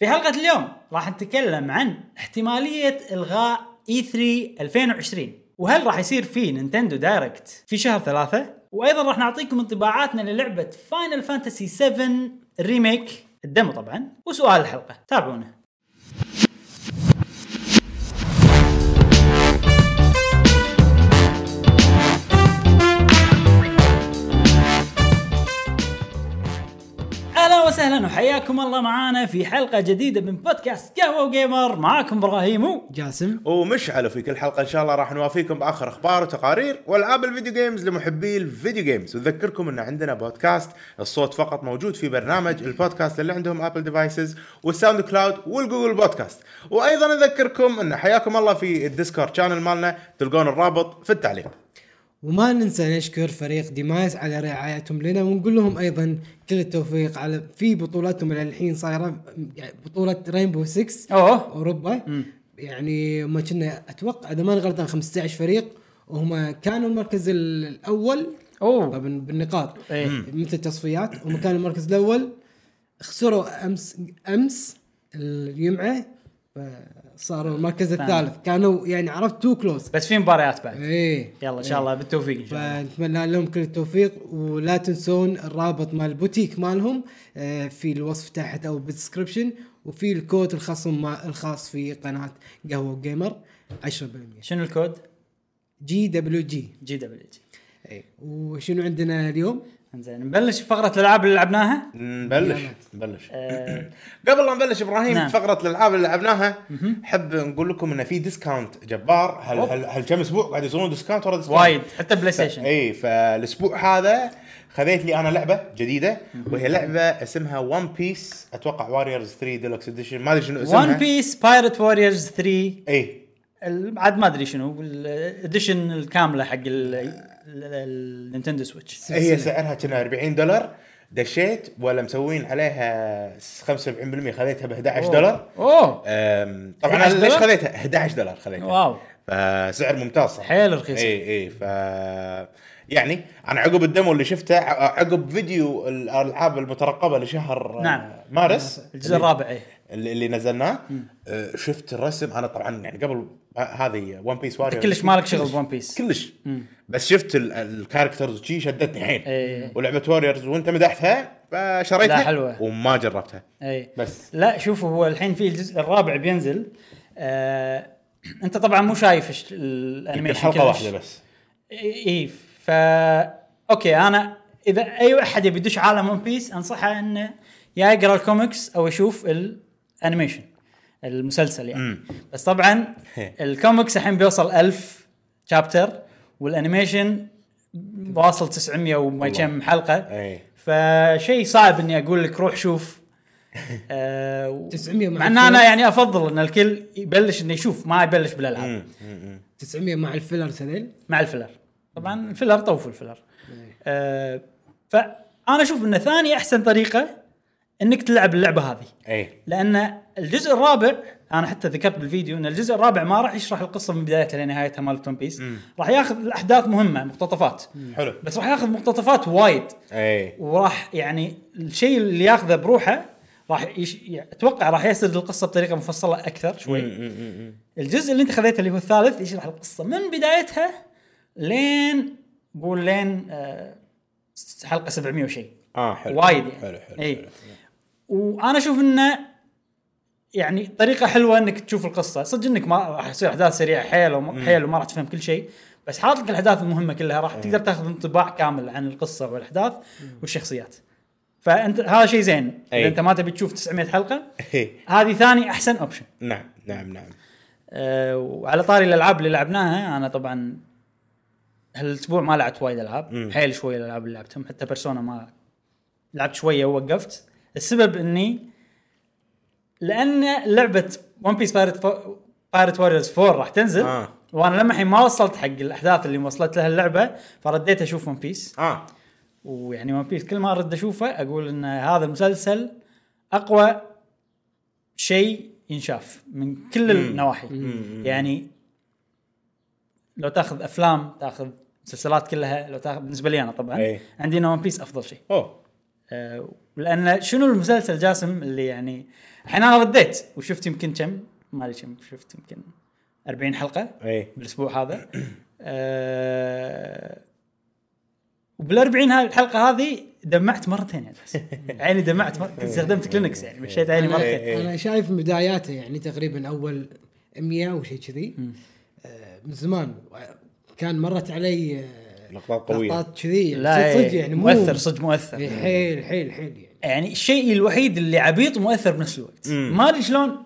في حلقة اليوم راح نتكلم عن احتمالية إلغاء E E3 2020 وهل راح يصير في نينتندو دايركت في شهر ثلاثة وأيضا راح نعطيكم انطباعاتنا للعبة فاينل فانتسي 7 ريميك الدمو طبعا وسؤال الحلقة تابعونا اهلا وسهلا وحياكم الله معانا في حلقه جديده من بودكاست قهوه وجيمر معاكم ابراهيم و- جاسم ومشعل وفي كل حلقه ان شاء الله راح نوافيكم باخر اخبار وتقارير والعاب الفيديو جيمز لمحبي الفيديو جيمز ونذكركم ان عندنا بودكاست الصوت فقط موجود في برنامج البودكاست اللي عندهم ابل ديفايسز والساوند كلاود والجوجل بودكاست وايضا نذكركم ان حياكم الله في الديسكورد شانل مالنا تلقون الرابط في التعليق وما ننسى نشكر فريق ديمايس على رعايتهم لنا ونقول لهم ايضا كل التوفيق على في بطولتهم اللي الحين صايره يعني بطوله رينبو 6 اوه اوروبا يعني ما كنا اتوقع اذا ماني غلطان 15 فريق وهم كانوا المركز الاول اوه طبعا بالنقاط إيه. مثل التصفيات وهم كانوا المركز الاول خسروا امس امس الجمعه فصاروا المركز الثالث كانوا يعني عرفت تو كلوز بس في مباريات بعد ايه يلا ان شاء الله بالتوفيق ان شاء الله فنتمنى لهم كل التوفيق ولا تنسون الرابط مال البوتيك مالهم آه، في الوصف تحت او بالدسكربشن وفي الكود الخصم ما- الخاص في قناه قهوه جيمر 10% شنو الكود؟ جي دبليو جي جي دبليو جي إيه. وشنو عندنا اليوم؟ انزين نبلش فقره الالعاب اللي لعبناها نبلش نبلش آه، قبل لا نبلش ابراهيم نعم. نعم. فقره الالعاب اللي لعبناها حب نقول لكم ان في ديسكاونت جبار هل أوه. هل, هل كم اسبوع قاعد يسوون ديسكاونت ورا ديسكاونت وايد حتى بلاي ستيشن اي فالاسبوع إيه، هذا خذيت لي انا لعبه جديده وهي لعبه اسمها ون بيس اتوقع واريورز 3 ديلوكس اديشن ما ادري شنو اسمها إيه، ون بيس بايرت ووريرز 3 اي ال- عاد ما ادري شنو الاديشن الكامله حق ال- ال- ال- النينتندو سويتش هي سعرها كنا 40 دولار دشيت ولا مسوين عليها 75% خذيتها ب 11 دولار اوه أم، طبعا 11 انا ليش دولار؟ خذيتها 11 دولار خذيتها واو فسعر ممتاز صراحه حيل رخيصة. اي اي ف يعني انا عقب الدمو اللي شفته ع- عقب فيديو الالعاب المترقبه لشهر آه، نعم. مارس الجزء الرابع إيه. اي اللي, اللي نزلناه آه، شفت الرسم انا طبعا يعني قبل ه- هذه ون بيس واريور كلش مالك شغل بون بيس كلش بس شفت ال- الكاركترز وشي شدتني إيه. حيل ولعبه واريورز وانت مدحتها فشريتها لا، حلوة. وما جربتها اي بس. إيه. لا شوفوا هو الحين في الجزء الرابع بينزل آه انت طبعا مو شايف الش- الانيميشن يمكن حلقه كلش. واحده بس اي إي، إيه، ف اوكي انا اذا اي احد يبي يدش عالم ون بيس انصحه انه يا يقرا الكوميكس او يشوف الانيميشن المسلسل يعني مم. بس طبعا هي. الكوميكس الحين بيوصل ألف شابتر والانيميشن واصل 900 وما كم حلقه اي فشيء صعب اني اقول لك روح شوف آه و- 900 مع مع ان انا الفيلم. يعني افضل ان الكل يبلش انه يشوف ما يبلش بالالعاب يعني- 900 مع الفيلر هذيل مع الفيلر طبعا الفيلر طوف الفيلر آه فانا اشوف ان ثاني احسن طريقه انك تلعب اللعبه هذه اي لان الجزء الرابع انا حتى ذكرت بالفيديو ان الجزء الرابع ما راح يشرح القصه من بدايتها لنهايتها مالت ون بيس راح ياخذ الاحداث مهمه مقتطفات حلو بس راح ياخذ مقتطفات وايد اي وراح يعني الشيء اللي ياخذه بروحه راح يش... يعني اتوقع راح يسرد القصه بطريقه مفصله اكثر شوي الجزء اللي انت خذيته اللي هو الثالث يشرح القصه من بدايتها لين قول لين آه، حلقه 700 وشيء اه حلو وايد يعني حلو حلو, اي حلو. وانا اشوف انه يعني طريقه حلوه انك تشوف القصه صدق انك ما راح يصير احداث سريعه حيل وما حيل وما راح تفهم كل شيء بس حاط لك الاحداث المهمه كلها راح تقدر تاخذ انطباع كامل عن القصه والاحداث والشخصيات فانت هذا شيء زين اذا أي. انت ما تبي تشوف 900 حلقه إيه. هذه ثاني احسن اوبشن نعم نعم نعم أه وعلى طاري الالعاب اللي لعبناها انا طبعا هالاسبوع ما لعبت وايد العاب حيل شويه الالعاب اللي لعبتهم حتى بيرسونا ما لعبت شويه ووقفت السبب اني لان لعبه ون بيس بايرت بايرت واريورز 4 راح تنزل آه. وانا لما الحين ما وصلت حق الاحداث اللي وصلت لها اللعبه فرديت اشوف ون بيس اه ويعني ون بيس كل ما ارد اشوفه اقول ان هذا المسلسل اقوى شيء ينشاف من كل النواحي يعني لو تاخذ افلام تاخذ مسلسلات كلها لو تاخذ بالنسبه لي انا طبعا أي. عندي ان ون بيس افضل شيء اوه آه، لان شنو المسلسل جاسم اللي يعني الحين انا رديت وشفت يمكن كم ما ادري كم شفت يمكن 40 حلقه اي بالاسبوع هذا أه وبال40 الحلقه هذه دمعت مرتين بس عيني دمعت مرتين استخدمت كلينكس يعني مشيت عيني انا, مرتين إيه. إيه. أنا شايف من بداياته يعني تقريبا اول 100 وشيء كذي آه، من زمان كان مرت علي آه، لقطات قوية. إيه. لقطات كذي لا صدق يعني مو مؤثر صدق مؤثر إيه، حيل حيل حيل يعني يعني الشيء الوحيد اللي عبيط مؤثر بنفس الوقت ما ادري شلون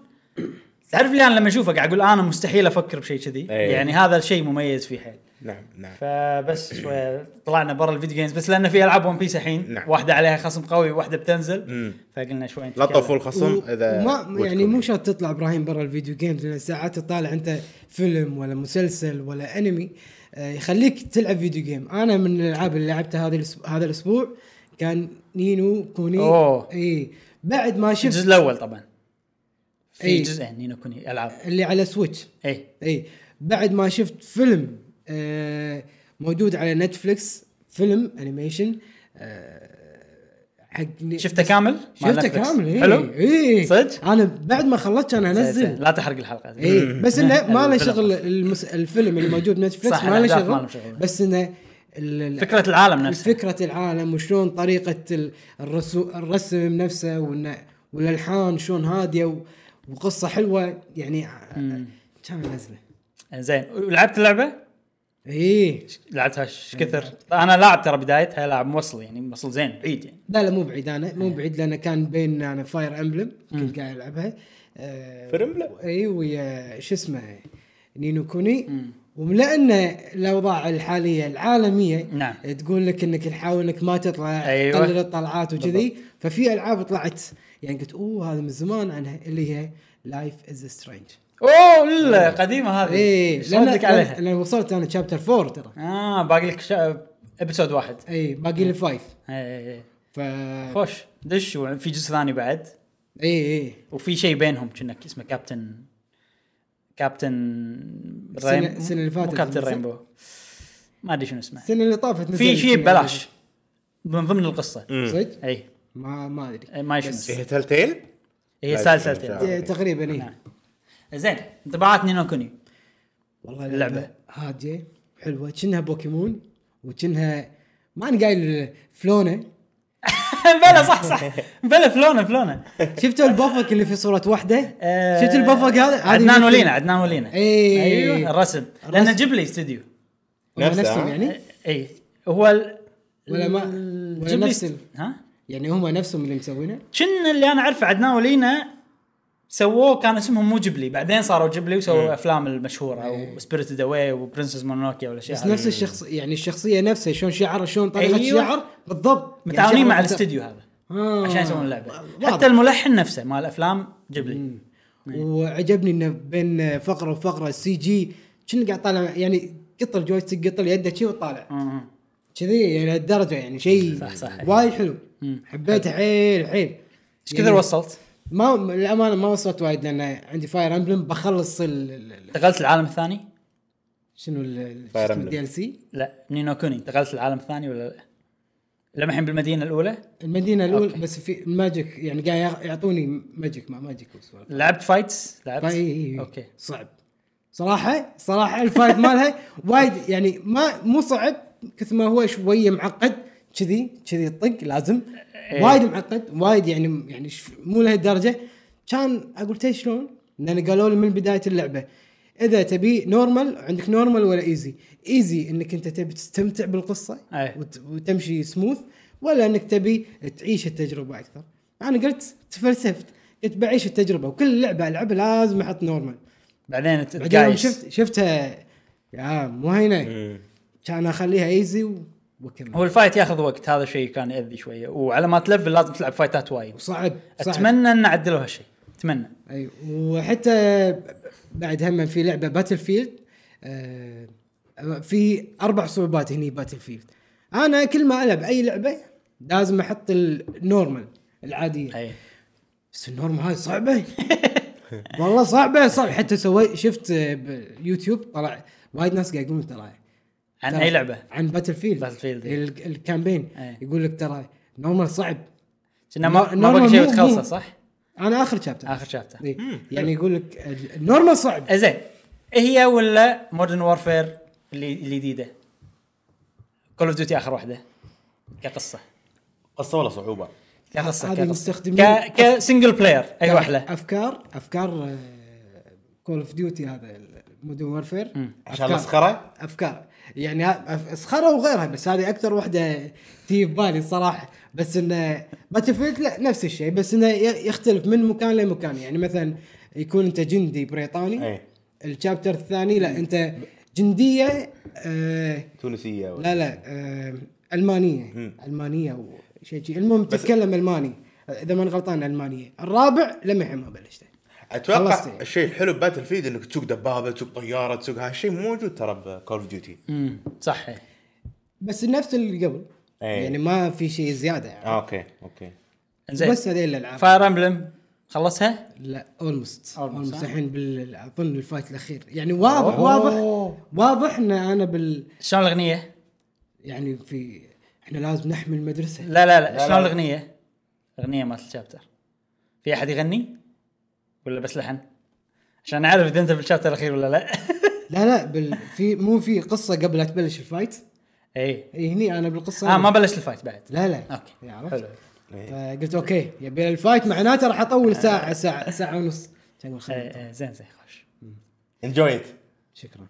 تعرف لي انا لما اشوفه قاعد اقول انا مستحيل افكر بشيء كذي إيه. يعني هذا الشيء مميز فيه حيل نعم نعم فبس شويه طلعنا برا الفيديو جيمز بس لان في العاب ون بيس الحين نعم. واحده عليها خصم قوي واحده بتنزل مم. فقلنا شوي لا نتكلم. تطفوا الخصم و- اذا وما ودكم. يعني مو شرط تطلع ابراهيم برا الفيديو جيمز لان ساعات تطالع انت فيلم ولا مسلسل ولا انمي آه، يخليك تلعب فيديو جيم انا من الالعاب اللي لعبتها هذا الأسبوع- هذا الاسبوع كان نينو كوني أوه. اي بعد ما الجزء شفت الاول طبعا في يعني إيه. جزئين نينو كوني العاب اللي على سويتش اي اي بعد ما شفت فيلم آه، موجود على نتفلكس فيلم انيميشن آه، حق شفته كامل مال شفته نتفلكس. كامل إيه. حلو اي صدق؟ انا بعد ما خلصت كان زين، زين. انزل لا تحرق الحلقه اي بس انه ما له الفيلم. شغل المس... الفيلم اللي موجود نتفلكس صح، ما له الأحداث ما لهم شغل شغل. بس انه ال- ال- فكره العالم نفسه فكره العالم وشلون طريقه ال- الرسو... الرسم نفسه وانه والالحان شلون هاديه و... وقصه حلوه يعني ع- كان نزله إيه، إيه. زين ولعبت اللعبه؟ اي لعبتها ايش كثر؟ انا لاعب ترى بدايتها لاعب موصل يعني موصل زين بعيد يعني لا لا مو بعيد انا إيه. مو بعيد لان كان بين انا فاير امبلم كنت قاعد العبها آه، Fire Emblem؟ اي ويا شو اسمه نينو كوني ولان الاوضاع الحاليه العالميه نعم. تقول لك انك تحاول انك ما تطلع أيوة. تقلل الطلعات وكذي ففي العاب طلعت يعني قلت اوه هذا من زمان عنها اللي هي لايف از سترينج اوه إيه. لا قديمه هذه اي إيش ردك عليها؟ لان وصلت انا شابتر 4 ترى اه باقي لك شا... ابيسود واحد اي باقي لي فايف إي إي إي. ف اي خوش دش وفي جزء ثاني بعد اي وفي شيء بينهم كأنك اسمه كابتن كابتن السنة- السنة اللي فاتت مو كابتن صح؟ رينبو ما ادري شنو اسمه السنه اللي طافت في نزلت شيء ببلاش من ضمن القصه صدق؟ اي ما ما ادري ما أدري شنو اسمه إيه، تل تيل هي لا، سالسلتين لا. إيه، تقريبا نعم. اي زين انطباعات نينو كوني والله اللعبة. هاديه حلوه كأنها بوكيمون وكأنها ما انا قايل فلونه بلا صح صح بلا فلونه فلونه شفتوا البفك اللي في صوره واحده؟ آه، شفت البفك هذا؟ هذه إيه. عدنان مثل- ولينا عدنان ولينا إي. ايوه الرسم لان الرسم. جيبلي استوديو هم نفسه، نفسهم ها؟ يعني؟ اي هو ال... ولا ما- ال- يعني ولا جيبلي نفس ال- ها يعني هم نفسهم اللي مسوينه؟ كن اللي انا اعرفه عدنان ولينا سووه كان اسمهم مو جيبلي بعدين صاروا جيبلي وسووا الافلام المشهوره او سبيريتد اواي وبرنسس مونوكيا والاشياء بس هذه نفس الشخص يعني الشخصيه نفسها شلون شعره شلون طريقه أيوة. أيوة. شعر بالضبط متعاونين مع شعره الاستديو هذا آه. عشان يسوون اللعبه يعني واضح. حتى الملحن نفسه مال الافلام جيبلي إيه. وعجبني انه بين فقره وفقره السي جي كأنه قاعد طالع يعني قط الجويستيك قط يده شي وطالع مم. كذي يعني الدرجه يعني شيء آه. صح، صح. وايد حلو حبيته حيل حيل ايش يعني- كثر وصلت؟ ما للامانه ما وصلت وايد لان عندي فاير امبلم بخلص ال- ال- ال- انتقلت العالم الثاني؟ شنو ال- ال- شو Fire اسمه Emblem. الدي ال سي لا نينو كوني انتقلت العالم الثاني ولا لا؟ لما الحين بالمدينه الاولى المدينه الاولى أوكي. بس في ماجيك يعني قاعد يع- يعطوني ماجيك ما ماجيك وسوالف لعبت فايتس؟ لعبت؟ اوكي اوكي صعب صراحه صراحه الفايت مالها وايد يعني ما مو صعب كثر ما هو شويه معقد كذي كذي طق لازم إيه. وايد معقد وايد يعني يعني ش- مو لهالدرجه كان اقول تي شلون؟ لان قالوا لي من بدايه اللعبه اذا تبي نورمال عندك نورمال ولا ايزي ايزي انك انت تبي تستمتع بالقصه إيه. وت- وتمشي سموث ولا انك تبي تعيش التجربه اكثر انا قلت تفلسفت قلت بعيش التجربه وكل لعبه العبها لازم احط نورمال بعدين بعدين يوم تتقايس شفت شفتها يا مو هينه كان اخليها ايزي و- واكمل هو الفايت ياخذ وقت هذا شيء كان ياذي شويه وعلى ما تلفل لازم تلعب فايتات وايد صعب صعب اتمنى ان عدلوا هالشيء اتمنى اي وحتى بعد هم في لعبه باتل فيلد في اربع صعوبات هني باتل فيلد انا كل ما العب اي لعبه لازم احط النورمال العاديه اي بس النورمال هاي صعبه والله صعبه صعب حتى سويت شفت بيوتيوب طلع وايد ناس قاعد يقولون ترى عن ترى- اي لعبه عن باتل فيلد Battlefield، إيه. الكامبين إيه. يقول لك ترى نورمال صعب كنا ما ما نورمال باقي شيء مو- مو- وتخلصه صح؟ انا اخر شابتر اخر شابتر إي. يعني يقول لك ال- النورمال صعب زين إيه هي ولا مودرن وورفير اللي الجديده كول اوف ديوتي اخر واحده كقصه قصه ولا صعوبه؟ كقصه هذه يعني كقصه آه. المستخدمين- ك كسنجل بلاير اي احلى افكار افكار كول اوف ديوتي هذا مودرن وورفير عشان الصخرة؟ افكار يعني ها- أف- صخره وغيرها بس هذه اكثر واحده تي في بالي صراحه بس انه باتل فيلد لا نفس الشيء بس انه ي- يختلف من مكان لمكان يعني مثلا يكون انت جندي بريطاني اي الشابتر الثاني لا انت جنديه آه تونسيه ولا لا لا آه المانيه المانيه او شيء شي. المهم تتكلم الماني اذا ما أنا غلطان المانيه الرابع لمحي ما بلشته اتوقع خلصت يعني. الشيء الحلو بباتل فيلد انك تسوق دبابه تسوق طياره تسوق هالشيء مو موجود ترى بكول اوف ديوتي امم صح إي. بس نفس اللي قبل إيه. يعني ما في شيء زياده يعني. آه، اوكي اوكي زين بس هذه الالعاب فاير امبلم خلصها؟ لا اولموست Almost، اولموست ها؟ الحين بال اظن الفايت الاخير يعني واضح أوه. واضح واضح ان انا بال شلون الاغنيه؟ يعني في احنا لازم نحمي المدرسه لا لا لا، لا لا. شلون الاغنيه؟ الاغنيه مالت الشابتر في احد يغني؟ ولا بس لحن؟ عشان اعرف اذا انت بالشابتر الاخير ولا لا لا لا بال في مو في قصه قبل لا تبلش الفايت اي إيه هني انا بالقصه اه ما بلشت الفايت بعد لا لا إيه، اوكي عرفت؟ حلو إيه. فقلت اوكي يبي الفايت معناته راح اطول آه. ساعه ساعه ساعه ونص كان يقول خلينا إي، إي، إيه، زين زين خوش انجويت شكرا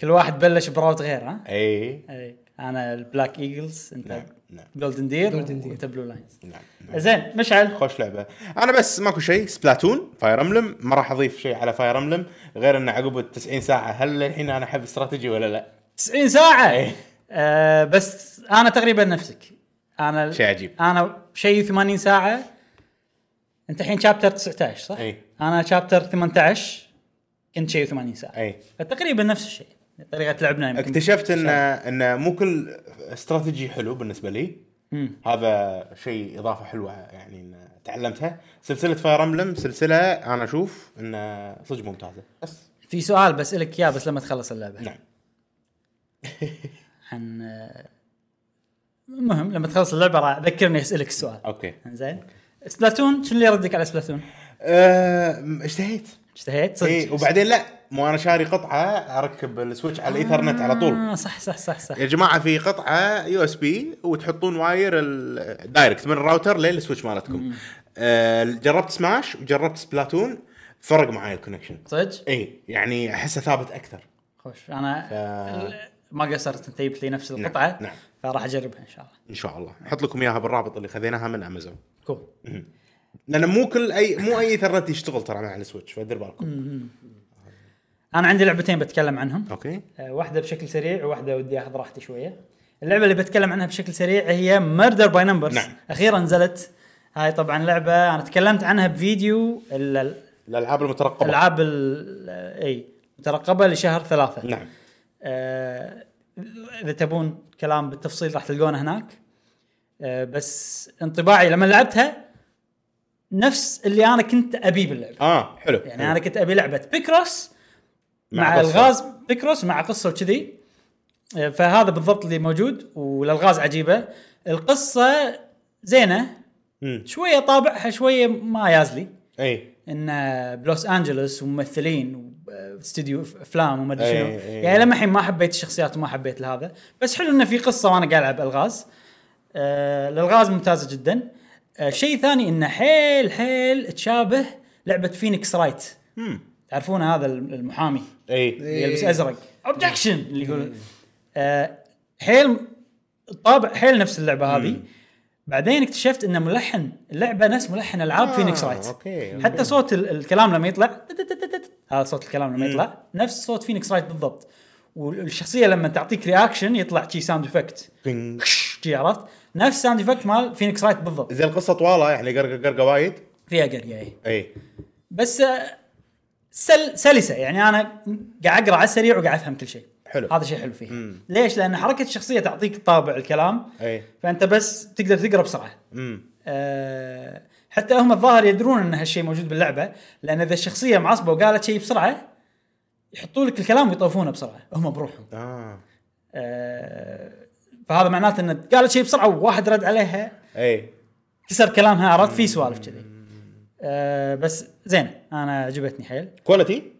كل واحد بلش براوت غير ها؟ إيه. اي اي انا البلاك ايجلز انت نعم نعم جولدن دير Golden Deer. وانت بلو لاينز نعم زين مشعل خوش لعبه انا بس ماكو شيء سبلاتون فاير املم ما راح اضيف شيء على فاير املم غير ان عقب ال 90 ساعه هل الحين انا احب استراتيجي ولا لا 90 ساعه إي. آه بس انا تقريبا نفسك انا شيء عجيب. انا شيء 80 ساعه انت الحين شابتر 19 صح؟ إي. انا شابتر 18 كنت شيء 80 ساعه اي فتقريبا نفس الشيء طريقه لعبنا يمكن اكتشفت ان ان مو كل استراتيجي حلو بالنسبه لي مم. هذا شيء اضافه حلوه يعني إن تعلمتها سلسله فاير املم سلسله انا اشوف انها صدق ممتازه بس في سؤال بسالك اياه بس لما تخلص اللعبه نعم عن آه، المهم لما تخلص اللعبه راح ذكرني اسالك السؤال اوكي زين سبلاتون شنو اللي يردك على سبلاتون؟ أم، اشتهيت اشتهيت آه، صدق اي وبعدين لا مو انا شاري قطعه اركب السويتش على الايثرنت على طول آه صح صح صح صح يا جماعه في قطعه يو اس بي وتحطون واير ال- دايركت من الراوتر للسويتش مالتكم آه، جربت سماش وجربت سبلاتون فرق معاي الكونكشن صدق اي يعني احسه ثابت اكثر خوش انا ف- ما قصرت انت جبت لي نفس القطعه نعم. فراح اجربها ان شاء الله ان شاء الله نحط لكم اياها بالرابط اللي خذيناها من امازون كول لان مو كل اي مو اي ايثرنت يشتغل ترى مع السويتش فدير بالكم انا عندي لعبتين بتكلم عنهم اوكي آه، واحده بشكل سريع وواحده ودي اخذ راحتي شويه اللعبه اللي بتكلم عنها بشكل سريع هي ميردر باي نمبرز نعم. اخيرا نزلت هاي طبعا لعبه انا تكلمت عنها بفيديو ال- الالعاب المترقبه الالعاب ال- اي مترقبه لشهر ثلاثه نعم آه، اذا تبون كلام بالتفصيل راح تلقونه هناك آه، بس انطباعي لما لعبتها نفس اللي انا كنت ابيه باللعبه اه حلو يعني حلو. انا كنت ابي لعبه بيكروس مع, مع مع قصة. الغاز بيكروس مع قصه وكذي آه، فهذا بالضبط اللي موجود والالغاز عجيبه القصه زينه مم. إيه. شويه طابعها شويه ما يازلي اي انه بلوس انجلوس وممثلين واستديو افلام وما ادري أي- شنو أي. يعني لما الحين ما حبيت الشخصيات وما حبيت هذا بس حلو انه في قصه وانا قاعد العب الغاز آه الالغاز ممتازه جدا آه شيء ثاني انه حيل حيل تشابه لعبه فينيكس رايت مم. تعرفون هذا المحامي اي اللي يلبس ازرق اوبجكشن اللي يقول آه حيل الطابع حيل نفس اللعبه هذه بعدين اكتشفت ان ملحن اللعبه نفس ملحن العاب آه، فينيكس رايت أوكي، أوكي. حتى صوت ال- الكلام لما يطلع تتتتت، هذا صوت الكلام لما يطلع نفس صوت فينيكس رايت بالضبط والشخصيه لما تعطيك رياكشن يطلع شي ساوند افكت بينج. شي عرفت نفس ساوند افكت مال فينيكس رايت بالضبط زي القصه طواله يعني قرقه قرقه وايد فيها قرقه إيه. اي بس آه، سل سلسه يعني انا قاعد اقرا على السريع وقاعد افهم كل شيء حلو. هذا شيء حلو فيه مم. ليش لان حركه الشخصيه تعطيك طابع الكلام اي فانت بس تقدر تقرا بسرعه امم أه حتى هم الظاهر يدرون ان هالشيء موجود باللعبه لان اذا الشخصيه معصبه وقالت شيء بسرعه يحطوا لك الكلام ويطوفونه بسرعه هم بروحهم اه آه، أه فهذا معناته ان قالت شيء بسرعه وواحد رد عليها اي كسر كلامها عرفت في سوالف كذي آه بس زين انا عجبتني حيل كواليتي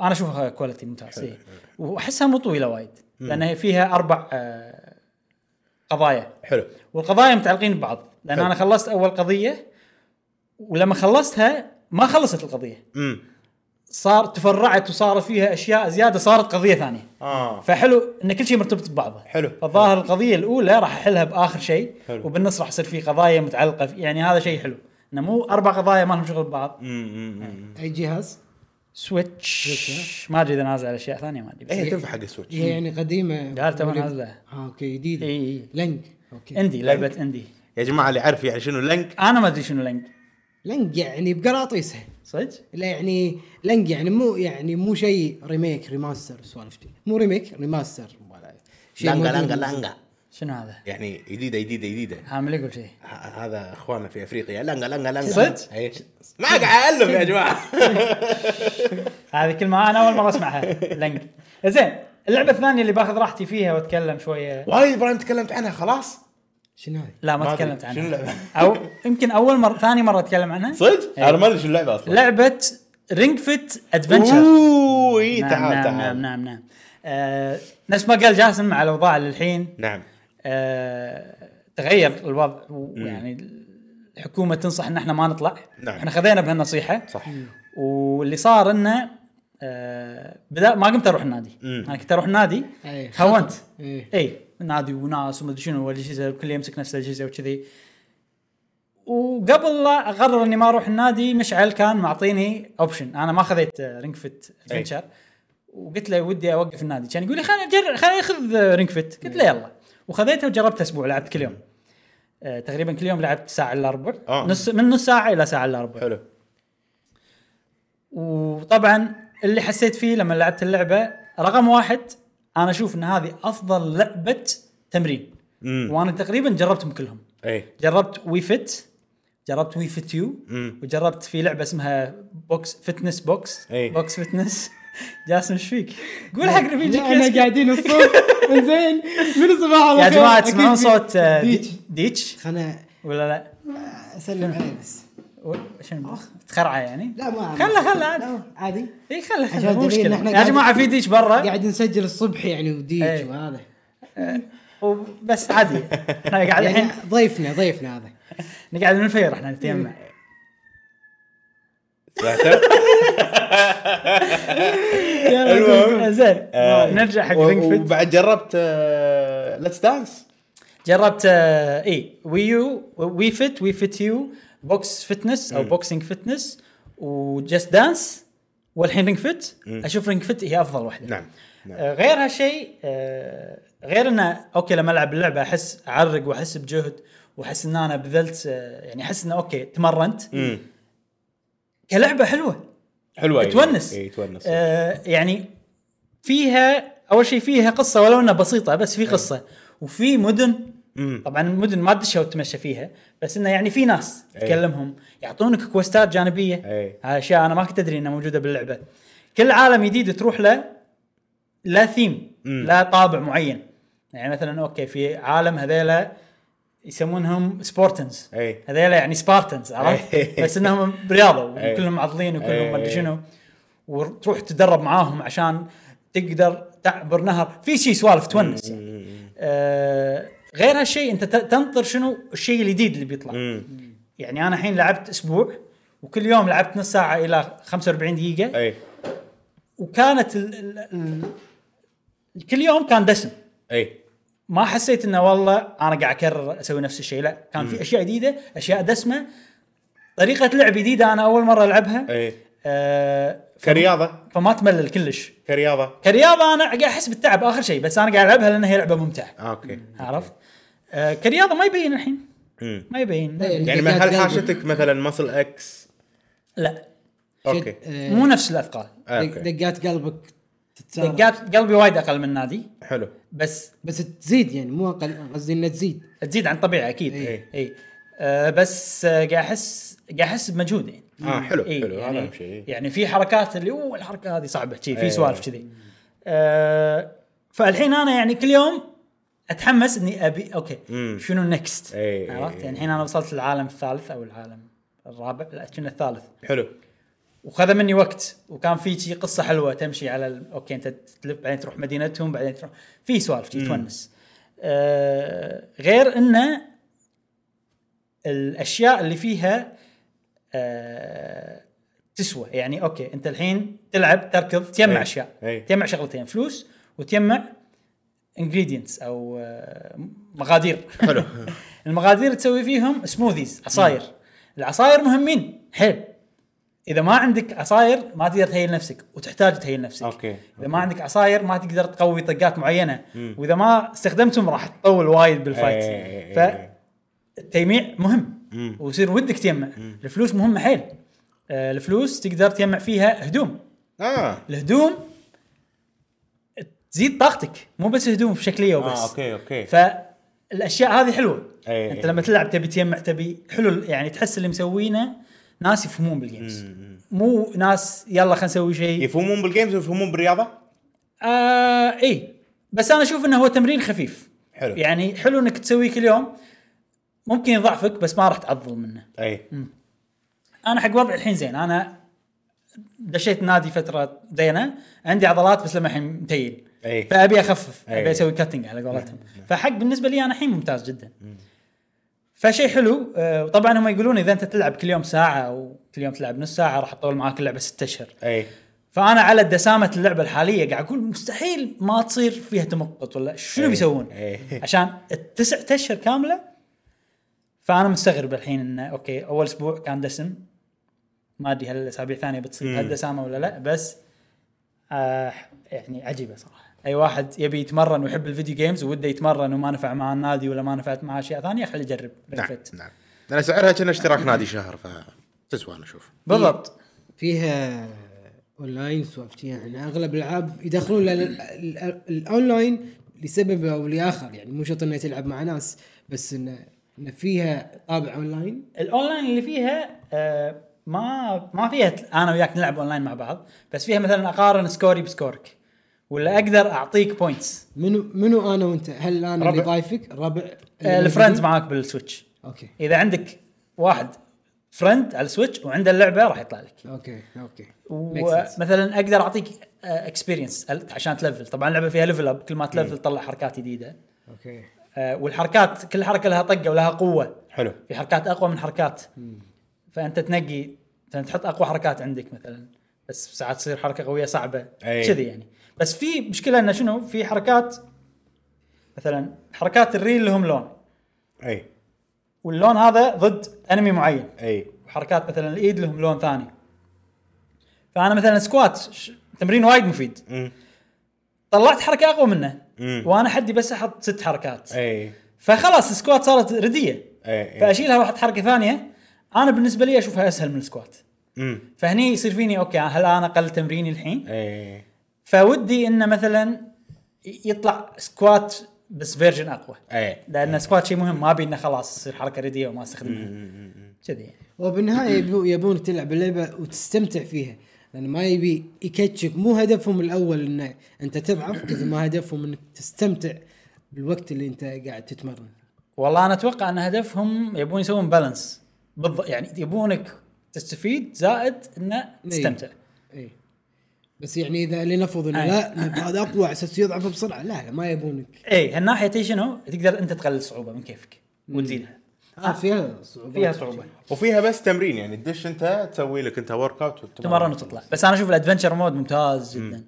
انا اشوفها كواليتي ممتاز إي. واحسها مو طويله وايد لان هي فيها اربع آه قضايا حلو والقضايا متعلقين ببعض لان حلو. انا خلصت اول قضيه ولما خلصتها ما خلصت القضيه امم صار تفرعت وصارت فيها اشياء زياده صارت قضيه ثانيه اه فحلو ان كل شيء مرتبط ببعضه حلو. فالظاهر القضيه الاولى راح احلها باخر شيء حلو. وبالنص راح يصير في قضايا متعلقه في يعني هذا شيء حلو انه مو اربع قضايا ما لهم شغل ببعض امم اي جهاز سويتش ما ادري اذا نازل على اشياء ثانيه ما ادري بس إيه، اي إيه، تنفع حق السويتش هي يعني قديمه لا، تو ولا- نازلة. اه اوكي جديده إي، إيه، إي. لنج اوكي اندي لعبه اندي يا جماعه اللي يعرف يعني شنو لينك انا ما ادري شنو لينك لنج يعني بقراطيسها صدق لا يعني لنج يعني مو يعني مو شيء ريميك ريماستر سوالف دي. مو ريميك ريماستر ولا شيء لانجا موجود. لانجا لانجا شنو هذا؟ يعني جديده جديده جديده عامل يقول شيء ه- هذا اخواننا في افريقيا لانجا لانجا لانجا صدق؟ إي. ما قاعد الف يا جماعه هذه كلمه انا اول مره اسمعها لينك زين اللعبه الثانيه اللي باخذ راحتي فيها واتكلم شويه وايد ابراهيم تكلمت عنها خلاص شنو هذه؟ لا ما ما أدري. تكلمت عنها شنو اللعبة؟ او يمكن اول مره ثاني مره اتكلم عنها صدق؟ إي. انا ما ادري شو اللعبه اصلا لعبه رينج فيت ادفنشر اوه اي نعم إيه، تعال نعم تعال نعم نعم نعم آه نفس ما قال جاسم على الاوضاع اللي الحين نعم آه تغير الوضع ويعني الحكومه تنصح ان احنا ما نطلع نعم. احنا خذينا بهالنصيحه صح واللي صار انه آه بدا ما قمت اروح النادي مم. انا كنت اروح النادي أي، خطر. خونت إيه. اي نادي وناس ومدري شنو والاجهزه الكل يمسك نفس الاجهزه وكذي وقبل لا اقرر اني ما اروح النادي مشعل كان معطيني اوبشن انا ما آه، خذيت رينج فيت أي. ادفنشر وقلت له ودي اوقف النادي كان يقول لي خليني اجرب خليني اخذ رينج فيت قلت له يلا وخذيته وجربته اسبوع لعبت كل يوم آه تقريبا كل يوم لعبت ساعه الا ربع آه. نص من نص ساعه الى ساعه الا ربع حلو وطبعا اللي حسيت فيه لما لعبت اللعبه رقم واحد انا اشوف ان هذه افضل لعبه تمرين امم وانا تقريبا جربتهم كلهم اي جربت وي فيت جربت وي فيت يو مم. وجربت في لعبه اسمها بوكس فتنس بوكس إي. بوكس فتنس جاسم ايش فيك؟ قول حق رفيجك لا، انا قاعدين الصوت زين من الصباح على يا خير. جماعه أكيد تسمعون في- صوت آه، ديتش دي- ديتش خلنا ولا لا؟ اسلم عليه بس و- شنو تخرعه يعني؟ لا ما أعرف. خله خله عادي لا، عادي اي خله عشان خله مو دليل إن مشكله إحنا يا قاعد- جماعه في ديتش برا قاعد نسجل الصبح يعني وديج إيه. وهذا وبس عادي احنا قاعد الحين يعني ضيفنا ضيفنا هذا نقعد من الفير احنا نتجمع إيه. المهم. زين آه، نرجع حق و- رينج فيت وبعد جربت آه، ليتس دانس جربت آه، اي ويو وي فيت وي فيت يو بوكس فتنس او بوكسينج فتنس وجست دانس والحين رينج فيت اشوف رينج فيت هي افضل واحده نعم نعم. آه، غير هالشيء آه، غير انه اوكي لما العب اللعبه احس اعرق واحس بجهد واحس ان انا بذلت آه، يعني احس انه اوكي تمرنت مم. كلعبه حلوه حلوه إي. تونس اي إيه، تونس آه يعني فيها اول شيء فيها قصه ولو انها بسيطه بس في قصه وفي مدن إيه. مم. طبعا المدن ما تدشها وتمشى فيها بس انه يعني في ناس إيه. تكلمهم يعطونك كوستات جانبيه أي. هاي اشياء انا ما كنت ادري انها موجوده باللعبه كل عالم جديد تروح له لا ثيم مم. لا طابع معين يعني مثلا اوكي في عالم هذيلا يسمونهم سبورتنز أي. هذيلا يعني سبارتنز عرفت أي. بس انهم برياضه أي. وكلهم عضلين أي. وكلهم ما ادري شنو وتروح تدرب معاهم عشان تقدر تعبر نهر في شيء سوالف تونس يعني. مم. آه غير هالشيء انت ت- تنطر شنو الشيء الجديد اللي بيطلع مم. يعني انا الحين لعبت اسبوع وكل يوم لعبت نص ساعه الى 45 دقيقه اي وكانت ال ال ال كل يوم كان دسم اي ما حسيت انه والله انا قاعد اكرر اسوي نفس الشيء لا كان في اشياء جديده اشياء دسمه طريقه لعب جديده انا اول مره العبها اي آه كرياضه فما تملل كلش كرياضه كرياضه انا قاعد احس بالتعب اخر شيء بس انا قاعد العبها لان هي لعبه ممتعه اوكي عرفت آه كرياضه ما يبين الحين مم. ما يبين إيه. يعني ما- هل حاشتك مثلا مصل اكس لا اوكي شد- آه، مو نفس الاثقال دق- اوكي دقات قلبك تتسارع. دقات قلبي وايد اقل من نادي حلو بس بس تزيد يعني مو اقل قصدي انها تزيد تزيد عن طبيعي اكيد إيه. اي آه بس آه، قاعد احس قاعد احس بمجهود يعني اه حلو إيه، حلو هذا يعني, اهم شيء يعني في حركات اللي اوه الحركه هذه صعبه شي إيه. في سوالف كذي آه فالحين انا يعني كل يوم اتحمس اني ابي اوكي مم. إيه، شنو نكست إي، إي، عرفت إي. يعني الحين انا وصلت للعالم الثالث او العالم الرابع لا كنا الثالث حلو وخذ مني وقت وكان في شي قصه حلوه تمشي على ال... اوكي انت تلف بعدين تروح مدينتهم بعدين تروح في سوالف شي تونس آه غير انه الاشياء اللي فيها آه تسوى يعني اوكي انت الحين تلعب تركض تجمع أي. اشياء أي. تجمع شغلتين فلوس وتجمع انجريدينتس او آه مقادير حلو المقادير تسوي فيهم سموذيز عصاير العصاير مهمين حيل اذا ما عندك عصاير ما تقدر تهيل نفسك وتحتاج تهيل نفسك أوكي. اذا ما عندك عصاير ما تقدر تقوي طقات معينه واذا ما استخدمتهم راح تطول وايد بالفايت إي، إي، إي، إي. فالتجميع مهم إيه، مم. ويصير ودك تجمع الفلوس مهمه حيل آه، الفلوس تقدر تجمع فيها هدوم اه الهدوم تزيد طاقتك مو بس هدوم شكليه وبس اه اوكي اوكي فالاشياء هذه حلوه أي. انت لما تلعب تبي تجمع تبي حلو يعني تحس اللي مسوينه ناس يفهمون بالجيمز مو ناس يلا خلينا نسوي شيء يفهمون بالجيمز ويفهمون بالرياضه آه اي بس انا اشوف انه هو تمرين خفيف حلو. يعني حلو انك تسويه كل يوم ممكن يضعفك بس ما راح تعضل منه اي انا حق وضعي الحين زين انا دشيت نادي فتره زينه عندي عضلات بس لما الحين متيل أي. فابي اخفف أي. ابي اسوي كاتنج على قولتهم فحق بالنسبه لي انا الحين ممتاز جدا فشيء حلو آه، وطبعا هم يقولون اذا انت تلعب كل يوم ساعه او كل يوم تلعب نص ساعه راح تطول معاك اللعبه ستة اشهر اي فانا على دسامه اللعبه الحاليه قاعد اقول مستحيل ما تصير فيها تمقط ولا شنو أي. بيسوون أي. عشان التسع اشهر كامله فانا مستغرب الحين انه اوكي اول اسبوع كان دسم ما ادري هل الاسابيع الثانيه مم. بتصير هالدسامه ولا لا بس آه يعني عجيبه صراحه اي واحد يبي يتمرن ويحب الفيديو جيمز وده يتمرن وما نفع مع النادي ولا ما نفعت مع اشياء ثانيه خليه يجرب Ring نعم Fit. نعم لان سعرها كان اشتراك نادي شهر ف تسوى انا اشوف بالضبط فيها اونلاين سوالف يعني اغلب الالعاب يدخلون لل- ال- الاونلاين لسبب او لاخر يعني مو شرط انه تلعب مع ناس بس انه إن فيها طابع اونلاين الاونلاين اللي فيها آه ما ما فيها ت- انا وياك نلعب اونلاين مع بعض بس فيها مثلا اقارن سكوري بسكورك ولا اقدر اعطيك بوينتس منو منو انا وانت؟ هل انا اللي ربع. ضايفك؟ ربع آه الفرندز معاك بالسويتش اوكي اذا عندك واحد فرند على السويتش وعنده اللعبه راح يطلع لك اوكي اوكي Makes sense. ومثلا اقدر اعطيك اكسبيرينس آه، عشان تلفل طبعا اللعبه فيها ليفل اب كل ما تلفل تطلع حركات جديده اوكي آه، والحركات كل حركه لها طقه ولها قوه حلو في حركات اقوى من حركات فانت تنقي مثلا تحط اقوى حركات عندك مثلا بس ساعات تصير حركه قويه صعبه أي. كذي يعني بس في مشكله انه شنو في حركات مثلا حركات الريل لهم لون اي واللون هذا ضد انمي معين اي وحركات مثلا الايد لهم لون ثاني فانا مثلا سكوات ش- تمرين وايد مفيد مم. طلعت حركه اقوى منه مم. وانا حدي بس احط ست حركات اي فخلاص السكوات صارت رديه اي اي فاشيلها واحط حركه ثانيه انا بالنسبه لي اشوفها اسهل من السكوات مم. فهني يصير فيني اوكي هل انا اقل تمريني الحين اي فودي انه مثلا ي- يطلع سكوات بس فيرجن اقوى اي لان سكوات شيء مهم ما ابي انه خلاص تصير حركه رديه وما استخدمها كذي يعني. وبالنهايه يبو- يبونك تلعب اللعبه وتستمتع فيها لان ما يبي يكتشك مو هدفهم الاول انه انت تضعف قد ما هدفهم انك تستمتع بالوقت اللي انت قاعد تتمرن والله انا اتوقع ان هدفهم يبون يسوون بالانس بالضبط يعني يبونك تستفيد زائد انه تستمتع اي إيه. بس يعني اذا لنفرض انه أي. لا نبغى هذا اقوى على اساس يضعف بسرعه لا لا ما يبونك اي هالناحيه تي إيه، شنو تقدر انت تقلل الصعوبه من كيفك وتزيدها آه فيها صعوبه فيها صعوبه وفيها بس تمرين يعني تدش انت تسوي لك انت ورك اوت تمرن وتطلع بس انا اشوف الادفنشر مود ممتاز جدا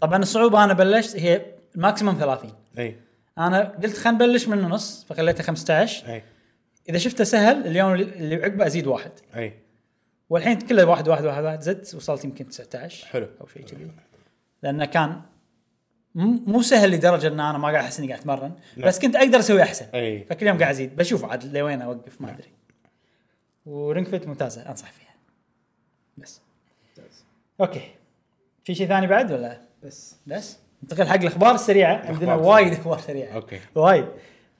طبعا الصعوبه انا بلشت هي ماكسيموم 30 اي انا قلت خلينا نبلش من النص فخليته 15 اي اذا شفته سهل اليوم اللي عقبه ازيد واحد اي والحين كله واحد واحد واحد واحد زدت وصلت يمكن 19 حلو. او شيء كذي لانه كان م- مو سهل لدرجه ان انا ما قاعد احس اني قاعد اتمرن نعم. بس كنت اقدر اسوي احسن أي. نعم. فكل يوم قاعد ازيد بشوف عاد لوين اوقف ما ادري ورينج فيت ممتازه انصح فيها بس اوكي في شيء ثاني بعد ولا بس بس ننتقل حق الاخبار السريعه عندنا السريعة. وايد اخبار سريعه أوكي. وايد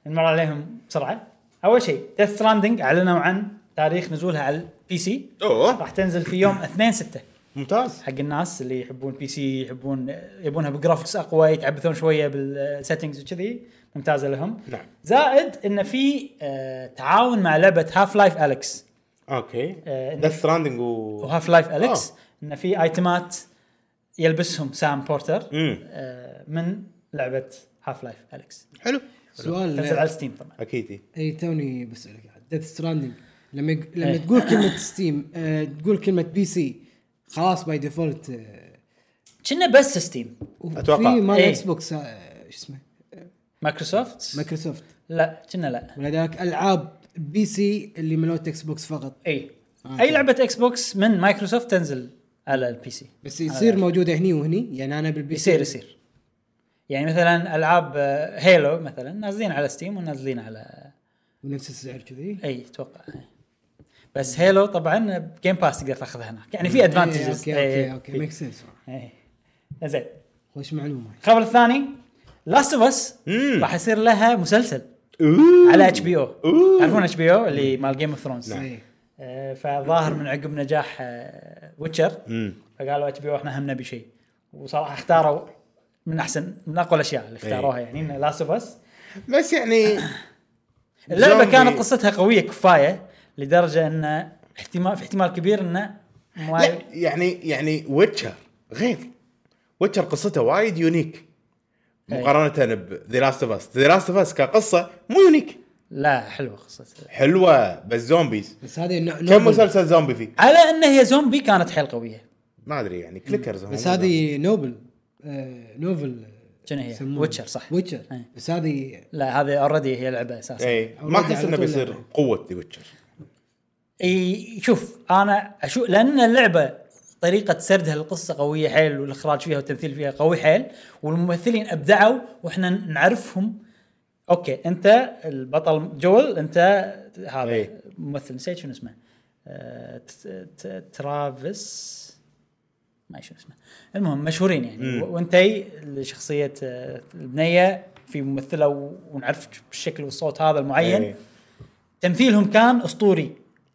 نمر عليهم بسرعه اول شيء ديث ستراندنج اعلنوا عن تاريخ نزولها على البي سي اوه راح تنزل في يوم 2 6 ممتاز حق الناس اللي يحبون بي سي يحبون يبونها بجرافكس اقوى يتعبثون شويه بالسيتنجز وكذي ممتازه لهم نعم زائد انه في آه، تعاون مع لعبه هاف لايف اليكس اوكي آه، ديث ستراندنج و وهاف لايف اليكس آه. انه في ايتمات يلبسهم سام بورتر امم آه، من لعبه هاف لايف اليكس حلو تنزل سؤال على ستيم طبعا اكيد إي. اي توني بسالك ديث ستراندنج لما يق- لما إيه. تقول كلمه ستيم آه، تقول كلمه بي سي خلاص باي ديفولت آه، كنا بس ستيم أتوقع. في مال إيه. اكس بوكس آه، شو اسمه مايكروسوفت مايكروسوفت لا كنا لا ولذلك العاب بي سي اللي ملوت اكس بوكس فقط اي آه، اي لعبه اكس بوكس من مايكروسوفت تنزل على البي سي بس يصير موجوده هني وهني يعني انا بالبي سي يصير يصير يعني مثلا العاب آه، هيلو مثلا نازلين على ستيم ونازلين على ونفس السعر كذي اي اتوقع بس هيلو طبعا جيم باس تقدر تاخذها هناك يعني في إيه، ادفانتجز اوكي اوكي اوكي ميك سنس إيه. زين خوش معلومه الخبر الثاني لاست اوف اس مم. راح يصير لها مسلسل أوه. على اتش بي او أوه. نعم. تعرفون اتش بي او اللي مال جيم اوف ثرونز صحيح آه، فظاهر من عقب نجاح آه، ويتشر امم فقالوا اتش بي او احنا هم نبي شيء وصراحه اختاروا من احسن من اقوى الاشياء اللي اختاروها يعني لاست اوف اس بس يعني اللعبه زومبي. كانت قصتها قويه كفايه لدرجه ان احتمال في احتمال كبير انه ما لا يعني يعني ويتشر غير ويتشر قصته وايد يونيك أي. مقارنة بذا لاست اوف اس، ذا لاست اوف اس كقصة مو يونيك لا حلوه قصتها حلوة بس زومبيز بس هذه نو- كم نوبل. مسلسل زومبي فيه؟ على انه هي زومبي كانت حيل قويه ما ادري يعني كليكرز هم بس هذه نوبل آه، نوفل شنو هي؟ يسمونها. ويتشر صح ويتشر إيه. بس هذه لا هذه اوريدي هي لعبه اساسا اي إيه. ما أولاد احس على طول انه يعني. بيصير لعبة. قوة ذا ويتشر اي شوف انا اشو لان اللعبه طريقة سردها القصة قوية حيل والاخراج فيها والتمثيل فيها قوي حيل والممثلين ابدعوا واحنا نعرفهم اوكي انت البطل جول انت هذا إي. ممثل نسيت شنو اسمه آه، ت- ت- ترافيس ما شنو اسمه المهم مشهورين يعني مم. و- وانت شخصية آه، البنية في ممثلة و- ونعرف بالشكل والصوت هذا المعين أي. تمثيلهم كان اسطوري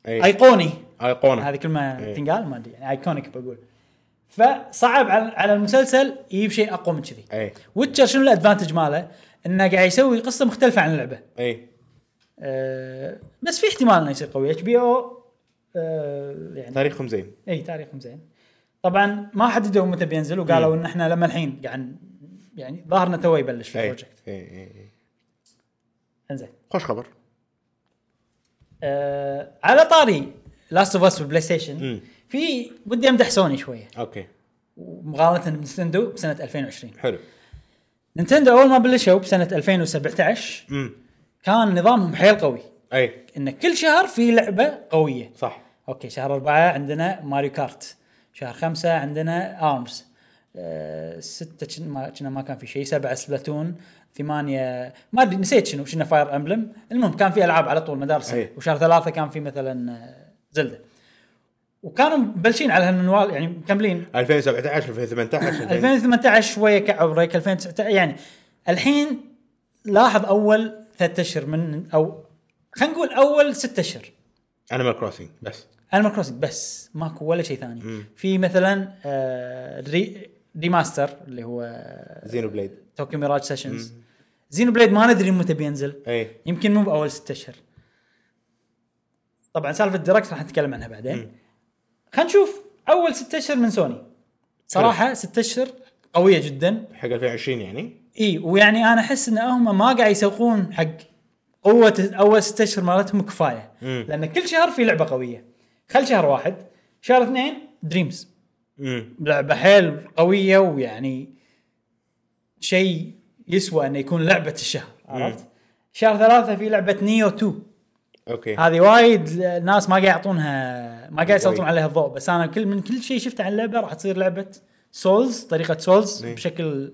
أي. ايقوني ايقونه هذه كلمه إيه. تنقال ما ادري يعني ايكونيك بقول فصعب على على المسلسل يجيب شيء اقوى من كذي اي ويتشر شنو الادفانتج ماله؟ انه قاعد يسوي قصه مختلفه عن اللعبه اي أه بس في احتمال انه يصير قوي اتش بي او يعني تاريخهم زين اي تاريخهم زين طبعا ما حددوا متى بينزل وقالوا مم. ان احنا لما الحين قاعد يعني ظهرنا تو يبلش اي البروجكت اي اي انزين إيه. خوش خبر أه على طاري لاست اوف اس والبلاي ستيشن مم. في ودي امدح سوني شويه اوكي مقارنه بنتندو بسنه 2020 إيه. حلو نينتندو اول ما بلشوا بسنه 2017 امم كان نظامهم حيل قوي اي ان كل شهر في لعبه قويه صح اوكي شهر أربعة عندنا ماريو كارت شهر خمسة عندنا ارمز أه ستة شن- ما كنا ما كان في شيء سبعة سبلاتون ثمانية ما ادري نسيت شنو شنو فاير امبلم المهم كان في العاب على طول مدار السنة أي. وشهر ثلاثة كان في مثلا آه، زلدة وكانوا مبلشين على هالمنوال يعني مكملين 2017 2018 2000 2018 شويه كعبرك 2019 يعني الحين لاحظ اول ثلاثة اشهر من او خلينا نقول اول ستة اشهر انيمال كروسنج بس انيمال كروسنج بس ماكو ولا شيء ثاني مم. في مثلا آه ري ريماستر اللي هو زينو بليد توكيو ميراج سيشنز زينو بليد ما ندري متى بينزل اي يمكن مو باول ستة اشهر طبعا سالفه الديركت راح نتكلم عنها بعدين خلينا نشوف اول ستة اشهر من سوني صراحه ستة اشهر قويه جدا حق 2020 يعني اي ويعني انا احس ان هم ما قاعد يسوقون حق قوه اول ست اشهر مالتهم كفايه مم. لان كل شهر في لعبه قويه خل شهر واحد شهر اثنين دريمز امم لعبه حيل قويه ويعني شيء يسوى انه يكون لعبه الشهر عرفت؟ شهر ثلاثة في لعبة نيو 2 اوكي هذه وايد الناس ما قاعد يعطونها ما قاعد يسلطون وايد. عليها الضوء بس انا كل من كل شيء شفته عن اللعبة راح تصير لعبة سولز طريقة سولز إيه. بشكل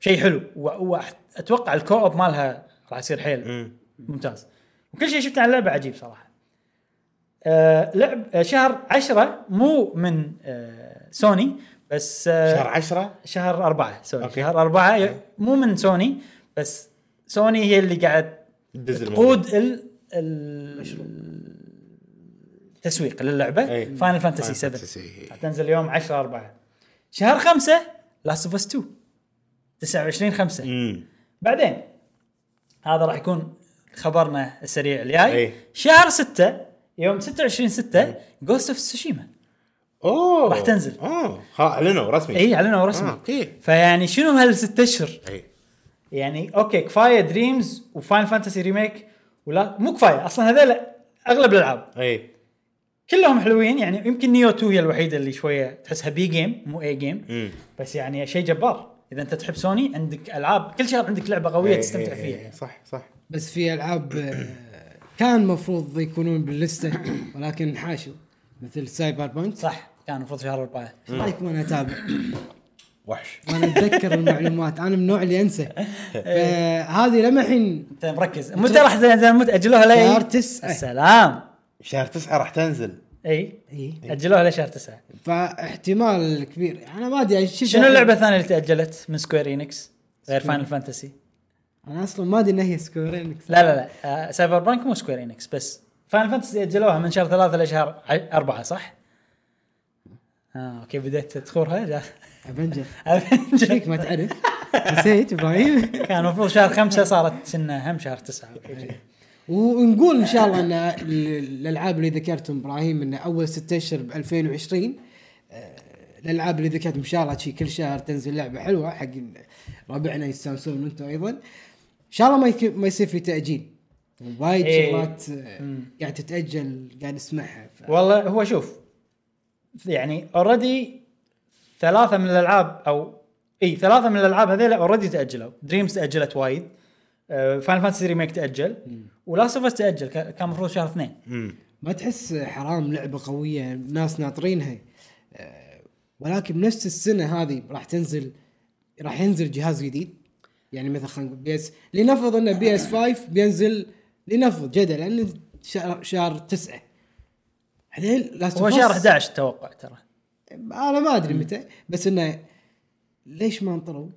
شيء حلو واتوقع الكو اوب مالها راح يصير حيل امم ممتاز وكل شيء شفته عن اللعبه عجيب صراحه آه لعب آه شهر عشرة مو من آه سوني بس آه شهر 10 شهر أربعة سوري أوكي. إيه. شهر أربعة ي- مو من سوني بس سوني هي اللي قاعد دز الموضوع. تقود ال ال- تسويق للعبه أي. فاينل فانتسي 7 إيه. Fantasy. تنزل يوم 10 4 شهر 5 لاست اوف اس 2 29 5 امم بعدين هذا راح يكون خبرنا السريع الجاي إيه. شهر 6 يوم 26 6 جوست اوف تسوشيما اوه راح تنزل. اوه آه. خلاص اعلنوا رسمي اي اعلنوا آه، رسمي اوكي إيه، فيعني شنو هالست اشهر اي يعني اوكي كفايه دريمز وفاين فانتسي ريميك ولا مو كفايه اصلا هذول اغلب الالعاب اي كلهم حلوين يعني يمكن نيو 2 هي الوحيده اللي شويه تحسها بي جيم مو اي جيم امم بس يعني شيء جبار اذا انت تحب سوني عندك العاب كل شهر عندك لعبه قويه إيه، إي، تستمتع إي، فيها يعني. إي، صح صح بس في العاب آه، كان المفروض يكونون باللسته ولكن انحاشوا مثل سايبر بانك صح كان المفروض شهر اربعه عليك ما انا اتابع وحش ما انا اتذكر المعلومات انا من النوع اللي انسى إيه. فهذه لما الحين انت مركز متى راح تنزل متى اجلوها لي شهر تسعة. السلام شهر تسعة راح تنزل اي إي. اجلوها لشهر تسعة إيه. فاحتمال كبير انا ما ادري شفت- شنو اللعبه الثانيه اللي تاجلت من سكوير انكس غير فاينل فانتسي انا اصلا ما ادري انها هي سكوير انكس لا لا لا آه، سايبر بانك مو سكوير انكس بس فاينل فانتسي اجلوها من شهر ثلاثة لشهر ع- أربعة صح؟ اه اوكي بديت تخورها جا- افنجر ايش أفنجر. فيك ما تعرف نسيت ابراهيم كان المفروض شهر خمسة صارت كنا هم شهر تسعة ونقول ان شاء الله ان ال- الالعاب اللي ذكرتهم ابراهيم ان اول ستة اشهر ب 2020 آه، الالعاب اللي ذكرتهم ان شاء الله شي كل شهر تنزل لعبه حلوه حق ربعنا يستانسون وانتم ايضا ان شاء الله ما يك- ما يصير في تاجيل وايد إيه. شغلات آه، قاعد تتاجل قاعد نسمعها ف- والله هو شوف يعني اوريدي ثلاثة من الالعاب او اي ثلاثة من الالعاب هذيلا اوريدي تاجلوا دريمز تاجلت وايد آه، فاينل فانتسي ريميك تاجل ولاست اوف اس تاجل كا- كان المفروض شهر اثنين امم ما تحس حرام لعبه قويه ناس ناطرينها آه، ولكن بنفس السنه هذه راح تنزل راح ينزل جهاز جديد يعني مثلا خلينا نقول بي اس لنفرض ان بي اس 5 بينزل لنفرض جدلا شهر شهر 9 بعدين لاست هو شهر 11 اتوقع ترى انا ما ادري متى بس انه ليش ما انطروا؟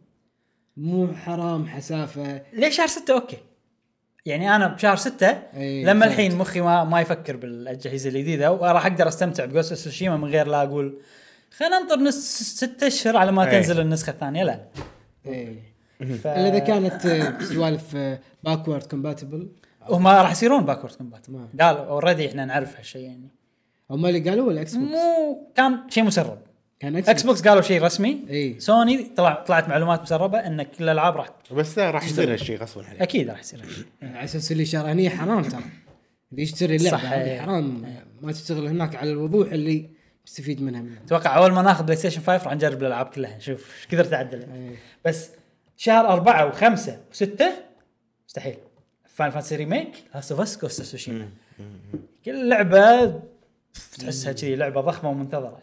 مو حرام حسافه ليش شهر 6 اوكي يعني انا بشهر 6 إي، لما فهمت. الحين مخي ما ما يفكر بالاجهزه الجديده وراح اقدر استمتع بجوست سوشيما من غير لا اقول خلينا ننطر نص ستة اشهر على ما إي. تنزل النسخه الثانيه لا إيه. ف... الا اذا كانت آه، سوالف باكورد كومباتبل هم راح يصيرون باكورد كومبات ما. قالوا اوريدي احنا نعرف هالشيء يعني هم اللي قالوا ولا اكس بوكس؟ مو كان شيء مسرب كان اكس بوكس قالوا شيء رسمي إي. سوني طلع طلعت معلومات مسربه ان كل الالعاب راح بس لا، راح يصير هالشيء غصبا عليك اكيد راح يصير هالشيء. على اساس اللي شرانيه حرام ترى اللي يشتري اللعبه صح، هذه إيه. حرام ما تشتغل هناك على الوضوح اللي يستفيد منها من اتوقع اول ما ناخذ بلاي ستيشن 5 راح نجرب الالعاب كلها نشوف ايش قدرت اعدلها إي. بس شهر أربعة وخمسة وستة مستحيل فاين فانتسي ريميك لاست اوف اس كوست سوشيما كل لعبة تحسها كذي لعبة ضخمة ومنتظرة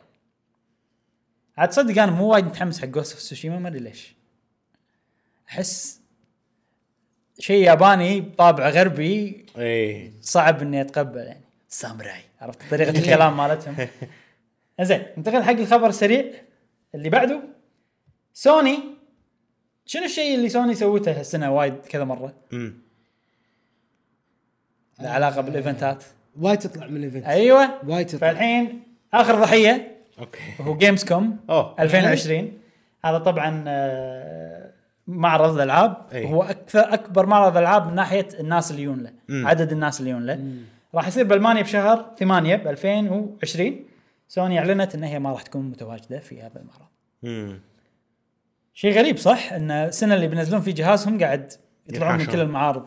عاد تصدق انا مو وايد متحمس حق جوست اوف سوشيما ما ادري ليش احس شيء ياباني بطابع غربي اي صعب اني اتقبل يعني ساموراي عرفت طريقه الكلام مالتهم زين ننتقل حق الخبر السريع اللي بعده سوني شنو الشيء اللي سوني سوته هالسنه وايد كذا مره امم له علاقه بالايفنتات وايد تطلع من الايفنت ايوه وايد تطلع فالحين اخر ضحيه اوكي هو جيمز كوم اوه 2020 هذا طبعا آه، معرض الالعاب أي. هو اكثر اكبر معرض العاب من ناحيه الناس اللي يجون له مم. عدد الناس اللي يجون له راح يصير بالمانيا بشهر 8 ب 2020 سوني اعلنت ان هي ما راح تكون متواجده في هذا المعرض امم شيء غريب صح ان السنه اللي بينزلون في جهازهم قاعد يطلعون من ينحاشون. كل المعارض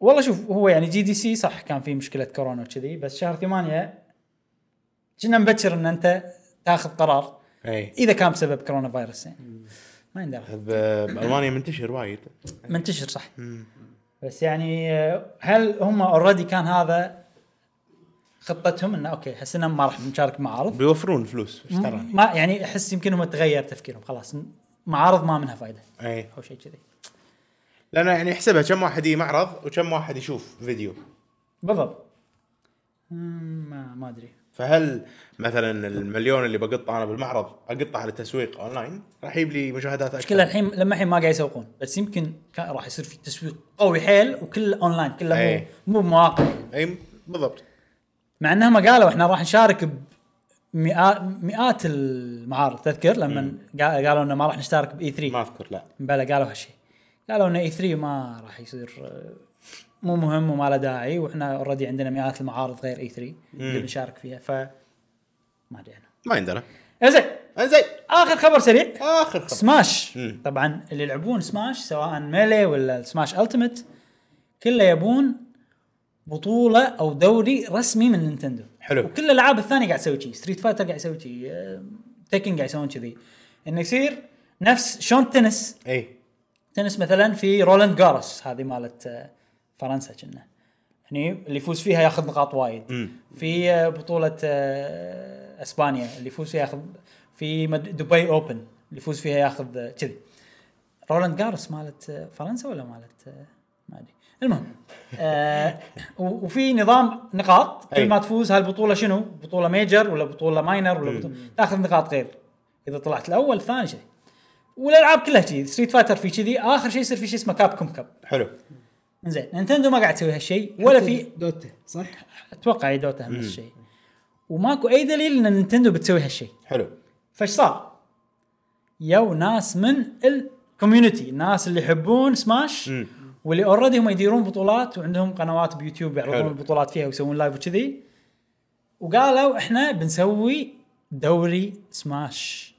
والله شوف هو يعني جي دي سي صح كان في مشكله كورونا وكذي بس شهر 8 كنا مبكر ان انت تاخذ قرار اي اذا كان بسبب كورونا فايروس يعني ما يندرى ب- بالمانيا طيب، منتشر وايد منتشر صح بس يعني آه، هل هم اوريدي كان هذا خطتهم انه اوكي حسنا ما راح نشارك معارض بيوفرون فلوس ايش ترى ما يعني احس يمكن هم تغير تفكيرهم خلاص معارض ما منها فائده اي او شيء كذي لان يعني احسبها كم واحد يجي معرض وكم واحد يشوف فيديو بالضبط مم، ما ما ادري فهل مثلا المليون اللي بقطه انا بالمعرض اقطه على التسويق اونلاين راح يجيب لي مشاهدات المشكله اكثر الحين لما الحين ما قاعد يسوقون بس يمكن كان- راح يصير في تسويق قوي حيل وكل اونلاين كله مو إيه. مو مواقع اي بالضبط مع انهم قالوا احنا راح نشارك بمئات مئات المعارض تذكر لما قا- قالوا انه ما راح نشترك باي 3 ما اذكر لا بلى قالوا هالشيء قالوا ان اي 3 ما راح يصير آه، مو مهم وما له داعي واحنا اوريدي عندنا مئات المعارض غير اي 3 اللي بنشارك فيها ف ما ادري انا ما يندرى زين انزين اخر خبر سريع اخر خبر سماش مم. طبعا اللي يلعبون سماش سواء ميلي ولا سماش التيمت كله يبون بطوله او دوري رسمي من نينتندو حلو. وكل الالعاب الثانيه قاعد تسوي شيء ستريت فايتر قاعد يسوي شيء تكن قاعد يسوون كذي انه يصير نفس شلون التنس اي تنس مثلا في رولاند جارس هذه مالت آه، فرنسا كنا هني اللي يفوز فيها ياخذ نقاط وايد مم. في آه، بطولة آه، اسبانيا اللي يفوز فيها ياخذ في مد- دبي اوبن اللي يفوز فيها ياخذ آه، كذي رولاند جارس مالت آه، فرنسا ولا مالت آه، ما ادري المهم آه و- وفي نظام نقاط أي. كل ما تفوز هالبطوله شنو؟ بطوله ميجر ولا بطوله ماينر ولا بطولة تاخذ نقاط غير اذا طلعت الاول ثاني شيء والالعاب كلها كذي ستريت فايتر في كذي اخر شيء يصير في شيء اسمه كاب كوم كاب حلو زين نينتندو ما قاعد تسوي هالشيء ولا في دوتا صح؟ اتوقع دوتا هم الشيء وماكو اي دليل ان نينتندو بتسوي هالشيء حلو فايش صار؟ يو ناس من الكوميونتي الناس اللي يحبون سماش مم. واللي اوريدي هم يديرون بطولات وعندهم قنوات بيوتيوب يعرضون حلو. البطولات فيها ويسوون لايف وكذي وقالوا احنا بنسوي دوري سماش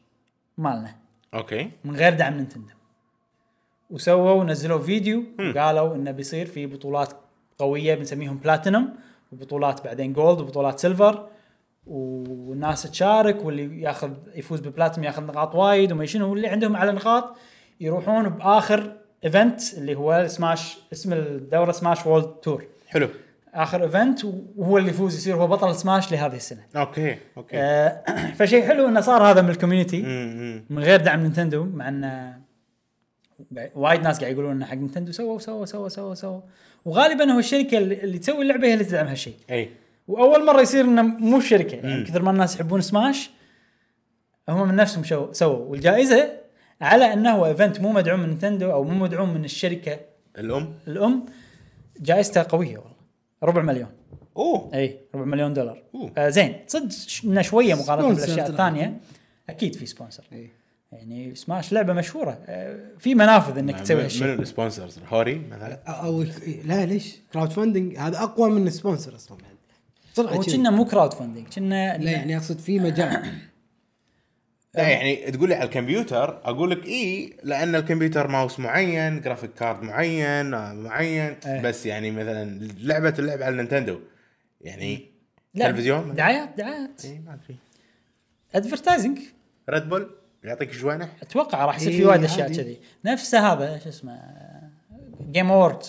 مالنا اوكي من غير دعم نينتندو وسووا ونزلوا فيديو وقالوا انه بيصير في بطولات قويه بنسميهم بلاتينوم وبطولات بعدين جولد وبطولات سيلفر والناس تشارك واللي ياخذ يفوز ببلاتينوم ياخذ نقاط وايد وما شنو واللي عندهم على نقاط يروحون باخر ايفنت اللي هو سماش اسم الدوره سماش وولد تور حلو اخر ايفنت وهو اللي يفوز يصير هو بطل سماش لهذه السنه اوكي اوكي آه، فشيء حلو انه صار هذا من الكوميونتي امم من غير دعم نينتندو مع ان وايد ناس قاعد يقولون ان حق نينتندو سووا سووا سووا سووا سووا وغالبا هو الشركه اللي اللي تسوي اللعبه هي اللي تدعم هالشيء اي واول مره يصير انه مو الشركه يعني مم. كثر ما الناس يحبون سماش هم من نفسهم شو- سووا والجائزه على انه هو ايفنت مو مدعوم من نينتندو او مو مدعوم من الشركه الام الام جائزتها قويه والله ربع مليون اوه اي ربع مليون دولار أوه. آه زين صدق ش- انه شويه مقارنه سبونسر بالاشياء ترى. إيه. الثانيه اكيد في سبونسر إي. يعني سماش لعبه مشهوره آه، في منافذ انك تسوي هالشيء من السبونسرز هوري مثلا او لا ليش؟ كراود فاندنج هذا اقوى من السبونسر اصلا بعد بسرعه هو كذي. كنا مو كراود فاندنج كنا لا يعني اقصد في مجال لا يعني تقول لي على الكمبيوتر اقول لك اي لان الكمبيوتر ماوس معين جرافيك كارد معين آه، معين إيه. بس يعني مثلا لعبه اللعب على النينتندو يعني لا، تلفزيون؟ دعايات دعايات اي ما ادري ادفرتايزنج ريد بول يعطيك جوانح اتوقع راح يصير في إي، وايد اشياء عادي. كذي نفسه هذا شو اسمه جيم اوورد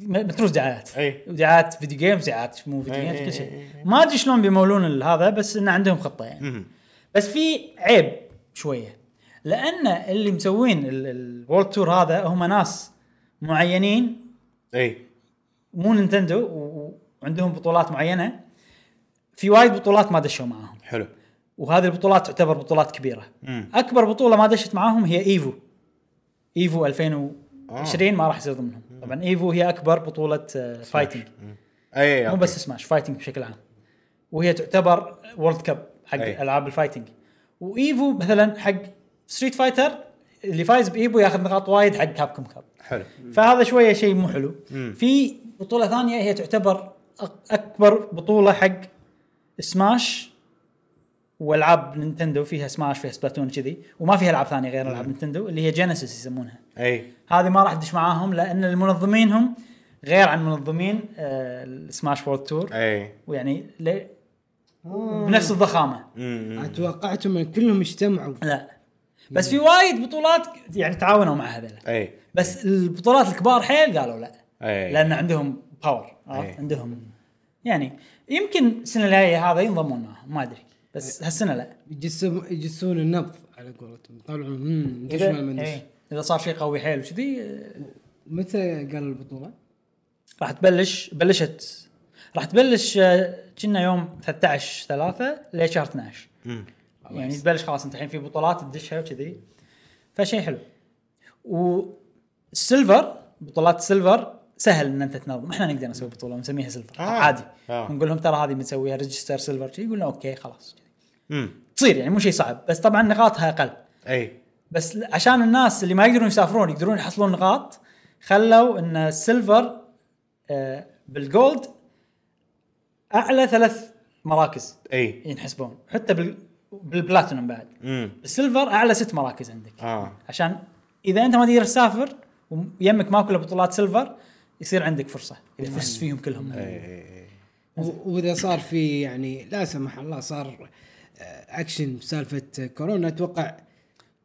متروس دعايات إي. دعايات فيديو جيمز دعايات مو فيديو إي، جيمز إي، كل إي، شيء ما ادري شلون بيمولون هذا بس انه عندهم خطه يعني مم. بس في عيب شويه لان اللي مسوين الورد تور هذا هم ناس معينين اي مو نينتندو و- وعندهم بطولات معينه في وايد بطولات ما دشوا معاهم حلو وهذه البطولات تعتبر بطولات كبيره مم. اكبر بطوله ما دشت معاهم هي ايفو ايفو آه. 2020 ما راح يصير ضمنهم طبعا ايفو هي اكبر بطوله آه، فايتنج اي مو بس سماش فايتنج بشكل عام وهي تعتبر وورلد كاب حق أي. العاب الفايتنج وايفو مثلا حق ستريت فايتر اللي فايز بايفو ياخذ نقاط وايد حق كابكم كاب حلو فهذا شويه شيء مو حلو مم. في بطوله ثانيه هي تعتبر أك- اكبر بطوله حق سماش والعاب نينتندو فيها سماش فيها سبلاتون كذي وما فيها العاب ثانيه غير العاب نينتندو اللي هي جينيسيس يسمونها اي هذه ما راح تدش معاهم لان المنظمين هم غير عن منظمين آه، السماش وورد تور اي ويعني ل- بنفس الضخامه مم. اتوقعتهم إن كلهم اجتمعوا لا بس في وايد بطولات يعني تعاونوا مع هذول اي بس البطولات الكبار حيل قالوا لا اي لان عندهم باور أي. عرفت عندهم يعني يمكن السنه الجايه هذا ينضمون معهم ما ادري بس هالسنه لا يجسم يجسون النبض على قولتهم يطلعون امم ندش اذا ولا ما ندش إيه، إذا صار شيء قوي حيل وكذي آه، متى قال البطوله؟ راح تبلش بلشت راح تبلش آه، كنا يوم 13 3 لشهر 12 مم. يعني تبلش خلاص انت الحين في بطولات تدشها وكذي فشيء حلو والسيلفر بطولات السيلفر سهل ان انت تنظم احنا نقدر نسوي بطوله ونسميها سيلفر آه. آه. عادي آه. آه. نقول لهم ترى هذه بنسويها ريجستر سيلفر شي يقولون اوكي خلاص امم تصير يعني مو شيء صعب بس طبعا نقاطها اقل اي بس ل- عشان الناس اللي ما يقدرون يسافرون يقدرون يحصلون نقاط خلوا ان السيلفر آه، بالجولد اعلى ثلاث مراكز اي ينحسبون حتى بال بالبلاتينوم بعد امم السيلفر اعلى ست مراكز عندك اه عشان اذا انت ما تقدر تسافر ويمك ماكو إلا بطولات سيلفر يصير عندك فرصه اذا فزت فيهم كلهم اي اي اي و- واذا صار في يعني لا سمح الله صار آه، اكشن بسالفه كورونا اتوقع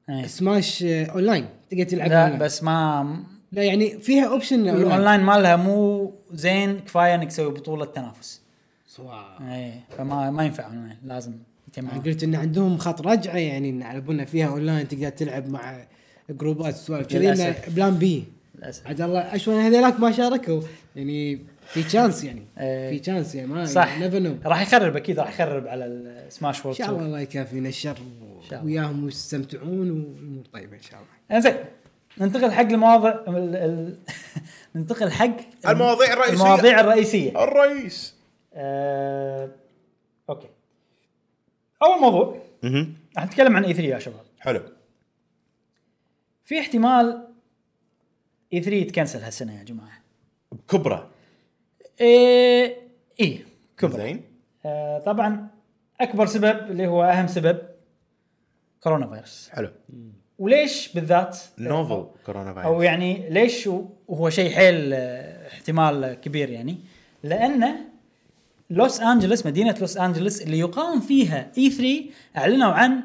إيه. سماش آه، اونلاين تقدر تلعب لا أونلاين. بس ما لا يعني فيها اوبشن اونلاين الاونلاين مالها مو زين كفايه انك تسوي بطوله تنافس سواء. اي إيه، فما ما ينفع اونلاين لازم أنا يتجمعون قلت ان عندهم خط رجعه يعني إن على بالنا فيها اونلاين تقدر تلعب مع جروبات سوالف كذي إنه للأسف. بلان بي للاسف عاد الله اشون هذولاك ما شاركوا يعني في تشانس يعني إيه. في تشانس يعني ما صح نيفر نو راح يخرب اكيد راح يخرب على السماش ان وورد شاء الله الله يكافينا الشر شاء الله. وياهم ويستمتعون والامور طيبه ان شاء الله انزين ننتقل حق المواضع ال... ال... ننتقل حق المواضيع الرئيسية. المواضيع الرئيسيه الرئيس آه... اوكي اول موضوع اها راح نتكلم عن اي 3 يا شباب حلو في احتمال اي 3 يتكنسل هالسنه يا جماعه بكبره ايه اي كبر زين آه طبعا اكبر سبب اللي هو اهم سبب كورونا فيروس حلو وليش بالذات نوفل كورونا او فايروس يعني ليش و- وهو شيء حيل آه، احتمال كبير يعني لان لوس انجلس مدينه لوس انجلس اللي يقام فيها اي 3 اعلنوا عن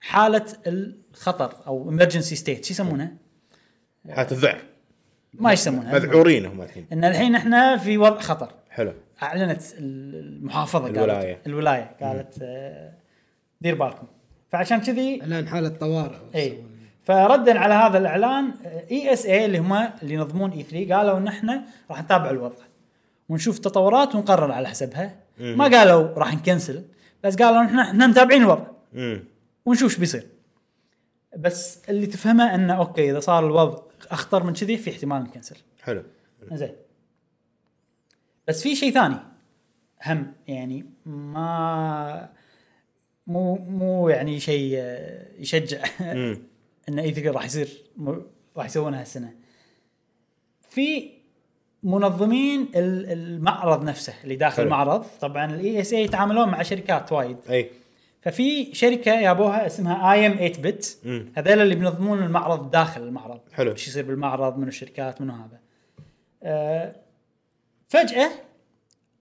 حاله الخطر او emergency ستيت شو يسمونها؟ حالة الذعر ما يسمونها مذعورين هم الحين ان الحين احنا في وضع خطر حلو اعلنت ال- المحافظه قالت الولاية. الولايه قالت آه، دير بالكم فعشان كذي الان حاله طوارئ اي إيه. فردا على هذا الاعلان اي اس اي إيه اللي هم اللي ينظمون اي 3 قالوا ان احنا راح نتابع الوضع ونشوف التطورات ونقرر على حسبها ما قالوا راح نكنسل بس قالوا إن احنا احنا متابعين الوضع امم ونشوف ايش بيصير بس اللي تفهمه انه اوكي اذا صار الوضع اخطر من كذي في احتمال نكنسل حلو زين بس في شيء ثاني هم يعني ما مو مو يعني شيء آه، يشجع امم ان اي 3 راح يصير م- راح يسوونها هالسنه في منظمين ال- المعرض نفسه اللي داخل حلو. المعرض طبعا الاي اس اي يتعاملون مع شركات وايد اي ففي شركه يابوها اسمها اي ام 8 بت مم. هذول اللي بينظمون المعرض داخل المعرض حلو. ايش يصير بالمعرض منو الشركات منو هذا آه فجاه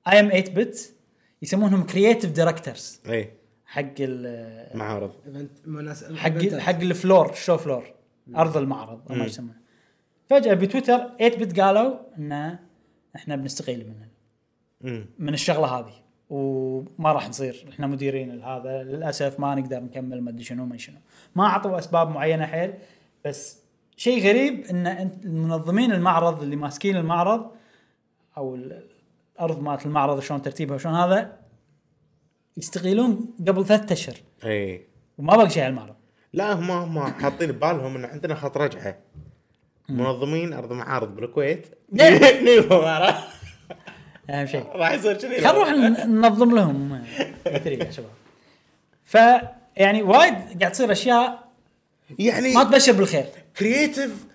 اي ام 8 بت يسمونهم كرييتيف دايركترز اي حلو حق ال- إيه، معارض ايفنت مناسب حق حق الفلور شو فلور ارض المعرض أو ما يسمونه فجاه بتويتر 8 بت قالوا ان احنا بنستقيل من امم من الشغله هذه وما راح نصير احنا مديرين لهذا للاسف ما نقدر نكمل ما ادري شنو ما شنو ما اعطوا اسباب معينه حيل بس شيء غريب ان أنت- المنظمين المعرض اللي ماسكين المعرض او ال- الارض مالت المعرض شلون ترتيبها وشلون هذا يستقيلون قبل ثلاثة اشهر اي وما بقى شيء على المعرض إيه. لا هم هم حاطين ببالهم ان عندنا خط رجعه منظمين ارض معارض بالكويت نعم. نيفهم عرفت؟ اهم شيء راح يصير كذي خلينا نروح ن- ننظم لهم اثري يا شباب ف يعني وايد قاعد تصير اشياء يعني ما تبشر بالخير كرييتيف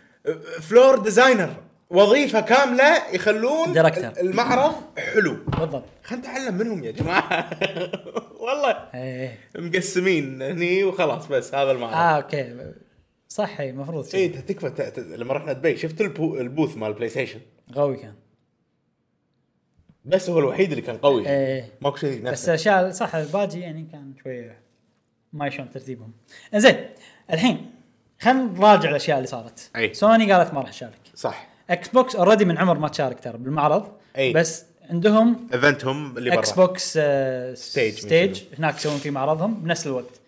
فلور ديزاينر وظيفه كامله يخلون Director. المعرض حلو بالضبط خلينا نتعلم منهم يا جماعه والله ايه مقسمين هني وخلاص بس هذا المعرض اه اوكي صح اي المفروض اي تكفى ت- ت- لما رحنا دبي شفت البو البوث مال بلاي ستيشن قوي كان بس هو الوحيد اللي كان قوي إيه. ماكو شيء بس نفسه اشياء صح الباجي يعني كان شويه ما شلون ترتيبهم زين الحين خلينا نراجع الاشياء اللي صارت أي. سوني قالت ما راح تشارك صح اكس بوكس اوريدي من عمر ما تشارك ترى بالمعرض أي. بس عندهم ايفنتهم اللي برا اكس بوكس آه Stage ستيج ستيج هناك يسوون في معرضهم بنفس الوقت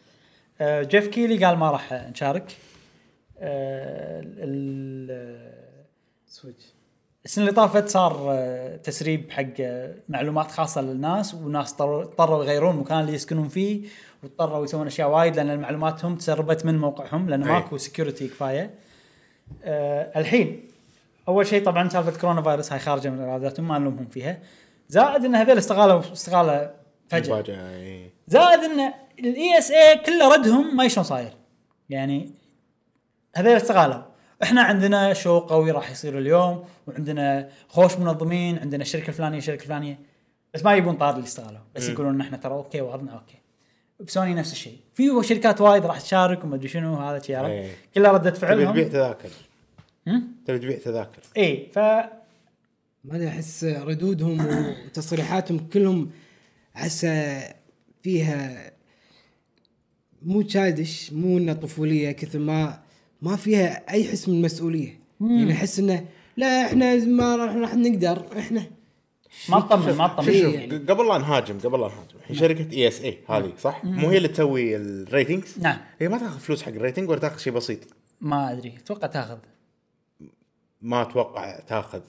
آه جيف كيلي قال ما راح نشارك آه ال- ال- سويتش السنه اللي طافت صار آه تسريب حق آه معلومات خاصه للناس وناس اضطروا اضطروا يغيرون المكان اللي يسكنون فيه واضطروا يسوون اشياء وايد لان المعلوماتهم إيه. تسربت من موقعهم لان أي. ماكو سكيورتي كفايه آه الحين اول شيء طبعا سالفه كورونا فايروس هاي خارجه من اراداتهم ما نلومهم فيها زائد ان هذول استقالوا استقاله فجاه مفاجأة، إيه. إي. زائد ان الاي اس اي كله ردهم ما شلون صاير يعني هذول استقالوا احنا عندنا شو قوي راح يصير اليوم وعندنا خوش منظمين عندنا الشركه الفلانيه الشركه الفلانيه بس ما يبون طار اللي استقالوا بس يقولون ان احنا ترى اوكي وضعنا اوكي بسوني نفس الشيء في شركات وايد راح تشارك وما ادري شنو هذا شي عرفت؟ إيه. كلها رده تبي تبيع فعلهم تذاكر هم؟ تبي تبيع تذاكر اي ف ما ادري احس ردودهم وتصريحاتهم كلهم احس فيها مو تشايلدش مو انه طفوليه كثر ما ما فيها اي حس من المسؤوليه يعني احس انه لا احنا ما راح راح نقدر احنا ما تطمن ما شوف تطمن شوف يعني. ق- قبل لا نهاجم قبل لا نهاجم الحين شركه اي اس اي هذه صح؟ مو هي اللي تسوي الريتنجز؟ نعم. هي ما تاخذ فلوس حق الريتنج ولا تاخذ شيء بسيط ما ادري اتوقع تاخذ ما اتوقع تاخذ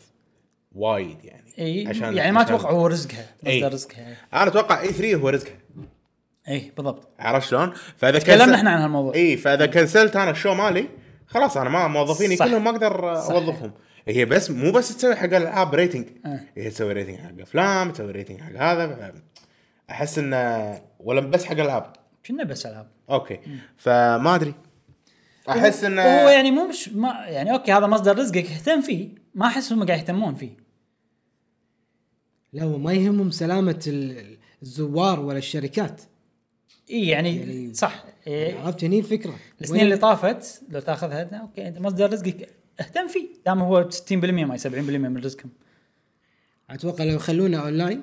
وايد يعني اي يعني ما اتوقع هو رزقها إي. مصدر رزقها انا اتوقع اي 3 E هو رزقها اي بالضبط عرفت شلون؟ فاذا تكلمنا إحنا عن هالموضوع. اي فاذا كنسلت انا الشو مالي خلاص انا ما موظفيني صح. كلهم ما اقدر صح. اوظفهم هي بس مو بس تسوي حق الالعاب ريتنج أه. هي تسوي ريتنج حق افلام تسوي ريتنج حق هذا احس انه ولا بس حق العاب كنا بس العاب اوكي فما ادري احس انه هو يعني مو مش ما يعني اوكي هذا مصدر رزقك اهتم فيه ما احس هم قاعد يهتمون فيه لا ما يهمهم سلامه ال- الزوار ولا الشركات اي يعني يعني- صح إيه عرفت هني الفكره السنين وين- اللي طافت لو تاخذها لا، اوكي انت مصدر رزقك اهتم فيه دام هو 60% ما 70% من رزقهم اتوقع لو يخلونا اونلاين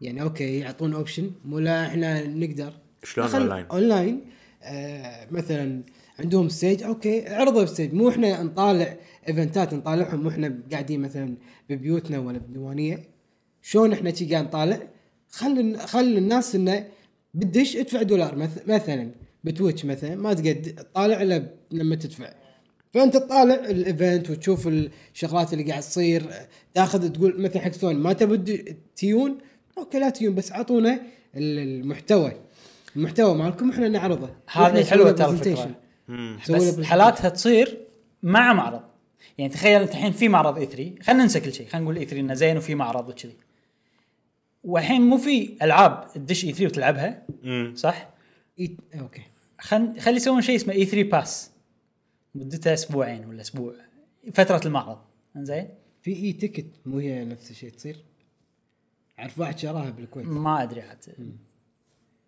يعني اوكي يعطون اوبشن مو لا احنا نقدر شلون خل- أونلاين؟ اونلاين آه مثلا عندهم ستيج اوكي عرضوا بستيج مو احنا نطالع ايفنتات نطالعهم مو احنا قاعدين مثلا ببيوتنا ولا بديوانيه شلون احنا شي قاعد نطالع خل خل الناس انه بدش ادفع دولار مث- مثلا بتويتش مثلا ما تقد تطالع الا لما تدفع فانت تطالع الايفنت وتشوف الشغلات اللي قاعد تصير تاخذ تقول مثل حق سوني ما تبي تيون اوكي لا تيون بس اعطونا ال- المحتوى المحتوى مالكم احنا نعرضه هذه حلوه ترى الفكره بس بس حالاتها تصير مع معرض يعني تخيل انت الحين في معرض اي 3 خلينا ننسى كل شيء خلينا نقول اي 3 انه زين وفي معرض وكذي والحين مو في العاب تدش اي 3 وتلعبها مم. صح؟ اوكي خل خلي يسوون شيء اسمه اي 3 باس مدتها اسبوعين ولا اسبوع فتره المعرض زين في اي تيكت مو هي نفس الشيء تصير اعرف واحد شراها بالكويت ما ادري عاد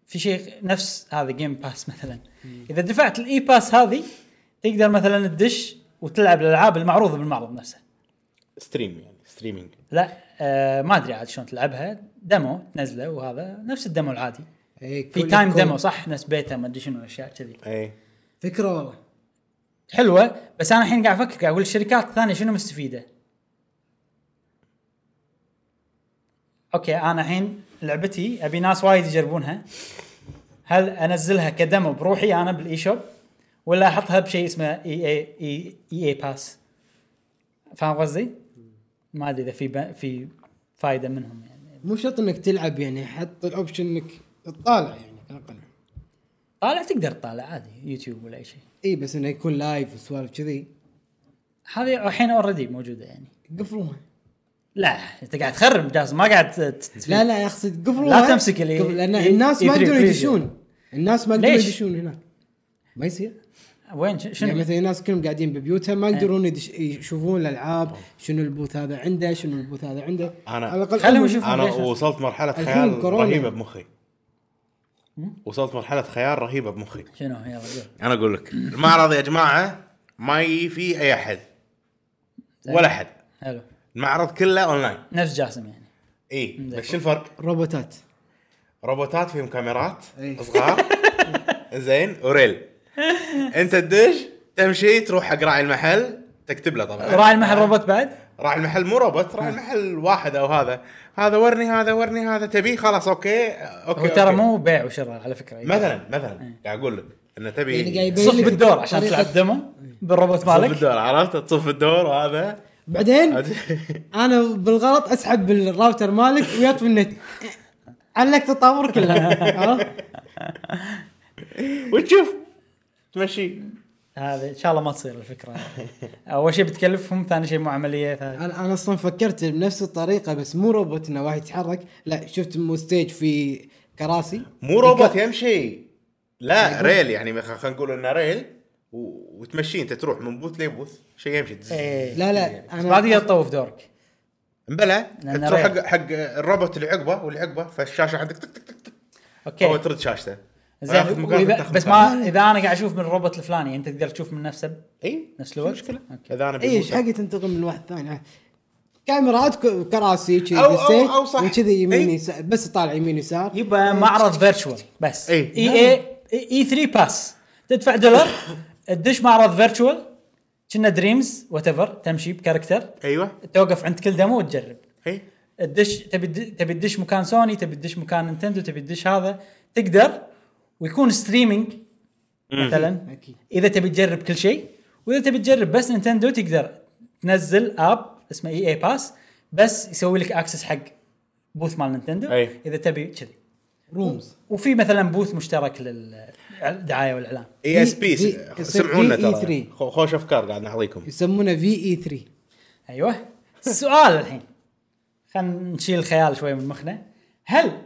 في شيء نفس هذا جيم باس مثلا اذا دفعت الاي باس هذه تقدر مثلا تدش وتلعب الالعاب المعروضه بالمعرض نفسه ستريم يعني ستريمينج لا آه ما ادري عاد شلون تلعبها ديمو تنزله وهذا نفس الديمو العادي إيه، في كل- تايم كل- ديمو صح ناس بيتا ما ادري شنو اشياء كذي اي فكره والله حلوه بس انا الحين قاعد افكر قاعد اقول الشركات الثانيه شنو مستفيده؟ اوكي انا الحين لعبتي ابي ناس وايد يجربونها هل انزلها كدمو بروحي انا بالاي شوب ولا احطها بشيء اسمه اي اي اي اي باس فاهم قصدي؟ ما ادري اذا في ب- في فائده منهم يعني مو شرط انك تلعب يعني حط الاوبشن انك تطالع يعني على الاقل طالع تقدر تطالع عادي يوتيوب ولا اي شيء اي إيه، بس انه يكون لايف وسوالف كذي هذه الحين اوريدي موجوده يعني قفلوها لا انت قاعد تخرب جاسم ما قاعد ت- ت- لا لا اقصد قبل لا تمسك إيه، ال- لان ال- الناس ما E3 يقدرون preview. يدشون الناس ما يقدرون إيه. ليش؟ يدشون هناك ما يصير وين ش- شنو إيه. يعني مثلا الناس كلهم قاعدين ببيوتها ما يقدرون يدش يشوفون الالعاب شنو البوث هذا عنده شنو البوث هذا عنده أنا- على الاقل خلهم أول- يشوفون. انا ليش؟ وصلت مرحله الحين خيال كورونا. رهيبه بمخي وصلت مرحله خيال رهيبه بمخي شنو يلا قول انا اقول لك المعرض يا جماعه ما ي- في اي احد ولا احد حلو المعرض كله اونلاين نفس جاسم يعني اي بس شو الفرق؟ روبوتات روبوتات فيهم كاميرات إيه. إي. صغار زين وريل انت تدش تمشي تروح حق راعي المحل تكتب له طبعا راعي آه. المحل إيه. روبوت بعد راعي المحل مو روبوت راعي المحل واحد او هذا هذا ورني هذا ورني هذا تبيه خلاص اوكي اوكي هو ترى أوكي. مو إيه. بيع وشراء على فكره مثلا مثلا قاعد اقول لك انه تبي يعني قاعد يبين صف لك بالدور عشان طريقة- إيه. تلعب دمو بالروبوت تصف مالك الدور عرفت تصف الدور وهذا بعدين انا بالغلط اسحب بالراوتر مالك ويطفي النت علقت الطابور كله عرفت؟ وتشوف تمشي هذا ان شاء الله ما تصير الفكره اول شيء بتكلفهم ثاني شيء مو عمليه ثالث انا انا اصلا فكرت بنفس الطريقه بس مو روبوت انه واحد يتحرك لا شفت مو ستيج في كراسي مو روبوت يمشي لا ريل يعني خ- خلينا نقول انه ريل و... وتمشي انت تروح من بوث لبوث شيء يمشي إيه. آه. لا لا بس بعد انا يطوف دورك مبلى لأنه تروح حق ريل. حق الروبوت اللي عقبه واللي عقبه فالشاشه عندك تك تك تك تك هو اوكي ترد شاشته زين وياخذ مكان وإذا- وتاخذ بس مكان. ما اذا انا قاعد اشوف من الروبوت الفلاني انت تقدر تشوف من نفسه اي نفس الوقت؟ مشكله أوكي. اذا انا اي ايش بالموقع. إيه، حقي تنتقم من واحد ثاني كاميرات ك- كراسي شي أو- أو- بالستيج، أو صح. إيه. وكذي يمين إي. يسار بس طالع يمين يسار يبقى معرض فيرتشوال بس إيه. اي اي اي 3 باس تدفع دولار تدش معرض فيرتشوال كنا دريمز وات ايفر تمشي بكاركتر ايوه توقف عند كل دمو وتجرب اي تدش تبي تد- تبي تدش مكان سوني تبي تدش مكان نينتندو تبي تدش هذا تقدر ويكون ستريمينج مثلا أكيد. اذا تبي تجرب كل شيء واذا تبي تجرب بس نينتندو تقدر تنزل اب اسمه اي اي باس بس يسوي لك اكسس حق بوث مال نينتندو أي. اذا تبي كذي رومز وفي مثلا بوث مشترك للدعايه والاعلان اي اس بي في- سمعونا في- في ترى E3. خو- خوش افكار قاعد نحظيكم يسمونه E في اي 3 ايوه السؤال الحين خلينا نشيل الخيال شوي من مخنا هل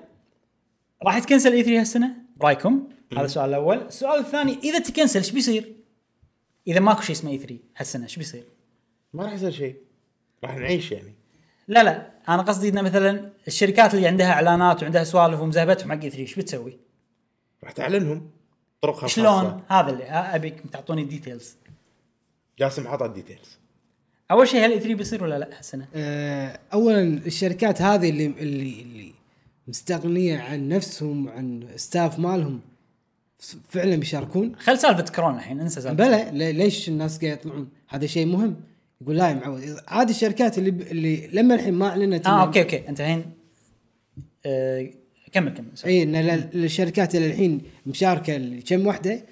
راح يتكنسل اي 3 هالسنه برايكم هذا السؤال الاول السؤال الثاني اذا تكنسل ايش بيصير اذا ماكو شيء اسمه اي 3 هالسنه ايش بيصير ما راح يصير شيء راح نعيش يعني لا لا انا قصدي انه مثلا الشركات اللي عندها اعلانات وعندها سوالف ومزهبتهم حق اي 3 ايش بتسوي راح تعلنهم طرقها شلون الخاصة. هذا اللي ابيك تعطوني الديتيلز جاسم حط الديتيلز اول شيء هل اي 3 بيصير ولا لا هالسنه آه، اولا الشركات هذه اللي اللي اللي مستغنيه عن نفسهم وعن ستاف مالهم ف- فعلا بيشاركون خل سالفه كورونا الحين انسى سالفه بلى لي- ليش الناس قاعد يطلعون هذا شيء مهم يقول لا يا معود عادي الشركات اللي ب... اللي لما الحين ما اعلنت اه اوكي اوكي انت الحين آه، كمل كمل سوري. اي ان إيه، ال- الشركات اللي الحين مشاركه ال- كم وحده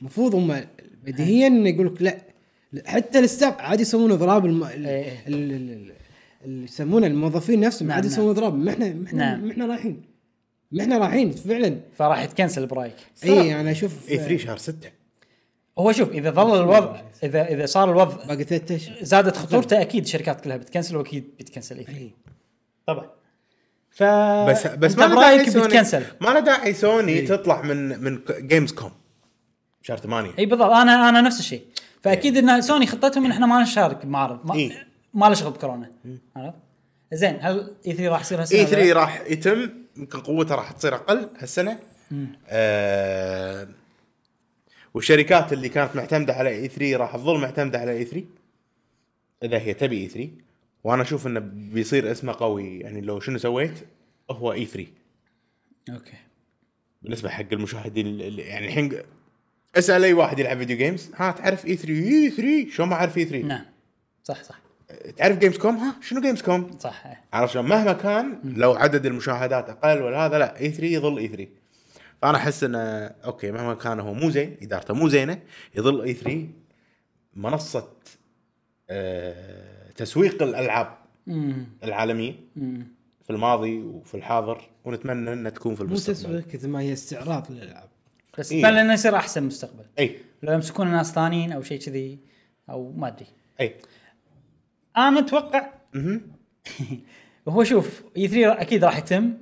المفروض هم بديهيا انه يقول لك لا حتى الستاف عادي يسوون اضراب الم... ال- إيه. إيه. ال- ال- اللي يسمونه الموظفين نفسهم نعم، عادي نعم. يسوون اضراب ما احنا ما احنا نعم. ما احنا رايحين ما احنا رايحين إيه، فعلا إيه. فراح يتكنسل برايك اي انا اشوف اي 3 إيه، شهر 6 هو شوف اذا إيه، ظل الوضع اذا اذا صار الوضع باقي ثلاث اشهر زادت خطورته اكيد الشركات كلها بتكنسل واكيد بتكنسل اي إي. طبعا ف إيه. بس بس آه، أنت ما له داعي برايك سوني بتكنسل إيه. ما له داعي سوني تطلع من من جيمز كوم شهر 8 اي إيه، بالضبط انا انا نفس الشيء فاكيد إيه. ان سوني خطتهم ان احنا ما نشارك بمعرض ما, إي. ما له شغل بكورونا إيه. عرفت؟ زين هل اي 3 راح يصير هالسنه؟ اي ولا لا؟ 3 إيه، راح يتم يمكن قوته راح تصير اقل هالسنه آه والشركات اللي كانت معتمده على اي 3 راح تظل معتمده على اي 3 اذا هي تبي اي 3 وانا اشوف انه بيصير اسمه قوي يعني لو شنو سويت هو اي 3 اوكي بالنسبه حق المشاهدين ال- ال- يعني الحين اسال اي واحد يلعب فيديو جيمز ها تعرف E اي 3 اي 3 شو ما اعرف اي 3 نعم صح صح تعرف جيمز كوم ها شنو جيمز كوم صح إيه. عرفت شلون مهما كان لو عدد المشاهدات اقل ولا هذا لا اي 3 يظل E اي 3 فانا احس انه اوكي مهما كان هو مو زين ادارته مو زينه يظل E اي 3 منصه آه تسويق الالعاب أمم، العالميه أمم. في الماضي وفي الحاضر ونتمنى انها تكون في مو المستقبل تسويق قد ما هي استعراض للالعاب بس إي. اتمنى انه يصير احسن مستقبل اي لو يمسكون ناس ثانيين او شيء كذي او ما ادري اي انا اتوقع هو شوف اي 3 اكيد راح يتم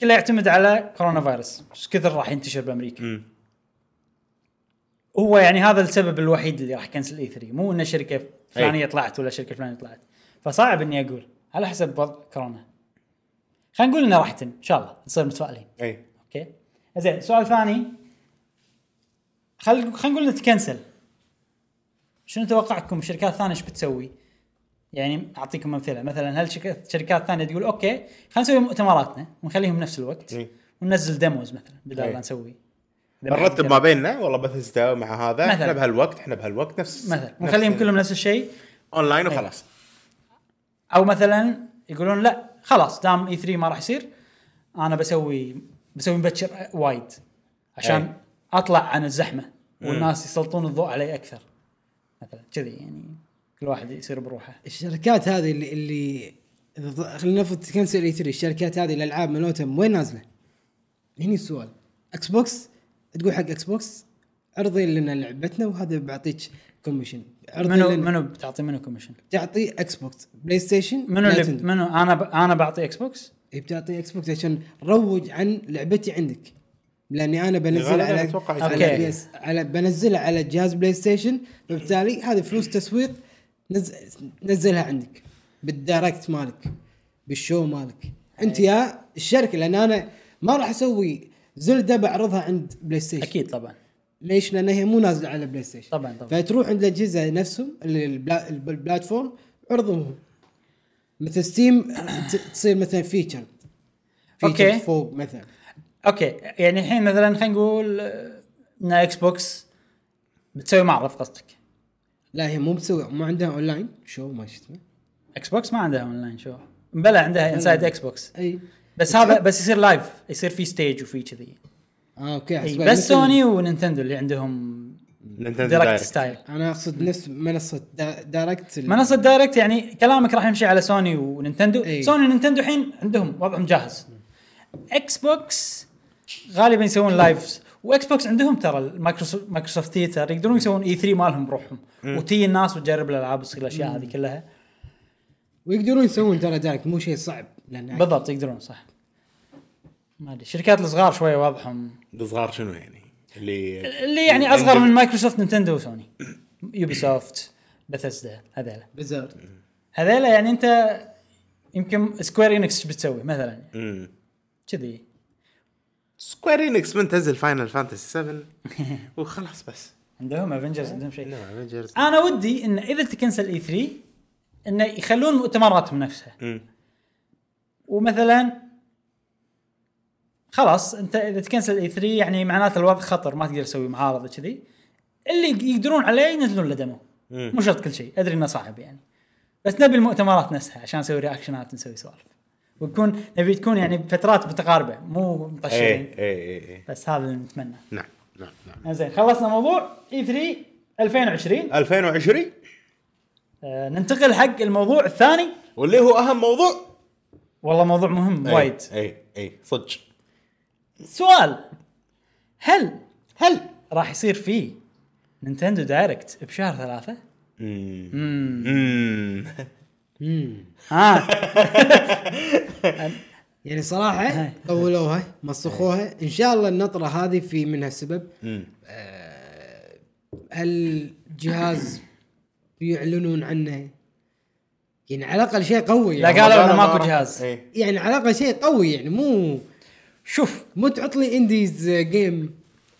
كله يعتمد على كورونا فيروس ايش كثر راح ينتشر بامريكا مم. هو يعني هذا السبب الوحيد اللي راح يكنسل اي 3 مو ان شركه فلانيه طلعت ولا شركه فلانيه طلعت فصعب اني اقول على حسب وضع كورونا خلينا نقول انه راح يتم ان شاء الله نصير متفائلين اي اوكي زين سؤال ثاني خل خلينا نقول تكنسل شنو توقعكم شركات ثانيه ايش بتسوي؟ يعني اعطيكم امثله مثلا هل شك- شركات ثانيه تقول اوكي خلينا نسوي مؤتمراتنا ونخليهم نفس الوقت إي. وننزل ديموز مثلا بدل إي. لا نسوي نرتب ما بيننا والله بثزدا مع هذا مثلاً. احنا بهالوقت احنا بهالوقت نفس مثلا ونخليهم كلهم نفس الشيء اونلاين إيه. وخلاص او مثلا يقولون لا خلاص دام اي 3 ما راح يصير انا بسوي بسوي مبكر وايد عشان أي. اطلع عن الزحمه والناس يسلطون الضوء علي اكثر مثلا كذي يعني كل واحد يصير بروحه الشركات هذه اللي اللي إذا ض- خلينا نفرض تكنسل اي 3 الشركات هذه الالعاب مالتهم وين نازله؟ هني السؤال اكس بوكس تقول حق اكس بوكس عرضي لنا لعبتنا وهذا بعطيك كوميشن عرضي منو لنا منو بتعطي منو كوميشن؟ تعطي اكس بوكس بلاي ستيشن منو اللي نينتندو. منو انا ب... انا بعطي اكس بوكس؟ إيه بتعطي اكس بوكس عشان روج عن لعبتي عندك لاني انا بنزلها غالباً على أتوقع على, يسوي. بيس على بنزلها على جهاز بلاي ستيشن فبالتالي هذه فلوس تسويق نز... نزلها عندك بالدايركت مالك بالشو مالك انت يا الشركه لان انا ما راح اسوي زلده بعرضها عند بلاي ستيشن اكيد طبعا ليش؟ لان هي مو نازله على بلاي ستيشن طبعاً، طبعاً. فتروح عند الاجهزه نفسهم اللي البلا- الب- البلاتفورم عرضهم مثل ستيم ت- تصير مثلا فيتشر أوكي. فوق مثلا اوكي يعني الحين مثلا خلينا نقول آه، ان اكس بوكس بتسوي معرض قصدك لا هي مو مسوي ما عندها اونلاين شو ما شو اسمه اكس بوكس ما عندها اونلاين شو بلا عندها انسايد اكس بوكس اي بس هذا بس يصير لايف يصير في ستيج وفي كذي اه اوكي إي، عسبالي. بس مثل- سوني ونينتندو اللي عندهم نينتندو دايركت دايركت. ستايل انا اقصد نفس منصه دا- دايركت ال- منصه دايركت يعني كلامك راح يمشي على سوني ونينتندو إي. سوني ونينتندو الحين عندهم وضعهم جاهز اكس بوكس غالبا يسوون لايفز واكس بوكس عندهم ترى المايكروسوفت مايكروسوفت ثيتر يقدرون يسوون اي 3 مالهم بروحهم وتي الناس وتجرب الالعاب وتصير الاشياء هذه كلها ويقدرون يسوون ترى دايركت مو شيء صعب لان بالضبط يقدرون صح ما ادري الشركات الصغار شويه وضعهم الصغار شنو يعني؟ اللي اللي يعني اصغر من مايكروسوفت نينتندو وسوني يوبي سوفت بثسدا هذيلا بزار هذيلا يعني انت يمكن سكوير انكس ايش بتسوي مثلا مم. كذي سكوير انكس من تنزل فاينل فانتسي 7 وخلاص بس عندهم افنجرز عندهم شيء إنه افنجرز انا ودي انه اذا تكنسل اي 3 انه يخلون مؤتمراتهم نفسها ومثلا خلاص انت اذا تكنسل اي 3 يعني معناته الوضع خطر ما تقدر تسوي معارض كذي اللي يقدرون عليه ينزلون له دمو مو شرط كل شيء ادري انه صعب يعني بس نبي المؤتمرات نفسها عشان نسوي رياكشنات ونسوي سوالف ويكون نبي تكون يعني بفترات متقاربه مو مطشرين اي اي اي بس هذا اللي نتمنى إيه، نعم نعم نعم زين خلصنا موضوع اي 3 2020 2020 آه، ننتقل حق الموضوع الثاني واللي هو اهم موضوع والله موضوع مهم إي، وايد اي اي صدق سؤال هل هل راح يصير في نينتندو دايركت بشهر ثلاثة؟ امم ها يعني صراحه طولوها مسخوها ان شاء الله النطره هذه في منها سبب آه، هل الجهاز بيعلنون عنه يعني على الاقل شيء قوي لا، يعني, قال- قالوا إنه ماكو جهاز. إيه. يعني على الاقل شيء قوي يعني مو شوف مو تعط لي انديز جيم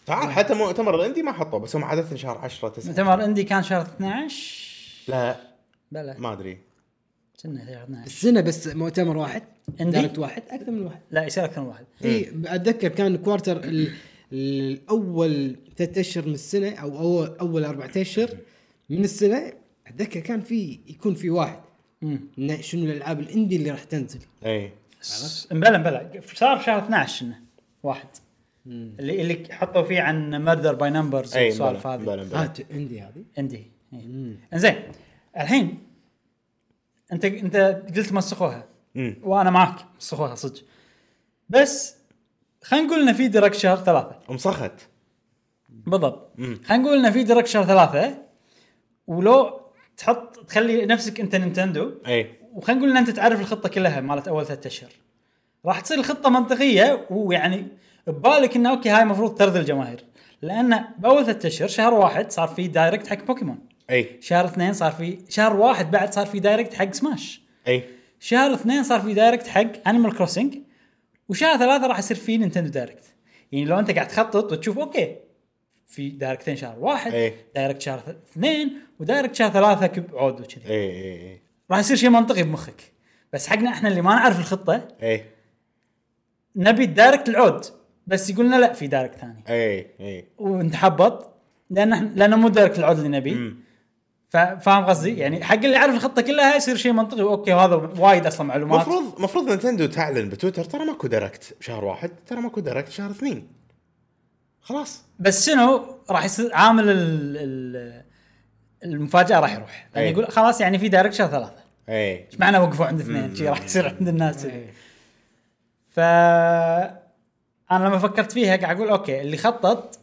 تعال حتى مؤتمر الاندي ما حطوه بس هم عاده شهر 10 9 مؤتمر اندي كان شهر 12 لا بلا ما ادري كنا شهر 12 السنه بس مؤتمر واحد إندي؟ دايركت واحد اكثر من واحد لا يصير اكثر من واحد اي اتذكر إيه، كان كوارتر ال- الاول ثلاث اشهر من السنه او اول اول اربع اشهر من السنه اتذكر كان في يكون في واحد مم. إنه شنو الالعاب الاندي اللي راح تنزل اي س- امبلا امبلا صار شهر 12 إنه. واحد اللي اللي حطوا فيه عن مردر باي نمبرز اي والسوالف بلى، هذه بلى، بلى. هات اندي هذه عندي انزين الحين انت انت قلت مسخوها مم. وانا معك مسخوها صدق بس خلينا نقول ان في ديركت شهر ثلاثه مسخت بالضبط خلينا نقول ان في ديركت شهر ثلاثه ولو تحط تخلي نفسك انت نينتندو اي وخلينا نقول ان انت تعرف الخطه كلها مالت اول ثلاثة اشهر راح تصير الخطه منطقيه ويعني يعني ببالك انه اوكي هاي المفروض ترضي الجماهير لان باول ثلاثة اشهر شهر واحد صار في دايركت حق بوكيمون اي شهر اثنين صار في شهر واحد بعد صار في دايركت حق سماش اي شهر اثنين صار في دايركت حق انيمال كروسنج وشهر ثلاثة راح يصير في نينتندو دايركت يعني لو انت قاعد تخطط وتشوف اوكي في دايركتين شهر واحد إيه. دايركت شهر ث- اثنين ودايركت شهر ثلاثة كب عود وكذي اي اي اي راح يصير شيء منطقي بمخك بس حقنا احنا اللي ما نعرف الخطة اي نبي الدايركت العود بس يقولنا لا في دايركت ثاني اي اي ونتحبط لان احنا لانه مو دايركت العود اللي نبيه فا- فاهم قصدي؟ يعني حق اللي يعرف الخطه كلها يصير شيء منطقي اوكي وهذا وايد اصلا معلومات المفروض المفروض نتندو تعلن بتويتر ترى ماكو دايركت بشهر واحد ترى ماكو دايركت شهر اثنين خلاص بس شنو راح يصير عامل ال ال المفاجاه راح يروح يعني أي. يقول خلاص يعني في دايركت شهر ثلاثه اي ايش معنى وقفوا عند اثنين شي راح يصير عند الناس أي. ف انا لما فكرت فيها قاعد اقول اوكي اللي خطط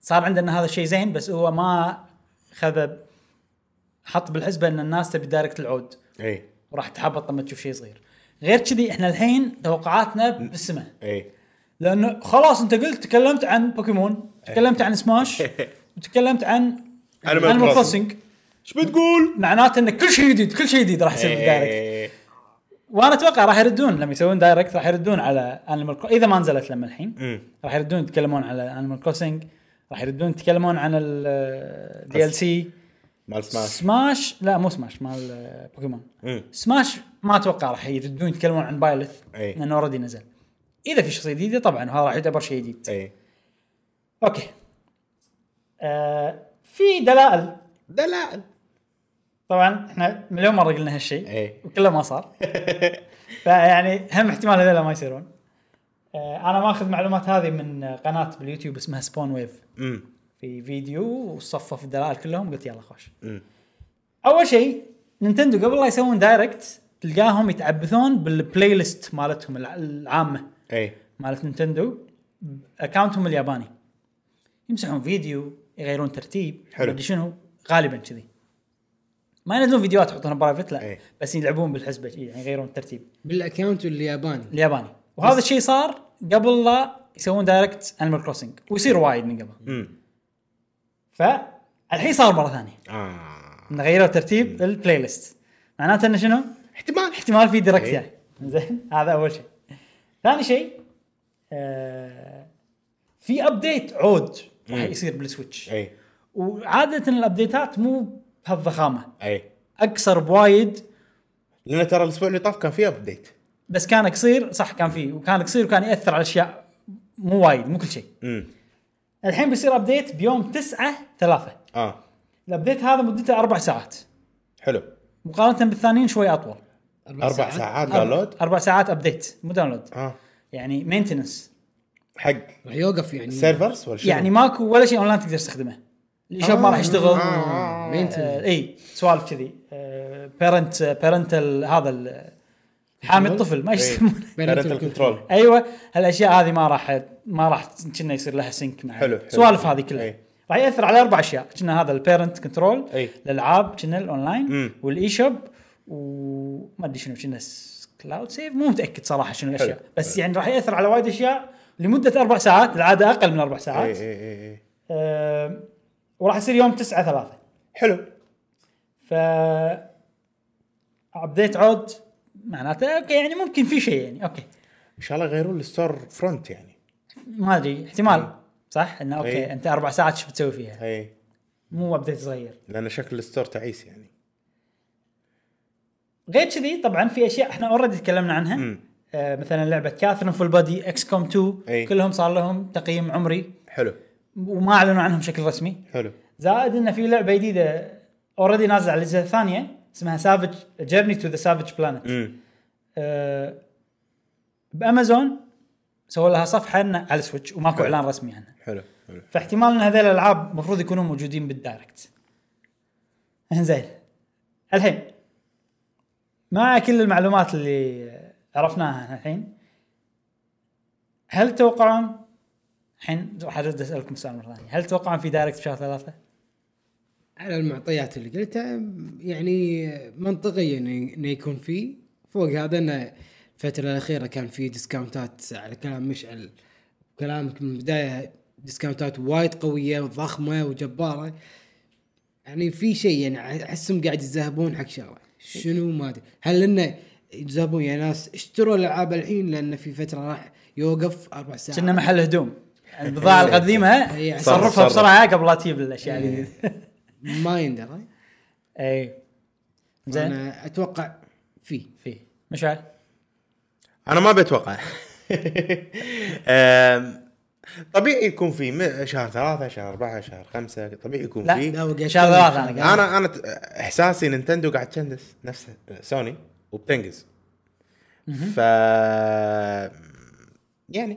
صار عندنا هذا الشيء زين بس هو ما خذ حط بالحسبه ان الناس تبي دايركت العود اي وراح تحبط لما تشوف شيء صغير غير كذي احنا الحين توقعاتنا بالسماء اي لانه خلاص انت قلت تكلمت عن بوكيمون إيه. تكلمت عن سماش وتكلمت عن Crossing. كروسنج ايش بتقول؟ معناته ان كل شيء جديد كل شيء جديد راح يصير بالدايركت إيه. وانا اتوقع راح يردون لما يسوون دايركت راح يردون على انيمال كرو... اذا ما نزلت لما الحين مم. راح يردون يتكلمون على انيمال كروسنج راح يردون يتكلمون عن الدي ال سي مال سماش سماش لا مو سماش مال آه، بوكيمون مم. سماش ما اتوقع راح يردون يتكلمون عن بايلث إي. لانه اوريدي نزل اذا في شخصيه جديده طبعا هذا راح يعتبر شيء جديد اي اوكي آه في دلائل دلال طبعا احنا مليون مره قلنا هالشيء اي وكله ما صار فيعني هم احتمال هذول ما يصيرون آه انا ماخذ معلومات هذه من قناه باليوتيوب اسمها سبون ويف امم في فيديو وصفف الدلائل كلهم قلت يلا خوش امم اول شيء نينتندو قبل لا يسوون دايركت تلقاهم يتعبثون بالبلاي ليست مالتهم الع- العامه اي مالت نينتندو اكونتهم الياباني يمسحون فيديو يغيرون ترتيب حلو. مدري شنو غالبا كذي ما ينزلون فيديوهات يحطونها برايفت لا إيه. بس يلعبون بالحسبه يعني يغيرون الترتيب بالاكونت الياباني الياباني وهذا الشيء صار قبل لا يسوون دايركت انيمال كروسنج ويصير إيه. وايد من قبل امم فالحين صار مره ثانيه اه إن غيروا ترتيب إيه. البلاي ليست معناته انه شنو؟ احتمال احتمال في ديركت إيه. جاي زين هذا اول شيء ثاني شيء آه في ابديت عود راح مم. يصير بالسويتش اي وعاده الابديتات مو بهالضخامه اي اقصر بوايد لان ترى الاسبوع اللي طاف كان فيه ابديت بس كان قصير صح كان فيه وكان قصير وكان ياثر على اشياء مو وايد مو كل شيء امم الحين بيصير ابديت بيوم 9 3 اه الابديت هذا مدته اربع ساعات حلو مقارنه بالثانيين شوي اطول اربع يعني ساعات داونلود اربع ساعات ابديت مو داونلود اه يعني مينتنس حق راح يوقف يعني سيرفرز ولا شنو؟ يعني ماكو ولا شيء اونلاين تقدر تستخدمه الشوب ما راح يشتغل آه maintenance. اي سوالف كذي بيرنت بيرنتال هذا ال- حامي الطفل ما إيه. يسمونه بارنتال كنترول ايوه هالاشياء هذه ما راح ما راح كنا يصير لها سينك مع حلو، حلو. سوالف هذه كلها إي. راح ياثر على اربع اشياء كنا هذا البيرنت كنترول إي. الالعاب كنا الاونلاين مم. والاي شوب وما ادري شنو كنا كلاود سيف مو متاكد صراحه شنو الاشياء حلو. بس يعني راح ياثر على وايد اشياء لمده اربع ساعات العاده اقل من اربع ساعات اي اي اي اي أم، وراح يصير يوم 9 3 حلو ف ابديت عود معناته اوكي يعني ممكن في شيء يعني اوكي ان شاء الله يغيرون الستور فرونت يعني ما ادري احتمال صح انه اوكي إي. انت اربع ساعات شو بتسوي فيها اي مو ابديت صغير لان إيه. شكل الستور تعيس يعني غير كذي طبعا في اشياء احنا اوريدي تكلمنا عنها مم. آه مثلا لعبه كاثرين فول بادي اكس كوم 2 إي. كلهم صار لهم تقييم عمري حلو وما اعلنوا عنهم بشكل رسمي حلو زائد انه في لعبه جديده اوريدي نازله على الاجهزه الثانيه اسمها سافج جيرني تو ذا سافج بلانت امم آه، بامازون سووا لها صفحه إن- على السويتش وماكو اعلان رسمي عنها حلو حلو فاحتمال ان هذول الالعاب المفروض يكونوا موجودين بالدايركت انزين الحين مع كل المعلومات اللي عرفناها الحين هل توقعون الحين راح ارد اسالكم سؤال مره ثانيه هل توقعون في دايركت بشهر ثلاثه؟ على المعطيات اللي قلتها يعني منطقيا انه يكون في فوق هذا انه الفترة الأخيرة كان في ديسكاونتات على كلام مشعل كلامك من البداية ديسكاونتات وايد قوية وضخمة وجبارة يعني في شيء يعني أحسهم قاعد يتذهبون حق شغلة شنو ما أدري هل إنه يتذهبون يا ناس اشتروا الألعاب الحين لأن في فترة راح يوقف أربع ساعات كنا محل هدوم البضاعه القديمه إي. صرفها إيه. صرف. إيه. بسرعه قبل لا تجيب الاشياء الجديده ما يندرى اي إيه. زين أنا أتوقع فيه في مشعل انا ما بتوقع أم، طبيعي يكون في م- شهر ثلاثة شهر أربعة شهر خمسة طبيعي يكون لا في لا وقاعد شهر ثلاثة انا قاعد انا انا ت- احساسي نينتندو قاعد تشندس نفسها سوني وبتنجز ف يعني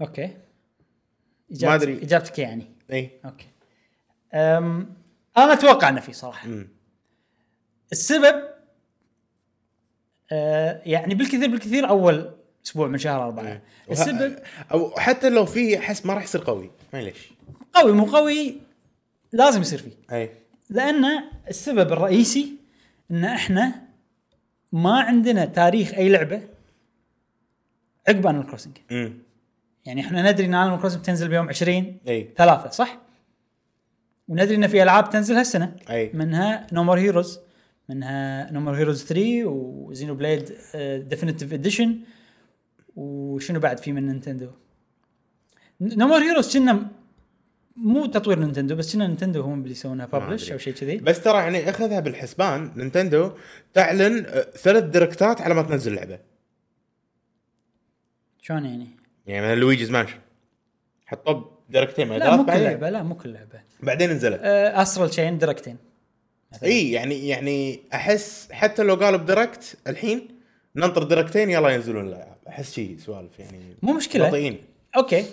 اوكي ما أدري. إجابتك- اجابتك يعني اي اوكي أم... انا اتوقع انه في صراحه أمم. السبب أه يعني آه، بالكثير بالكثير اول اسبوع من شهر اربعه السبب او حتى لو في احس ما راح يصير قوي ما ليش قوي مو قوي لازم يصير فيه اي لان السبب الرئيسي ان احنا ما عندنا تاريخ اي لعبه عقب انيمال كروسنج امم يعني احنا ندري ان انيمال كروسنج تنزل بيوم 20 اي ثلاثة صح؟ وندري ان في العاب تنزل هالسنه أي. منها نومور هيروز منها نومور هيروز 3 وزينو بليد ديفينيتيف اديشن آه، وشنو بعد في من نينتندو نومور هيروز كنا مو تطوير نينتندو بس كنا نينتندو هم اللي يسوونها ببلش أدري. او شيء كذي بس ترى يعني اخذها بالحسبان نينتندو تعلن آه، ثلاث ديركتات على ما تنزل اللعبه شلون يعني؟ يعني مثلا لويجيز مانشن حطوا ديركتين لا مالدات مو كل بعدين لعبه لا مو كل لعبه بعدين نزلت آه، استرال تشين دركتين اي يعني يعني احس حتى لو قالوا بديركت الحين ننطر ديركتين يلا ينزلون الالعاب احس شيء سوالف يعني مو مشكله بطيئين اوكي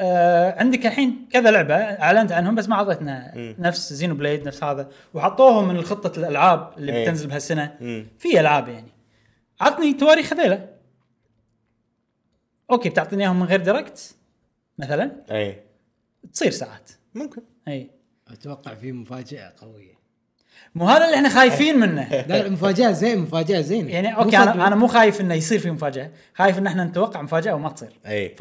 آه عندك الحين كذا لعبه اعلنت عنهم بس ما عطتنا مم. نفس زينو بليد نفس هذا وحطوهم من خطه الالعاب اللي إيه. بتنزل بهالسنه مم. في العاب يعني عطني تواريخ هذيلا اوكي بتعطيني اياهم من غير دايركت مثلا اي تصير ساعات ممكن اي اتوقع في مفاجاه قويه مو هذا اللي احنا خايفين منه لا مفاجاه زين مفاجاه زين يعني اوكي انا انا مو خايف انه يصير في مفاجاه خايف ان احنا نتوقع مفاجاه وما تصير اي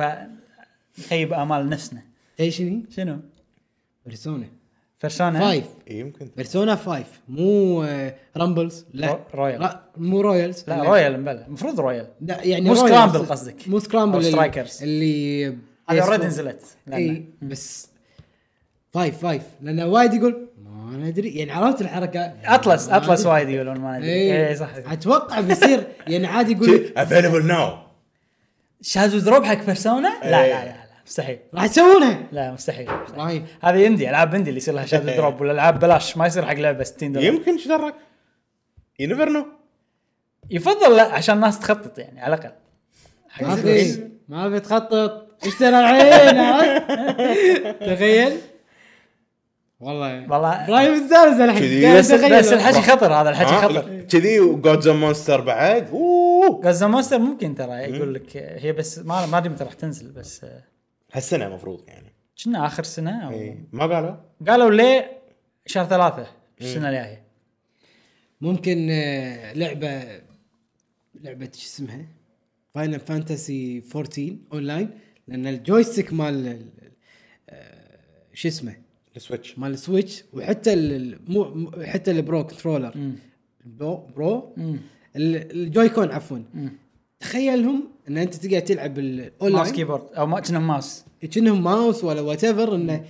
فنخيب امال نفسنا ايش هي؟ شنو؟ بيرسونا فرسانا فايف اي يمكن بيرسونا فايف مو آه، رامبلز لا رو- رويال. را- مو رويالز لا رويال مبلى المفروض رويال لا يعني مو رويالز- سكرامبل قصدك. مو سكرامبل أو اللي- سترايكرز. اللي هذه PS4. اوريدي نزلت لأن- اي بس فايف فايف لان وايد يقول ما ندري يعني عرفت الحركه اطلس ما اطلس أدري. وايد يقولون ما ادري اي اي صح اتوقع بيصير يعني عادي يقول افيلبل ناو شادو دروب حق بيرسونا لا لا إيه. لا لا مستحيل راح تسوونها لا مستحيل مستحيل. رهيب. هذه اندي العاب اندي اللي يصير لها شادو دروب ولا العاب بلاش ما يصير حق لعبه 60 دولار يمكن ايش دراك؟ يو نيفر نو يفضل لا عشان الناس تخطط يعني على الاقل حق ما الفلوس. في ما في تخطط اشترى العين عرفت؟ تخيل والله والله- يعني ابراهيم الزارز الحين كذي. قاعد بس يتخيل. بس الحكي خطر هذا الحكي خطر آه، كذي وجودز مونستر بعد اوه غزة مونستر ممكن ترى يقول لك هي بس ما ما ادري متى راح تنزل بس آه، هالسنه المفروض يعني كنا اخر سنه أو إي. ما قالوا قالوا ليه شهر ثلاثه السنه الجايه ممكن آه، لعبه لعبه شو اسمها؟ فاينل فانتسي 14 اونلاين لان الجويستيك مال ال- آه، شو اسمه؟ السويتش مال السويتش وحتى ال- ال- مو مو- حتى البرو كنترولر مم. برو برو مم. ال- الجويكون عفوا مم. تخيلهم ان انت تقعد تلعب ماوس الاونلاين كيبورد او ما كنا ماوس كأنهم ماوس ولا وات ايفر انه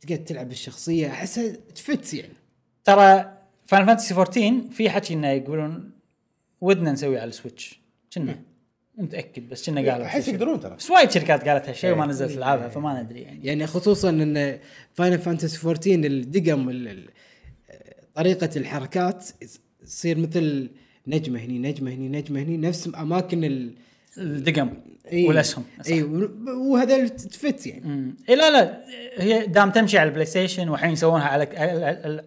تقعد تلعب الشخصيه احسها تفتس يعني ترى فان فانتسي 14 في حكي انه يقولون ودنا نسوي على السويتش كنا متاكد بس كنا قالوا احس يقدرون ترى بس وايد شركات قالت هالشيء وما إيه. نزلت العابها فما ندري يعني يعني خصوصا ان فاينل فانتسي 14 الدقم ال- ال- طريقه الحركات تصير مثل نجمه هني نجمه هني نجمه هني نفس اماكن ال الدقم إيه. إي. والاسهم اي و- وهذا تفت يعني امم إيه لا لا هي دام تمشي على البلاي ستيشن والحين يسوونها على ال- على, على,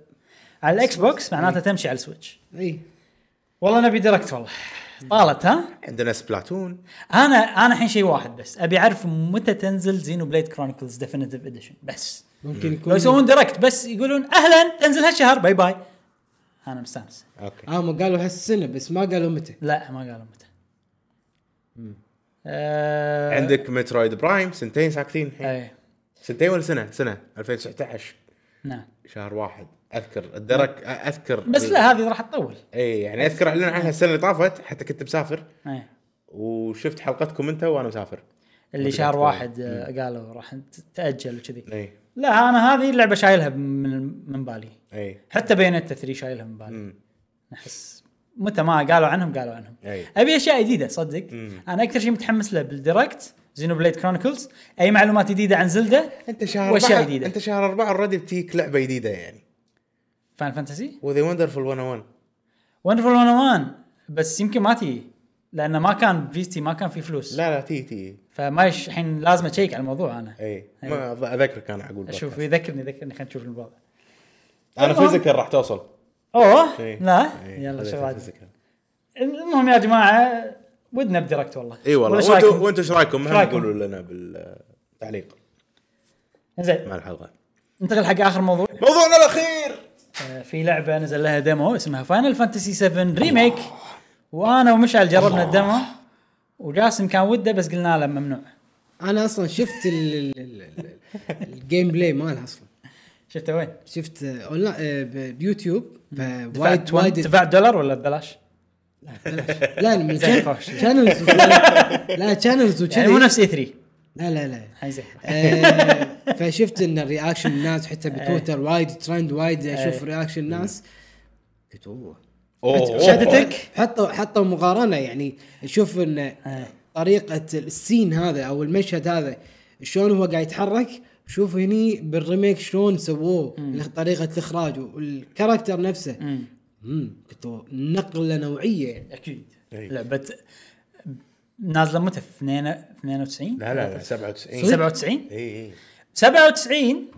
على الاكس إيه. بوكس معناتها تمشي على السويتش اي والله نبي ديركت والله طالت ها عندنا سبلاتون انا انا الحين شيء واحد بس ابي اعرف متى تنزل زينو بليد كرونيكلز ديفينيتيف اديشن بس ممكن لو يكون يسوون دايركت بس يقولون اهلا تنزل هالشهر باي باي انا مستانس اوكي اه ما قالوا هالسنه بس ما قالوا متى لا ما قالوا متى آه إيه، عندك مترويد برايم سنتين ساكتين الحين اي سنتين ولا سنه؟ سنه 2019 نعم شهر واحد اذكر الدرك اذكر بس لا هذه راح تطول اي يعني اذكر اعلن عنها السنه اللي طافت حتى كنت مسافر اي وشفت حلقتكم انت وانا مسافر إيه. اللي شهر واحد آه، قالوا راح ت- تاجل وكذي اي لا انا هذه اللعبه شايلها من من بالي اي حتى بينت 3 شايلها من بالي امم احس متى ما قالوا عنهم قالوا عنهم أي. ابي اشياء جديده صدق مم. انا اكثر شيء متحمس له بالديركت زينو بليد كرونيكلز اي معلومات جديده عن زلده انت شهر وأشياء اربعه جديدة. انت شهر اربعه اوريدي بتجيك لعبه جديده يعني فان فانتسي وذا وندرفول 101 وندرفول 101 بس يمكن ما تي لانه ما كان فيستي ما كان في فلوس لا. لا لا تي تي فما يش- الحين لازم اشيك على الموضوع انا اي ما أظ- اذكرك انا اقول اشوف بودكاست. يذكرني يذكرني خلينا نشوف الوضع انا فيزيكال راح توصل اوه إي. لا إي، يلا خذيتها شو بعد physical. المهم يا جماعه ودنا بديركت والله اي إيه والله ولا إيش وانتم رأيكم؟ وانتم ايش رايكم؟ إيش مهم رأيكم؟ قولوا لنا بالتعليق زين مع الحلقه. ننتقل حق اخر موضوع موضوعنا الاخير آه، في لعبه نزل لها ديمو اسمها فاينل فانتسي 7 ريميك وانا ومشعل جربنا الديمو وجاسم كان وده بس قلنا له ممنوع انا اصلا شفت ال- ال- ال- ال- الجيم بلاي مالها اصلا شفته وين؟ شفت آه، اونلاين آه، ب- بيوتيوب دفعت فوايد وين؟ وايد دفعت دولار ولا ببلاش؟ لا من زين، شان- خوش. شانلز و- لا شانلز يعني مو وكذي نفس اي 3 لا لا لا هاي زين آه، فشفت ان الرياكشن الناس حتى بتويتر آه. وايد ترند وايد اشوف إيه. رياكشن الناس قلت اوه أوه. شهادتك حطوا حطوا مقارنه يعني شوف ان طريقه السين هذا او المشهد هذا شلون هو قاعد يتحرك شوف هني بالريميك شلون سووه طريقه الاخراج والكاركتر نفسه مم. امم قلت أوه، نقله نوعيه اكيد إي. لعبه نازله متى؟ 92 لا لا إيه، لا 97 97 اي اي 97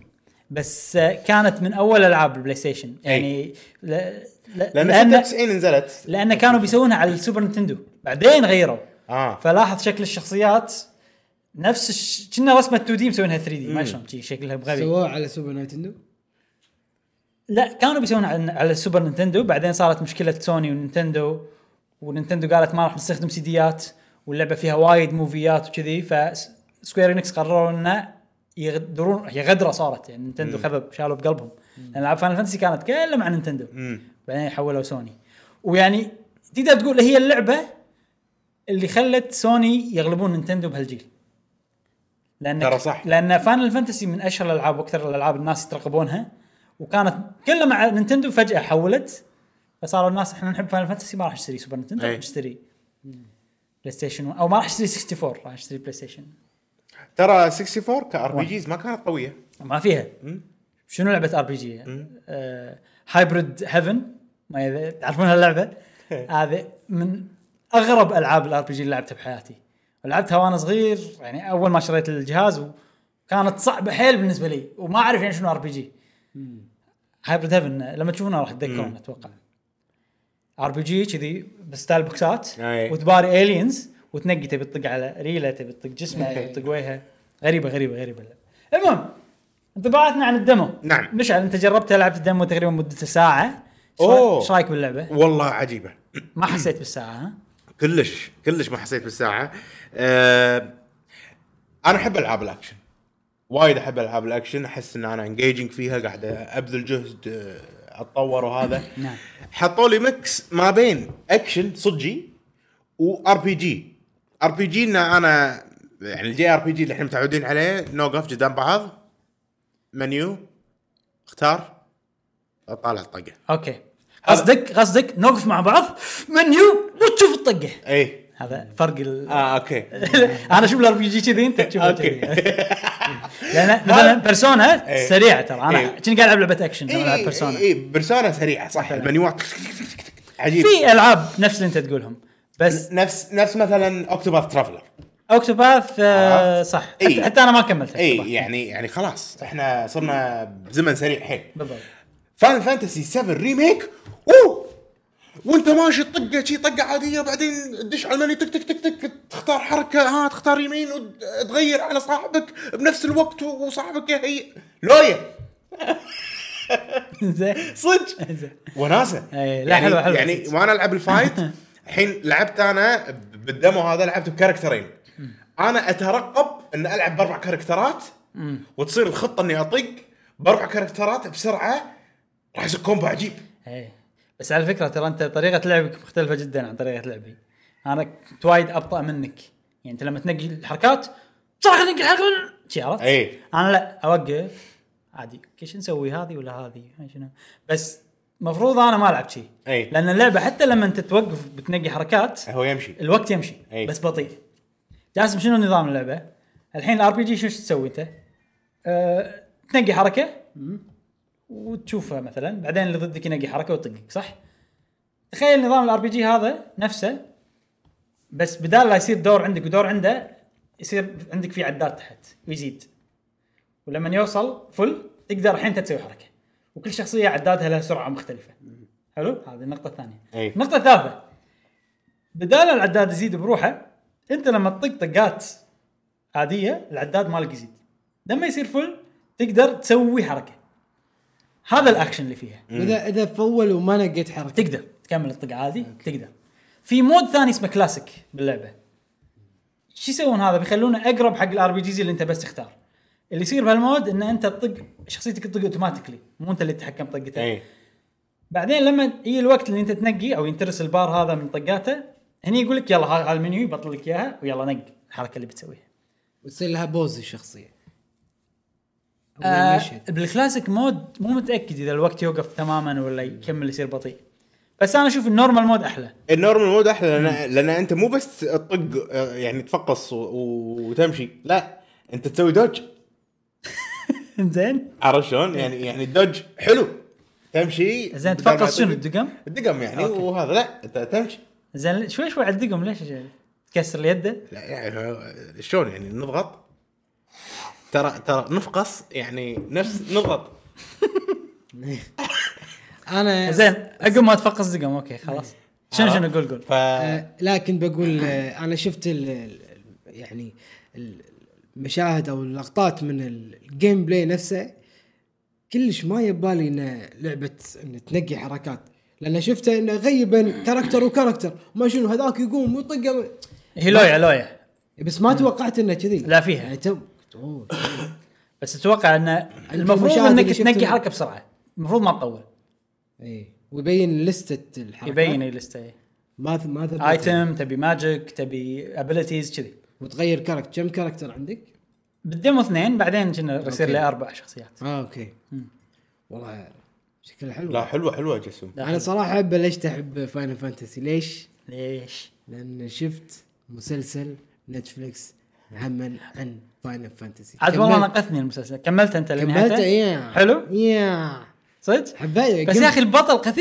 بس آه، كانت من اول العاب البلاي ستيشن يعني لا- لا- لان لان 96 نزلت لان كانوا بيسوونها على السوبر نينتندو بعدين غيروا اه فلاحظ شكل الشخصيات نفس الش... كنا رسمه 2 دي مسوينها 3 دي ما شلون شي شكلها بغبي سووه على سوبر نايتندو لا كانوا بيسوونها على, على السوبر نينتندو بعدين صارت مشكله سوني ونينتندو ونينتندو قالت ما راح نستخدم سيديات واللعبه فيها وايد موفيات وكذي فسكوير انكس قرروا انه يغدرون هي غدره صارت يعني نينتندو خذوا شالوا بقلبهم لان العاب فاينل فانتسي كانت كلها مع نينتندو امم بعدين حولوا سوني ويعني تقدر تقول هي اللعبه اللي خلت سوني يغلبون نينتندو بهالجيل لان ترى صح. لان فاينل فانتسي من اشهر الالعاب واكثر الالعاب الناس يترقبونها وكانت كلها مع نينتندو فجاه حولت فصاروا الناس احنا نحب فاينل فانتسي ما راح نشتري سوبر نينتندو أي. راح نشتري بلاي ستيشن او ما راح نشتري 64 راح نشتري بلاي ستيشن ترى 64 كار بي جيز ما كانت قويه ما فيها مم. شنو لعبه ار بي جي؟ هايبريد هيفن آه، ما إذا- تعرفون هاللعبه؟ هذه من اغرب العاب الار بي جي اللي لعبتها بحياتي. لعبتها وانا صغير يعني اول ما شريت الجهاز وكانت صعبه حيل بالنسبه لي وما اعرف يعني شنو ار بي جي. هايبريد هيفن لما تشوفونه راح تتذكرون اتوقع. ار بي جي كذي بستايل بوكسات أي. وتباري الينز وتنقي تبي تطق على ريله تبي تطق إيه. جسمه تبي تطق وجهه غريبه غريبه غريبه المهم انطباعاتنا عن الدمو نعم. مشعل انت جربتها لعبت الدمو تقريبا مدته ساعه إيش رأي- أوه. ايش رايك باللعبه؟ والله عجيبه ما حسيت بالساعه ها؟ كلش كلش ما حسيت بالساعه أه انا احب العاب الاكشن وايد احب العاب الاكشن احس ان انا انجيجنج فيها قاعد ابذل جهد آه، اتطور وهذا نعم. حطوا لي ميكس ما بين اكشن صجي وار بي جي ار بي جي ان انا يعني الجي ار بي جي اللي احنا متعودين عليه نوقف قدام بعض منيو اختار اطالع الطقه اوكي قصدك قصدك نوقف مع بعض منيو وتشوف الطقه اي هذا فرق ال... اه اوكي انا اشوف الار بي جي كذي انت تشوفه أوكي. كذي لان مثلا بيرسونا إيه. سريعه ترى انا إيه. كنت قاعد العب لعبه اكشن لما العب اي بيرسونا اي بيرسونا سريعه إيه، صح المنيوات عجيب في العاب نفس اللي انت تقولهم بس نفس نفس مثلا اوكتوباث ترافلر اوكتوباث آه عرفت؟ إيه. صح إي. حتى, حتى انا ما كملت اي أوكتوباث. يعني يعني خلاص احنا صرنا بزمن سريع حيل بالضبط فان فانتسي 7 ريميك اوه وانت ماشي طقه شي طقه عاديه بعدين تدش على المنيو تك تك تك تك تختار حركه ها تختار يمين وتغير على صاحبك بنفس الوقت وصاحبك يهي لويا زين صدق زين. وناسه إيه، لا، حلوة- حلوة. يعني وانا العب الفايت الحين لعبت انا بالدمو هذا لعبت بكاركترين انا اترقب ان العب باربع كاركترات وتصير الخطه اني اطق باربع كاركترات بسرعه راح يصير كومبو عجيب ايه بس على فكره ترى انت طريقه لعبك مختلفه جدا عن طريقه لعبي انا كنت وايد ابطا منك يعني انت لما تنقي الحركات بسرعه نقي الحركه شي عرفت؟ إيه. انا لا اوقف عادي ايش نسوي هذه ولا هذه شنو بس مفروض انا ما العب شي إيه. لان اللعبه حتى لما انت توقف بتنقي حركات هو يمشي الوقت يمشي أي. بس بطيء جاسم شنو نظام اللعبه؟ الحين الار بي جي شو تسوي انت؟ أه تنقي حركه وتشوفها مثلا بعدين اللي ضدك ينقي حركه ويطقك صح؟ تخيل نظام الار بي جي هذا نفسه بس بدال لا يصير دور عندك ودور عنده يصير عندك في عداد تحت ويزيد ولما يوصل فل تقدر الحين انت تسوي حركه وكل شخصيه عدادها لها سرعه مختلفه حلو هذه النقطه الثانيه أي. النقطه الثالثه بدال العداد يزيد بروحه انت لما تطق طقات عاديه العداد مالك يزيد لما يصير فل تقدر تسوي حركه هذا الاكشن اللي فيها اذا اذا فول وما نقيت حركه تقدر تكمل الطق عادي تقدر في مود ثاني اسمه كلاسيك باللعبه شو يسوون هذا بيخلونه اقرب حق الار بي جيز اللي انت بس تختار اللي يصير بهالمود ان انت تطق شخصيتك تطق اوتوماتيكلي مو انت اللي تتحكم طقتها اي بعدين لما يجي الوقت اللي انت تنقي او ينترس البار هذا من طقاته هني يقول لك يلا ها- هذا المنيو يبطل لك اياها ويلا نق الحركه اللي بتسويها وتصير لها بوز الشخصيه أو آه المشهد. بالكلاسيك مود مو متاكد اذا الوقت يوقف تماما ولا يكمل يصير بطيء بس انا اشوف النورمال مود احلى النورمال مود احلى لان, لأن انت مو بس تطق آه، يعني تفقص و- و- وتمشي لا انت تسوي دوج زين عرفت شلون؟ يعني يعني الدوج حلو تمشي زين بدل ما تفقص شنو تطق- الدقم الدقم يعني أوكي. وهذا لا انت تمشي زين شوي شوي على الدقم ليش تكسر يده لا يعني شلون يعني نضغط ترى ترى نفقص يعني نفس نضغط انا زين عقب ما تفقص دقم اوكي خلاص شنو شنو قول قول ف آه، لكن بقول آه، انا شفت ال ال- يعني ال- المشاهد او اللقطات من ال- الجيم بلاي نفسه كلش ما يبالي ان لعبه ان تنقي حركات لان شفته انه غيبا كاركتر وكاركتر ما شنو هذاك يقوم ويطق هي لويا لويا بس ما توقعت انه كذي لا فيها. يعني تو- أوه. بس اتوقع ان المفروض المشاهد اللي انك شفته- تنقي حركه بسرعه المفروض ما تطول اي إيه. ويبين لستة الحركات يبين الليسته ما ث- ما ثبت ايتم تبي ماجيك تبي ابيلتيز كذي وتغير كاركتر كم كاركتر عندك؟ بالديمو اثنين بعدين كنا يصير أوكي. لي اربع شخصيات اه اوكي والله شكلها حلو لا حلوه حلوه جسم لا. انا صراحه بلشت احب فاينل فانتسي ليش؟ ليش؟ لان شفت مسلسل نتفلكس عمل عن فاينل فانتسي عاد والله نقثني المسلسل كملت انت كملته يا لنهايته حلو يا صدق حبيت بس يا اخي البطل خفيف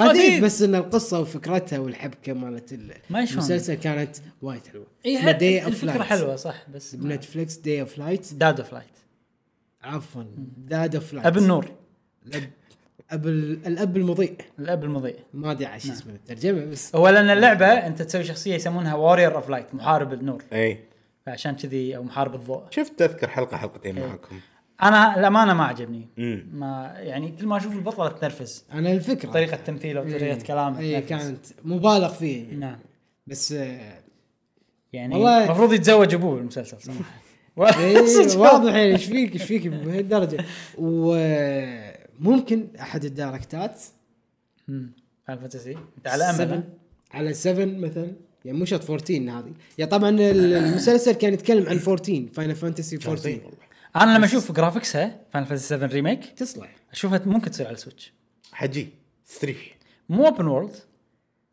إيه، خفيف بس ان القصه وفكرتها والحبكه مالت ال- ما شلون. المسلسل كانت وايد حلوه إيه، اسمه Day of الفكره Lights. حلوه صح بس بنتفلكس داي اوف لايت داد اوف لايت عفوا داد اوف لايت اب النور الاب الاب المضيء الاب المضيء ما ادري نعم. عن شو اسمه الترجمه بس هو لان اللعبه انت تسوي شخصيه يسمونها وارير اوف لايت محارب النور اي فعشان كذي او محارب الضوء إيه. شفت اذكر حلقه إيه. حلقتين معكم انا الامانه ما عجبني امم ما يعني كل ما اشوف البطله تنرفز انا الفكره طريقه تمثيله إيه. وطريقه كلامه اي تنرفز. كانت مبالغ فيه نعم بس آه، يعني والله- المفروض يتزوج ابوه بالمسلسل صراحه والله إيه، صدق. واضح يعني ايش فيك ايش فيك بهالدرجه وممكن احد الدايركتات مم. فاين فانتسي انت على امل seven- ها؟ على 7 مثلا يعني مو شرط 14 هذه يا طبعا ال- المسلسل كان يتكلم عن 14 فاينل فانتسي 14 انا لما اشوف جرافيكسها فاين فانتسي 7 ريميك تصلح اشوفها ممكن تصير على السويتش حجي ستريح مو اوبن وورلد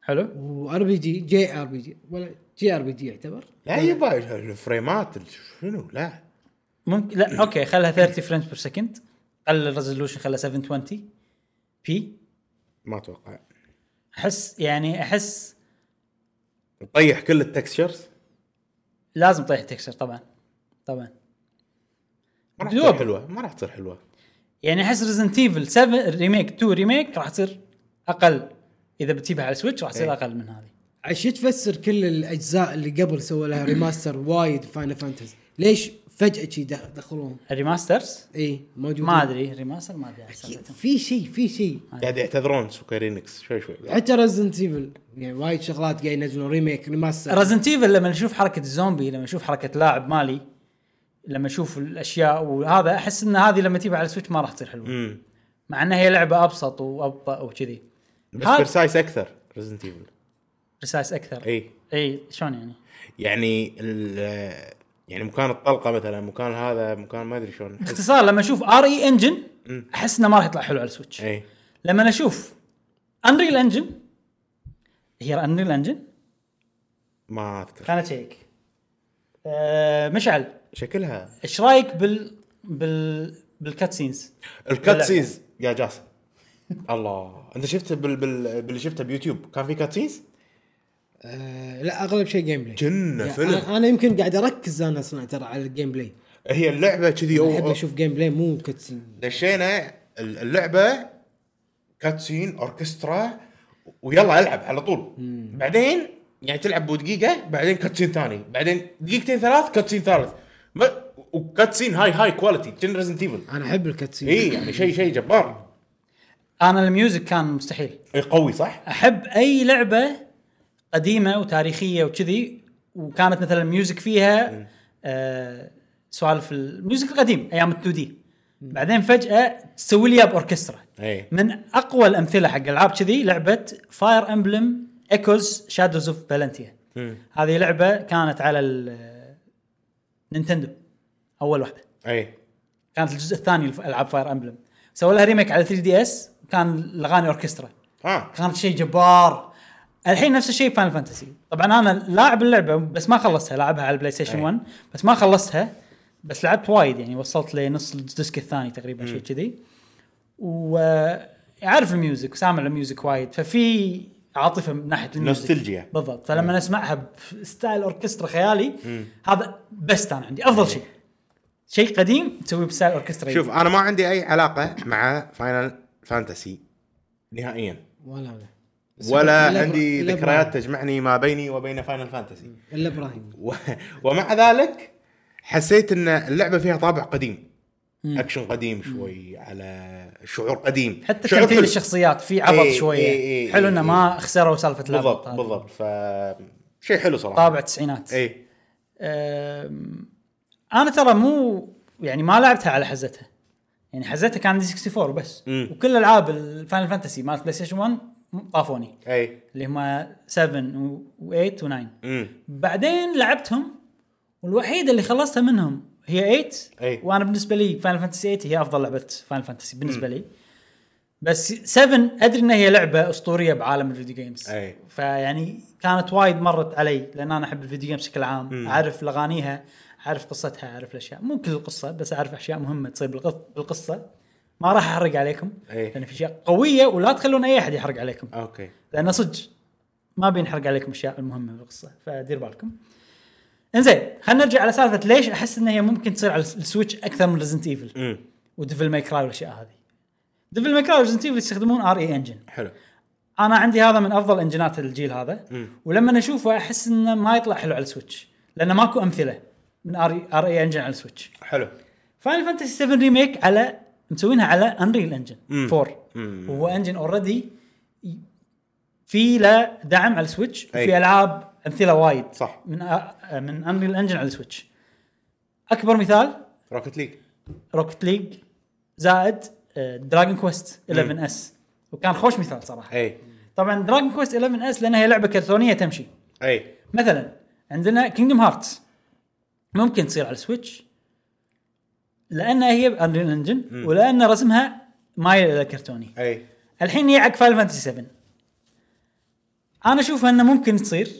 حلو وار بي جي جي ار بي جي ولا جي ار بي جي يعتبر لا يبا الفريمات ال- شنو لا ممكن لا اوكي خلها 30 فريمز بير سكند قلل الريزولوشن خلها 720 بي ما اتوقع احس يعني احس طيح كل التكستشرز لازم تطيح تكسر طبعا طبعا ما راح دوب. تصير حلوه ما راح تصير حلوه يعني احس ريزنت ايفل 7 ريميك 2 ريميك راح تصير اقل اذا بتجيبها على السويتش راح تصير إيه. اقل من هذه عشان تفسر كل الاجزاء اللي قبل سووا لها ريماستر وايد فاينل فانتسي ليش فجاه شي دخ- دخلوهم الريماسترز اي موجودين ما ادري ريماستر ما ادري سالفتهم. في شيء في شيء قاعد يعتذرون سكرينكس شوي شوي حتى رزنت ايفل يعني وايد شغلات قاعد ينزلون ريميك ريماستر ريزنت ايفل لما نشوف حركه الزومبي لما نشوف حركه لاعب مالي لما اشوف الاشياء وهذا احس ان هذه لما تجيبها على السويتش ما راح تصير حلوه امم مع انها هي لعبه ابسط وابطا وكذي بس هذا- برسايس اكثر ريزنت ايفل رسائس اكثر اي اي شلون يعني إيه. يعني ال- يعني مكان الطلقه مثلا مكان هذا مكان ما ادري شلون أحس- باختصار لما E اشوف ار اي انجن احس انه ما راح يطلع حلو على السويتش اي لما اشوف انريل انجن هي انريل انجن ما اذكر خلنا اشيك أه مشعل شكلها ايش رايك بال بال بالكات سينز الكات سينز يا جاسم الله انت شفت بال... بال... باللي شفته بيوتيوب كان في كات سينز؟ آه لا اغلب شيء جيم بلاي جنه يعني فيلم انا أنا يمكن قاعد اركز انا اصلا ترى على الجيم بلاي هي اللعبه كذي أو- احب أو- اشوف جيم بلاي مو كتسين دشينا ال- اللعبه كاتسين اوركسترا ويلا العب على طول بعدين يعني تلعب بدقيقه بعدين كاتسين ثاني بعدين دقيقتين ثلاث كاتسين ثالث ما- وكاتسين هاي هاي كواليتي كأن ريزنت ايفل انا احب الكاتسين اي يعني شيء شيء جبار انا الميوزك كان مستحيل إي قوي صح؟ احب اي لعبه قديمه وتاريخيه وكذي وكانت مثلا ميوزك فيها آه سوالف الميوزك القديم ايام ال 2 دي بعدين فجاه تسوي لي إياه باوركسترا اي من اقوى الامثله حق العاب كذي لعبه فاير امبلم ايكوز شادوز اوف فالنتيا هذه لعبه كانت على ال- نينتندو اول واحده اي كانت الجزء الثاني لالعاب فاير امبلم سووا لها ريميك على 3 دي اس كان الاغاني اوركسترا اه كانت شيء جبار الحين نفس الشيء فاينل فانتسي طبعا انا لاعب اللعبه بس ما خلصتها لعبها على البلاي ستيشن أي. 1 بس ما خلصتها بس لعبت وايد يعني وصلت لنص الديسك الثاني تقريبا إيه. شيء كذي وعارف الميوزك وسامع الميوزك وايد ففي عاطفه من ناحيه الميوزك نوستلجيا. بالضبط فلما إيه. نسمعها بستايل اوركسترا خيالي هذا بس انا عندي افضل شيء شيء قديم تسويه بستايل اوركسترا إيه. شوف انا ما عندي اي علاقه مع فاينل فانتسي نهائيا ولا انا بس ولا إلا إبرا- عندي إلا إبراهيم. ذكريات تجمعني ما بيني وبين فاينل فانتسي الا ابراهيم و... ومع ذلك حسيت ان اللعبه فيها طابع قديم اكشن قديم شوي على شعور قديم حتى شعور تمثيل حلو. الشخصيات في عبط إيه، شويه إيه، إيه، حلو انه إيه، ما خسروا سالفه العبط بالضبط هذه. بالضبط ف شيء حلو إيه، صراحه طابع التسعينات اي أم، انا ترى مو يعني ما لعبتها على حزتها يعني حزتها كان عندي 64 بس مم. وكل العاب الفاينل فانتسي مالت بلاي ستيشن 1 طافوني اي اللي هم 7 و8 و9 امم بعدين لعبتهم والوحيده اللي خلصتها منهم هي 8 أي. وانا بالنسبه لي فاينل فانتسي 8 هي افضل لعبه فاينل فانتسي بالنسبه لي بس 7 ادري انها هي لعبه اسطوريه بعالم الفيديو جيمز أي. فيعني كانت وايد مرت علي لان انا احب الفيديو جيمز بشكل عام اعرف اغانيها اعرف قصتها اعرف الاشياء مو كل القصه بس اعرف اشياء مهمه تصير بالقص- بالقصه ما راح احرق عليكم أي. لان في اشياء قويه ولا تخلون اي احد يحرق عليكم اوكي لان صدق ما بينحرق عليكم الاشياء المهمه بالقصه فدير بالكم. انزين خلينا نرجع على سالفه ليش احس ان هي ممكن تصير على السويتش اكثر من ريزنت ايفل امم وديفل ماي كراي والاشياء هذه. ديفل ماي كراي وريزنت ايفل يستخدمون ار اي انجن. حلو انا عندي هذا من افضل انجنات الجيل هذا مم. ولما اشوفه احس انه ما يطلع حلو على السويتش لانه ماكو امثله من E- ار اي انجن على السويتش. حلو فاينل فانتسي 7 ريميك على مسوينها على انريل انجن مم. 4 مم. وهو انجن اوريدي في له دعم على السويتش أي. وفي العاب امثله وايد صح. من أ- من انريل انجن على السويتش اكبر مثال روكت ليج روكت ليج زائد آه، دراجون كويست 11 اس وكان خوش مثال صراحه اي طبعا دراجون كويست 11 اس لانها هي لعبه كرتونيه تمشي اي مثلا عندنا كينجدم هارتس ممكن تصير على السويتش لانها هي انريل انجن ولان رسمها مايل الى كرتوني اي الحين هي عق فاينل فانتسي 7 انا اشوف انه ممكن تصير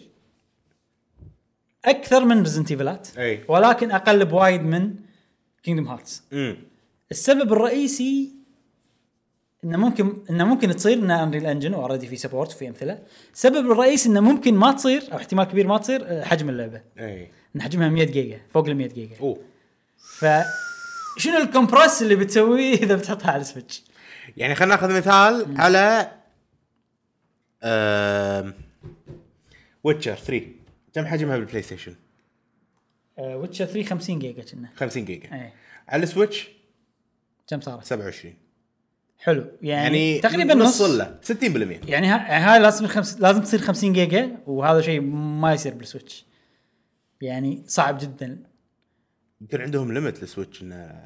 اكثر من ريزنت ايفلات أي. ولكن اقل بوايد من كينجدم هارتس امم السبب الرئيسي انه ممكن انه ممكن تصير انه انريل انجن اوريدي في سبورت وفي امثله، السبب الرئيسي انه ممكن ما تصير او احتمال كبير ما تصير آه، حجم اللعبه، اي ان حجمها 100 جيجا فوق ال 100 جيجا. اوه ف شنو الكمبرس اللي بتسويه اذا بتحطها على السويتش؟ يعني خلينا ناخذ مثال على آم... ويتشر 3 كم حجمها بالبلاي ستيشن؟ ويتشر 3 50 جيجا كنا. 50 جيجا ايه على السويتش كم صارت؟ 27 حلو يعني, يعني تقريبا نص له 60% يعني ها- هاي لازم خمس لازم تصير 50 جيجا وهذا شيء ما يصير بالسويتش يعني صعب جدا يمكن عندهم ليمت للسويتش انه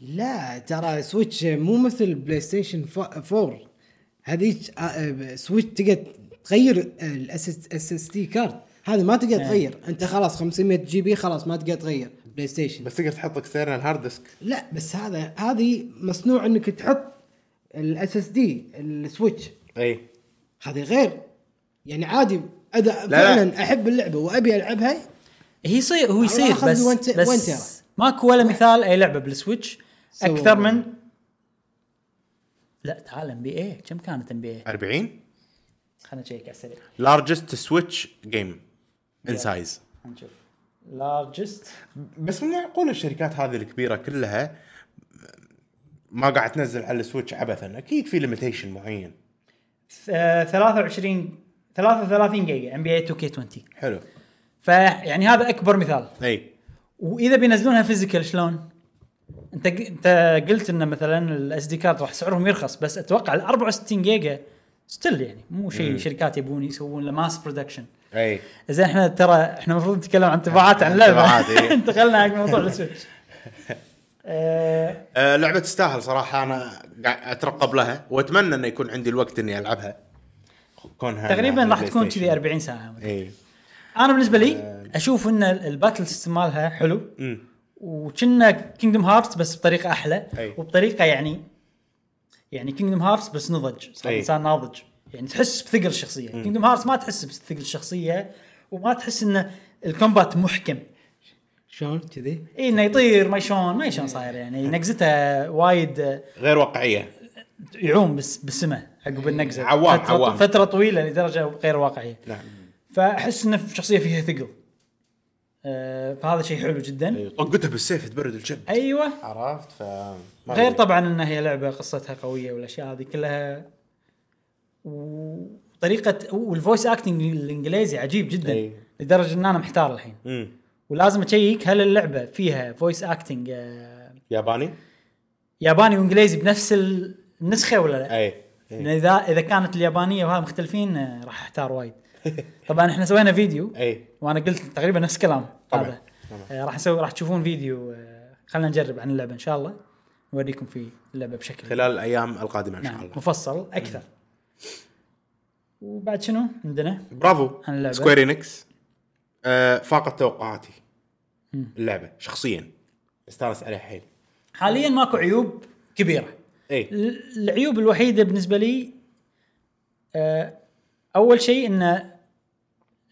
لا ترى سويتش مو مثل بلاي ستيشن فا- 4 هذيك آه، سويتش تقدر تغير الاس اس تي كارد هذا ما تقدر تغير انت خلاص 500 جي بي خلاص ما تقدر تغير بلاي ستيشن بس تقدر تحط اكسترنال هارد ديسك لا بس هذا هذه مصنوع انك تحط الاس اس دي السويتش اي هذه غير يعني عادي انا لا. فعلا احب اللعبه وابي العبها هي يصير هو يصير أخذ بس وين ت- وين ترى؟ بس ماكو ولا مثال اي لعبه بالسويتش سووا اكثر وين. من لا تعال ام بي اي كم كانت ام بي اي 40 خلينا نشيك على السريع لارجست سويتش جيم ان سايز خلينا نشوف لارجست بس مو معقول الشركات هذه الكبيره كلها ما قاعد آه، تنزل على السويتش عبثا اكيد في ليميتيشن معين 23 33 جيجا ام بي اي 2 كي 20 حلو فيعني يعني هذا اكبر مثال اي واذا بينزلونها فيزيكال شلون؟ انت ق- انت قلت ان مثلا الاس دي كارد راح سعرهم يرخص بس اتوقع ال 64 جيجا ستيل يعني مو شيء شركات يبون يسوون له ماس برودكشن اي زين احنا ترى احنا المفروض نتكلم عن انطباعات عن انطباعات، اللعبه إيه. انتقلنا حق موضوع السويتش آه، آه لعبه تستاهل صراحه انا قاعد اترقب لها واتمنى انه يكون عندي الوقت اني العبها كونها تقريبا على راح تكون البلاي ستيشن. كذي آه. 40 ساعه اي انا بالنسبه لي اشوف ان ال- الباتل سيستم مالها حلو أمم. وكنا كينجدم هارتس بس بطريقه احلى أي. وبطريقه يعني يعني كينجدم هارتس بس نضج صار أي. انسان ناضج يعني تحس بثقل الشخصيه كينجدم هارتس ما تحس بثقل الشخصيه وما تحس انه الكومبات محكم شلون كذي؟ اي انه يطير ما يشون ما يشون صاير يعني نقزته وايد آه، غير واقعيه يعوم بس بالسماء عقب النقزه إيه، عوام، فترة, عوام. فتره طويله لدرجه غير واقعيه نعم فاحس ان الشخصيه فيها ثقل آه، فهذا شيء حلو جدا أيوة. طقتها بالسيف تبرد الجب ايوه عرفت ف ما غير أدري. طبعا انها هي لعبه قصتها قويه والاشياء هذه كلها وطريقه والفويس اكتنج الانجليزي عجيب جدا أي. لدرجه ان انا محتار الحين أمم. ولازم اشيك هل اللعبه فيها فويس اكتنج ياباني ياباني وانجليزي بنفس النسخه ولا لا؟ اي لأن اذا اذا كانت اليابانيه وهذا مختلفين آه، راح احتار وايد. طبعا احنا سوينا فيديو اي وانا قلت تقريبا نفس الكلام طبعاً. هذا آه، راح نسوي راح تشوفون فيديو آه، خلينا نجرب عن اللعبه ان شاء الله نوريكم في اللعبه بشكل خلال الايام القادمه ان شاء نعم الله مفصل اكثر وبعد شنو عندنا عن برافو اللعبة. سكوير انكس آه فاقت توقعاتي اللعبه شخصيا استانس عليها حيل حاليا ماكو عيوب كبيره اي ال- العيوب الوحيده بالنسبه لي آه، اول شيء ان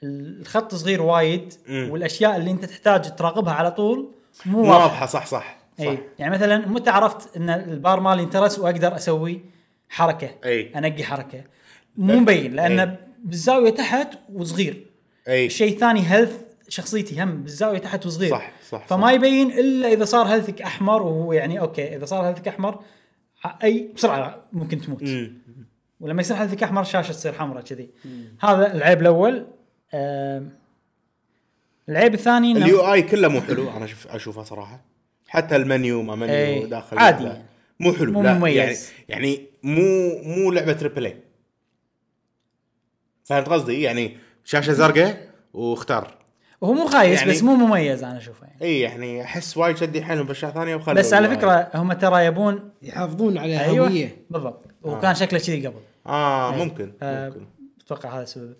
الخط صغير وايد مم. والاشياء اللي انت تحتاج تراقبها على طول مو مو واضحه واضحه صح صح صح اي يعني مثلا متى عرفت ان البار مالي انترس واقدر اسوي حركه أي. انقي حركه مو مبين أي. لان بالزاويه تحت وصغير اي شيء ثاني هيلث شخصيتي هم بالزاويه تحت وصغير صح- صح- فما صح. يبين الا اذا صار هيلثك احمر وهو يعني اوكي اذا صار هيلثك احمر ع- اي بسرعه ممكن تموت أمم. ولما يصير هيلثك احمر الشاشه تصير حمراء كذي هذا العيب الاول آم، العيب الثاني إنه- اليو اي كله مو حلو انا أشوف اشوفه صراحه حتى المنيو ما منيو إي. داخل عادي لا. يعني. مو حلو مو لا مميز. يعني يعني مو مو لعبه تريبل اي فهمت قصدي يعني شاشه زرقاء واختار هو مو خايس يعني- بس مو مميز انا اشوفه يعني اي يعني احس وايد شدي حيلهم باشياء ثانيه وخلوا بس على ال UI. فكره هم ترى يبون يحافظون على ايوه الهويه بالضبط آه. وكان شكله كذي قبل اه ممكن آه، ممكن اتوقع هذا السبب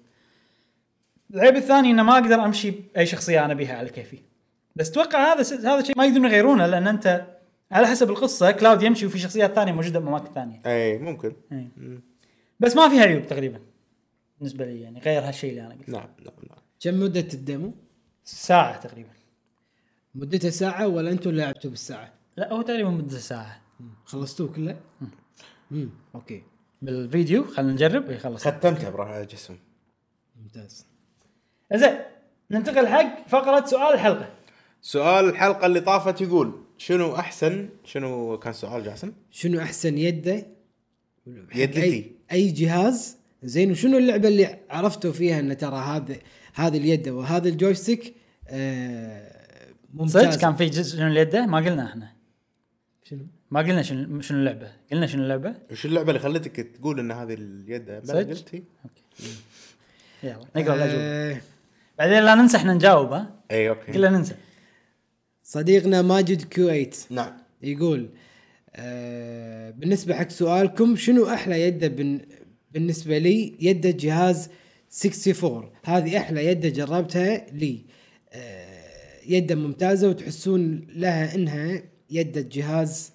العيب الثاني انه ما اقدر امشي باي شخصيه انا بيها على كيفي بس اتوقع هذا س- هذا الشيء ما يقدرون يغيرونه لان انت على حسب القصه كلاود يمشي وفي شخصيات ثانيه موجوده باماكن ثانيه اي ممكن إي. بس ما فيها عيوب تقريبا بالنسبه لي يعني غير هالشيء اللي انا قلته نعم نعم نعم كم مده الديمو؟ ساعه تقريبا مدته ساعه ولا انتم لعبتوا بالساعه؟ لا هو تقريبا مده ساعه خلصتوه كله؟ امم اوكي بالفيديو خلينا نجرب إيه، يخلص ختمته برا جسم ممتاز زين ننتقل حق فقره سؤال الحلقه سؤال الحلقه اللي طافت يقول شنو احسن شنو كان سؤال جاسم شنو احسن يده؟ يدتي. اي اي جهاز زين وشنو اللعبه اللي عرفتوا فيها ان ترى هذا هذه اليد وهذا الجويستيك آه ممتاز صدق كان في جزء شنو اليده ما قلنا احنا شنو؟ ما قلنا شنو شنو اللعبه قلنا شنو اللعبه وش اللعبه اللي خلتك تقول ان هذه اليد بلا صدق؟ قلتي يلا نقرا الاجوبه آه بعدين لا ننسى احنا نجاوب ها اي اوكي كلنا ننسى صديقنا ماجد كويت نعم يقول آه بالنسبه حق سؤالكم شنو احلى يده بن بالنسبه لي يده جهاز 64 هذه احلى يده جربتها لي آه يده ممتازه وتحسون لها انها يده جهاز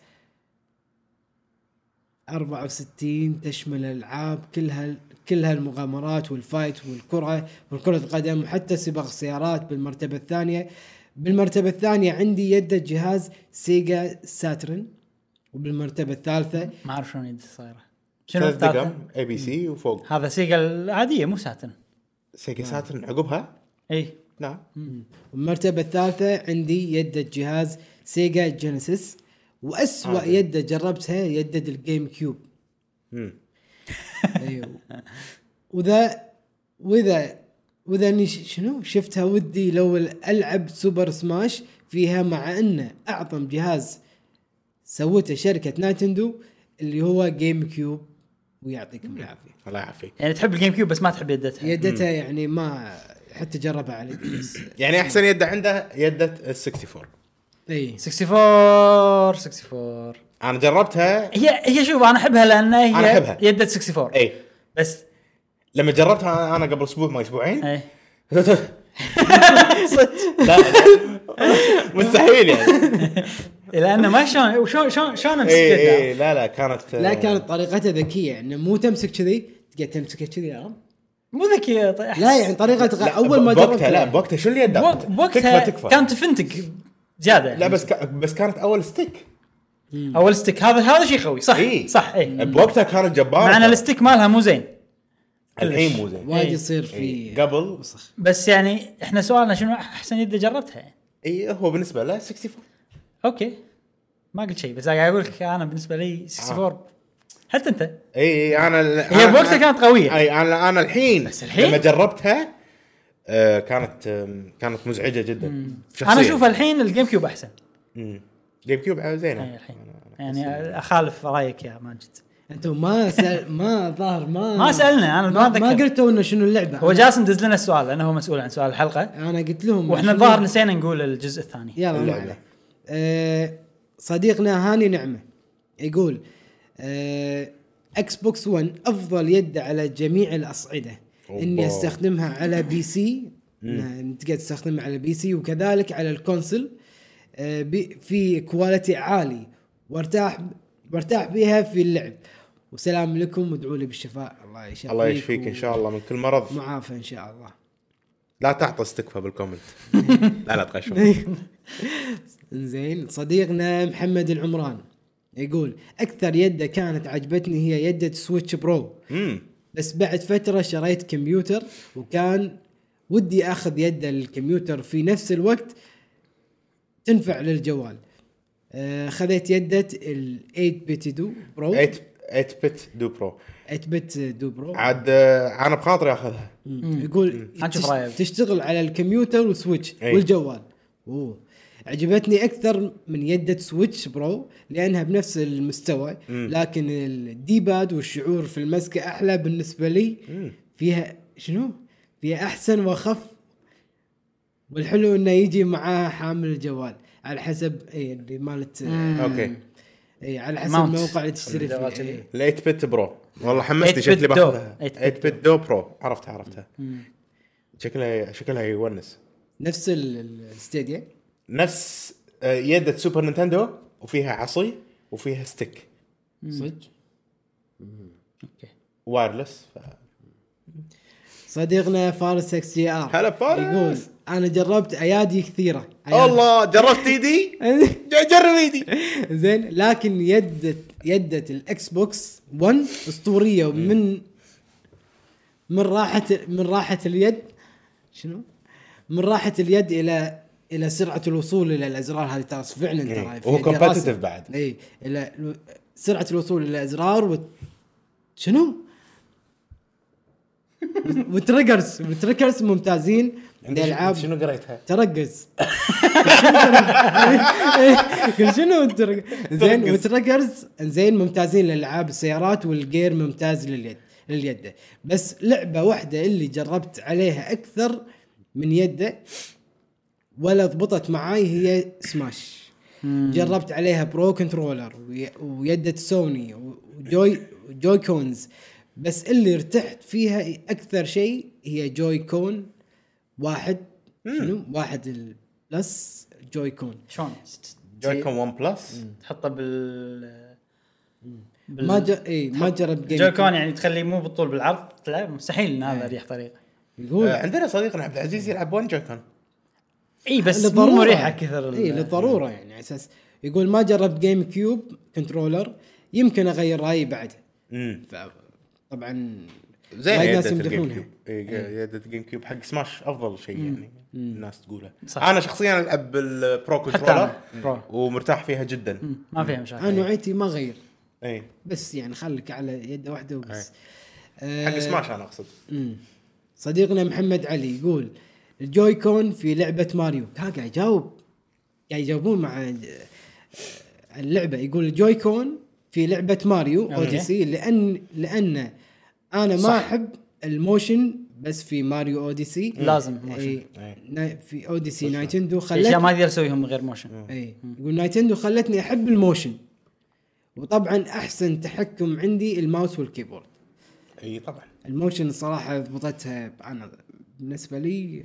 64 تشمل العاب كلها كلها المغامرات والفايت والكره والكره القدم وحتى سباق السيارات بالمرتبه الثانيه بالمرتبه الثانيه عندي يده جهاز سيجا ساترن وبالمرتبه الثالثه ما اعرف شلون يد صايره شنو ثلاث الثالثة؟ دقم اي بي سي وفوق هذا سيجا العاديه مو ساتن إيه. سيجا ساترن عقبها اي نعم والمرتبه الثالثه عندي يده جهاز سيجا جينيسيس واسوأ عادي. يده جربتها يده الجيم كيوب مم. ايوه أيوه. وذا واذا واذا اني ش- شنو شفتها ودي لو العب سوبر سماش فيها مع انه اعظم جهاز سوته شركه نايتندو اللي هو جيم كيوب ويعطيكم العافيه الله يعافيك يعني تحب الجيم كيوب بس ما تحب يدتها يدتها يعني ما حتى جربها على بس يعني احسن يد عنده يدة ال 64 اي 64 64 انا جربتها هي هي شوف انا احبها لان هي أنا أحبها. إيه. يدت 64 اي بس إيه. لما جربتها انا قبل اسبوع ما اسبوعين اي لا مستحيل يعني لانه ما شلون وشلون شلون شلون امسك اي يدها اي إيه، لا لا كانت لا كانت طريقتها ذكيه يعني مو تمسك كذي تقعد تمسكها كذي عرفت؟ مو ذكي طيب، أحس- لا يعني طريقه غ- اول ما جربتها جربتها لا آه، بوقتها شو اللي يده بوق- بوقتها تكفى تكفى كانت فنتك زياده لا بس كا- بس كانت اول ستيك اول ستيك هذا هذا شيء قوي صح إي. صح اي بوقتها كانت جبارة مع ان الستيك مالها مو زين الحين مو زين وايد إي. يصير إيه. إي، في يعني إيه، قبل بس يعني احنا سؤالنا شنو احسن يد جربتها يعني اي إيه، هو بالنسبه له 64 اوكي ما قلت شيء بس قاعد اقول لك انا بالنسبه لي 64 حتى انت اي اي انا هي بوقتها كانت قوية. اي انا انا إيه، الحين بس الحين؟ لما جربتها آه، كانت آم، كانت مزعجه جدا انا اشوف الحين الجيم كيوب احسن مم. جيم كيوب آه، يعني زينه الحين يعني اخالف رايك يا ماجد انتم ما سأل ما ظهر ما ما سالنا انا ما ما, ما اتذكر قلتوا انه شنو اللعبه هو جاس ندز لنا السؤال لانه هو مسؤول عن سؤال الحلقه انا قلت لهم واحنا شنو- الظاهر نسينا نقول الجزء الثاني يلا ما اللعبة. عليه. آه، صديقنا هاني نعمه يقول آه، اكس بوكس 1 افضل يد على جميع الاصعده أوبا. اني استخدمها على بي سي إنها تقدر تستخدمها على بي سي وكذلك على الكونسل آه، بي- في كواليتي عالي وارتاح وارتاح بها في اللعب وسلام لكم وادعوا لي بالشفاء الله يشفيك الله يشفيك ان شاء الله من كل مرض معافى ان شاء الله لا تعطس تكفى بالكومنت لا لا تغشوا إيه. زين صديقنا محمد العمران يقول اكثر يده كانت عجبتني هي يده سويتش برو امم بس بعد فتره شريت كمبيوتر وكان ودي اخذ يده للكمبيوتر في نفس الوقت تنفع للجوال آه، خذيت يده ال 8 بت دو برو 8 8 بت دو برو 8 بت دو برو عاد آه، انا بخاطري اخذها مم. إيه. يقول هنشوف تش- رأيك. تشتغل على الكمبيوتر وسويتش أي. والجوال اوه عجبتني اكثر من يدة سويتش برو لانها بنفس المستوى لكن الدي باد والشعور في المسكه احلى بالنسبه لي فيها شنو؟ فيها احسن واخف والحلو انه يجي معاه حامل الجوال على حسب اي اللي مالت اوكي اي على حسب Mount. الموقع اللي تشتري فيه الجوال إي. كذي. ال 8 بت برو والله حمستني 8 شكلي bit دو. باخذها 8 bit 8 بت دو برو عرفتها عرفتها شكلها شكلها يونس نفس ال- ال- الستيديا نفس آه، يدة سوبر نينتندو وفيها عصي وفيها ستيك صدق وايرلس ف... صديقنا فارس اكس جي ار هلا فارس. يقول انا جربت ايادي كثيره أيادي. الله جربت ايدي ج- جرب ايدي زين لكن يدت يدت الاكس بوكس 1 اسطوريه ومن من راحه من راحه اليد شنو؟ من راحه اليد الى الى سرعه الوصول الى الازرار هذه ترى فعلا ترى إيه. وهو فيها competitive دراسة. بعد. اي الى الو- سرعه الوصول الى الازرار وت... شنو؟ والتريجرز والتريجرز ممتازين لالعاب شنو قريتها؟ ترقص قل شنو الترق- زين ترقص. وترقرز زين ممتازين للالعاب السيارات والجير ممتاز لليد لليد بس لعبه واحده اللي جربت عليها اكثر من يده ولا ضبطت معاي هي سماش جربت عليها برو كنترولر وي- ويدة سوني وجوي جوي كونز بس اللي ارتحت فيها اكثر شيء هي جوي كون واحد شنو واحد البلس جوي كون شلون جويكون 1 بلس تحطه بال بال- ما جا... اي ما جرب جيم جويكون يعني تخليه مو بالطول بالعرض لا مستحيل ان هذا اريح طريقه يقول آه، عندنا صديقنا عبد العزيز يلعب 1 جويكون اي بس مو للضروره مريحه كثر ال- اي للضروره يعني على اساس يقول ما جربت جيم كيوب كنترولر يمكن اغير رايي بعد امم ف- طبعا زين وايد يدة ناس الجيم يمدحونها. كيوب إيه، يدة الجيم كيوب حق سماش افضل شيء يعني الناس تقوله صح. انا شخصيا العب بالبرو كنترولر أنا. برو. ومرتاح فيها إيه، جدا ما فيها مشاكل انا وعيتي ما غير اي بس يعني خليك على يد واحده وبس إيه. حق سماش انا اقصد صديقنا محمد علي يقول الجوي كون في لعبه ماريو ها قاعد يجاوب قاعد يجاوبون مع اللعبه يقول الجوي كون في لعبه ماريو أوكي. اوديسي لان لان انا ما صح. احب الموشن بس في ماريو اوديسي لازم اي موشن. نا- في اوديسي نايتندو خلت اشياء ما يقدر يسويهم من غير موشن اي يقول نايتندو خلتني احب الموشن وطبعا احسن تحكم عندي الماوس والكيبورد اي طبعا الموشن الصراحه ضبطتها انا بالنسبه لي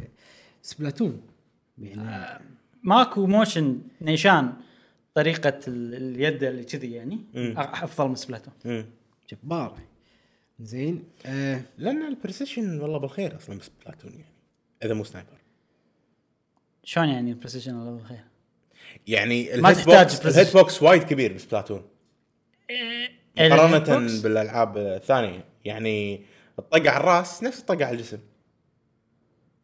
سبلاتون يعني ماكو موشن نيشان طريقه ال- اليد اللي كذي يعني مم. أ- افضل من سبلاتون مم. جباره زين آه لان البريسيشن والله بالخير اصلا بس بلاتون يعني اذا مو سنايبر شلون يعني البريسيشن الله بالخير يعني ما الهيت تحتاج بوكس- precision. الهيت بوكس وايد كبير بس بلاتون إيه، مقارنه البوكس؟ بالالعاب الثانيه يعني الطقه على الراس نفس الطقه على الجسم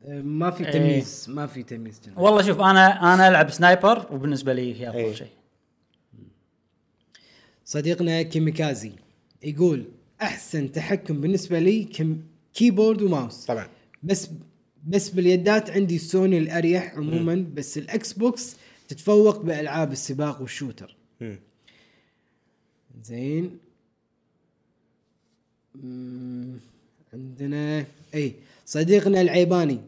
آه، ما في تمييز ما في تمييز جنرال. والله شوف انا انا العب سنايبر وبالنسبه لي هي إيه. افضل شيء صديقنا كيميكازي يقول احسن تحكم بالنسبه لي كم كيبورد وماوس طبعا بس بس باليدات عندي سوني الاريح عموما بس الاكس بوكس تتفوق بالعاب السباق والشوتر مم. زين مم، عندنا اي صديقنا العيباني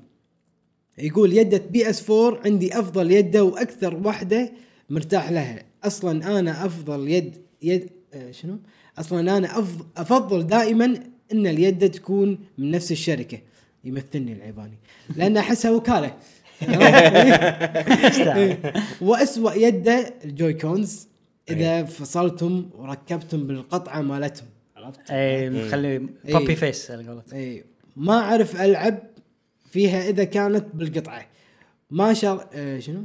يقول يدة بي اس 4 عندي افضل يده واكثر واحده مرتاح لها اصلا انا افضل يد يد آه، شنو اصلا انا أفضل افضل دائما ان اليده تكون من نفس الشركه يمثلني العيباني لان احسها وكاله إيه. واسوأ يده الجوي كونز اذا فصلتم وركبتم بالقطعه مالتهم عرفت اي إيه، إيه. مخلي إيه. بابي فيس على قولتهم اي ما اعرف العب فيها اذا كانت بالقطعه ما شار آه شنو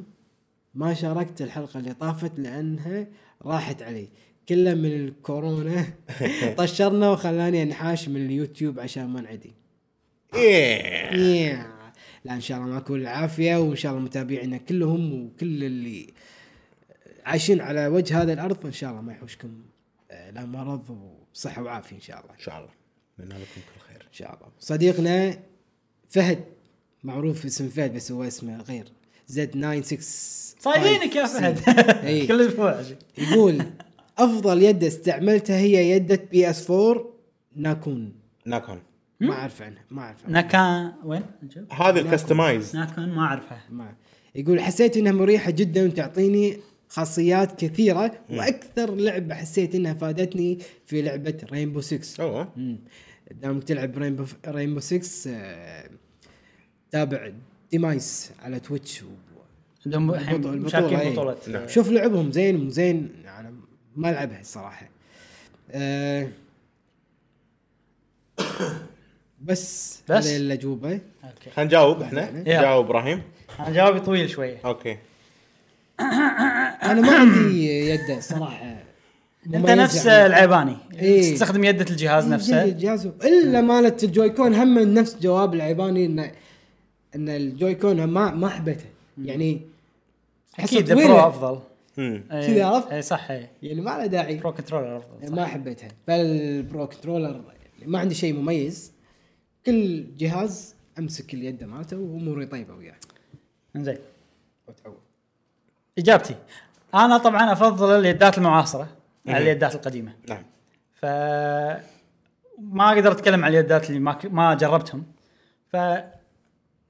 ما شاركت الحلقه اللي طافت لانها راحت علي كله من الكورونا طشرنا وخلاني انحاش من اليوتيوب عشان ما انعدي إيه. يا. لا ان شاء الله ما كل العافيه وان شاء الله متابعينا كلهم وكل اللي عايشين على وجه هذا الارض ان شاء الله ما يحوشكم آه، لا مرض وصحه وعافيه ان شاء الله ان شاء الله نتمنى لكم كل خير ان شاء الله صديقنا فهد معروف اسم فهد بس هو اسمه غير زد 965 صايدينك يا فهد إي. كل اسبوع شيء. إيه. يقول افضل يد استعملتها هي يدة بي اس 4 ناكون ناكون ما اعرف عنها ما اعرف عنها ناكان وين؟ نشوف. هذه الكستمايز ناكان ما اعرفها ما يقول حسيت انها مريحه جدا وتعطيني خاصيات كثيره واكثر لعبه حسيت انها فادتني في لعبه رينبو 6 نعم. اوه مم. دامك تلعب رينبو رينبو 6 آه، تابع ديمايس على تويتش و- عندهم البطولة- الحين البطولة، مشاركين إي. نعم. بطوله شوف لعبهم زين مو زين انا ما العبها الصراحه أه بس بس؟ هذه الاجوبه اوكي خلينا نجاوب احنا يلا. جاوب ابراهيم انا جوابي طويل شويه اوكي انا ما عندي يده صراحه انت نفس يعني. العيباني إي. تستخدم يده إيه، الجهاز نفسه الجهاز الا مالت الجويكون هم نفس جواب العيباني ان ان الجويكون ما ما حبيته يعني حصة اكيد طويلة. برو افضل مم. إي. كذا عرفت؟ اي صح إيه. إي. يعني ما له داعي برو كنترولر افضل ما حبيتها فالبرو كنترولر يعني ما عندي شيء مميز كل جهاز امسك اليد مالته واموري طيبه وياه انزين واتعود اجابتي انا طبعا افضل اليدات المعاصره على اليدات القديمه نعم ف ما اقدر اتكلم عن اليدات اللي ما ك... ما جربتهم ف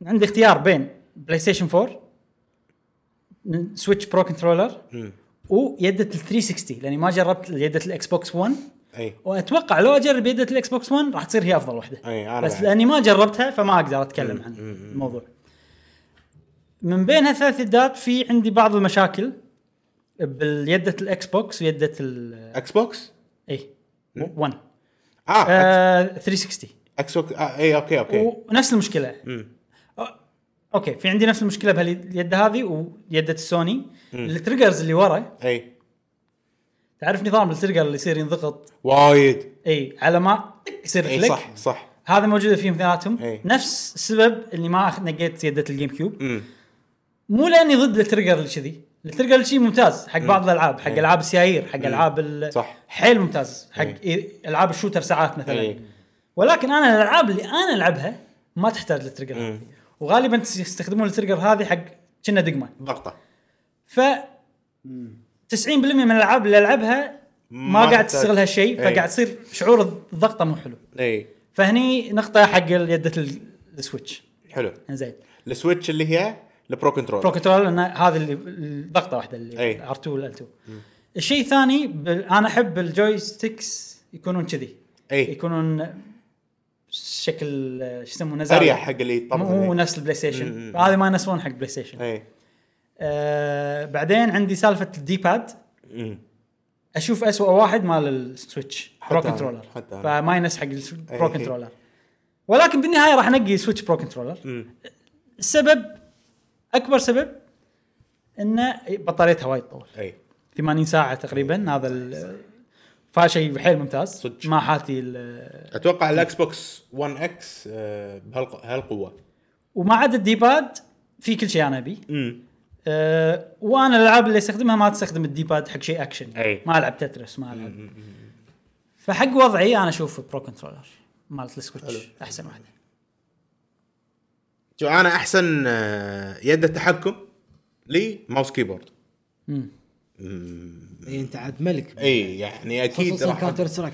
عندي اختيار بين بلاي ستيشن 4 ن- سويتش برو كنترولر مم. ويدة ال 360 لاني ما جربت يدة الاكس بوكس 1 اي واتوقع لو اجرب يدة الاكس بوكس 1 راح تصير هي افضل وحده اي انا بس بعد. لاني ما جربتها فما اقدر اتكلم عن الموضوع من بين هالثلاث يدات في عندي بعض المشاكل باليدة الاكس بوكس ويدة ال اكس بوكس اي 1 آه، اه أكس- آه، 360 اكس بوكس آه، اي اوكي اوكي ونفس المشكله مم. أو- اوكي في عندي نفس المشكله بهاليد هذه ويده السوني التريجرز اللي ورا اي تعرف نظام التريجر اللي يصير ينضغط وايد اي على ما تك يصير اي كليك إيه، صح صح هذا موجوده فيهم اثنيناتهم إي. نفس السبب اللي ما أخ- نقيت يده الجيم كيوب مم. مو لاني ضد التريجر اللي كذي التريجر اللي كذي ممتاز حق بعض الالعاب حق إي. العاب السيايير حق العاب ال- إيه. صح. إيه. حيل ممتاز حق إي. إي- العاب الشوتر ساعات مثلا اي ولكن انا الالعاب اللي انا العبها ما تحتاج للتريجر هذه مم. وغالبا يستخدمون التريجر هذه حق كنا دقمه ضغطه ف 90% من الالعاب اللي العبها ما ما قاعد تحتاج. إيه. تشتغل هالشيء إي. فقاعد تصير شعور الضغطه مو حلو اي فهني نقطه حق يده السويتش حلو زين السويتش اللي هي البرو كنترول برو كنترول لان هذه اللي الضغطه واحده اللي أي. ار2 ال2 الشيء الثاني بال- انا احب الجوي ستكس يكونون كذي أي. يكونون شكل آه، شو يسمونه زاوية. اريح حق اللي يطبطب مو هني. نفس البلاي مم. ستيشن هذه ما يناسبون حق بلاي ستيشن اي آه بعدين عندي سالفه الدي باد مم. اشوف اسوء واحد مال السويتش برو حتى أنا- كنترولر حتى أنا. إيه، فما ينس حق أي. البرو كنترولر ولكن بالنهايه راح انقي سويتش برو كنترولر مم. السبب اكبر سبب انه بطاريتها وايد طول اي 80 ساعه تقريبا إيه، هذا ال- فشيء حيل ممتاز صدق. ما حاتي ال- اتوقع الاكس بوكس 1 اكس بهالقوه وما عدا الديباد في كل شيء انا ابي امم أه وانا الالعاب اللي استخدمها ما تستخدم الديباد حق شيء اكشن أي. ما العب تترس ما العب فحق وضعي انا اشوف برو كنترولر مالت السويتش احسن واحده شو انا احسن آه، يد التحكم لي ماوس كيبورد إيه، انت عاد ملك اي يعني اكيد خصوصا راح أ- كاونتر سترايك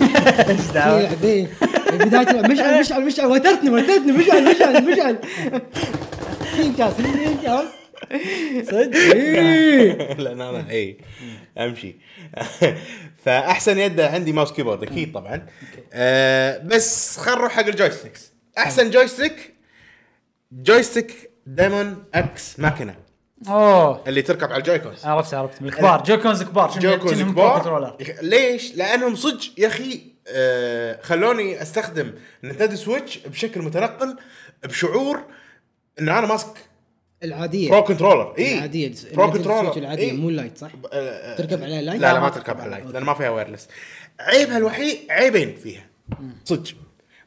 إيه، ايش دعوه؟ بعدين بدايه مشعل مشعل مشعل وترتني وترتني مشعل مشعل مشعل انجاز انجاز صدق؟ لان انا اي امشي فاحسن يد عندي ماوس كيبورد اكيد طبعا آه بس خل نروح حق الجويستيكس احسن جويستيك جويستيك دايمون اكس ماكينه اوه اللي تركب على الجويكونز عرفت عرفت الكبار جوكونز كبار شنو- جويكونز شنو برو كبار كنترولر يخ- ليش؟ لانهم صدق يا اخي آه خلوني استخدم نتندو سويتش بشكل متنقل بشعور ان انا ماسك إيه، العاديه برو كنترولر اي العاديه برو النتندو سويتش كنترولر العاديه إي. مو اللايت صح؟ آه، تركب عليها لايت؟ إيه. لا لا ما تركب على اللايت لان ما فيها وايرلس عيبها الوحيد عيبين فيها صدق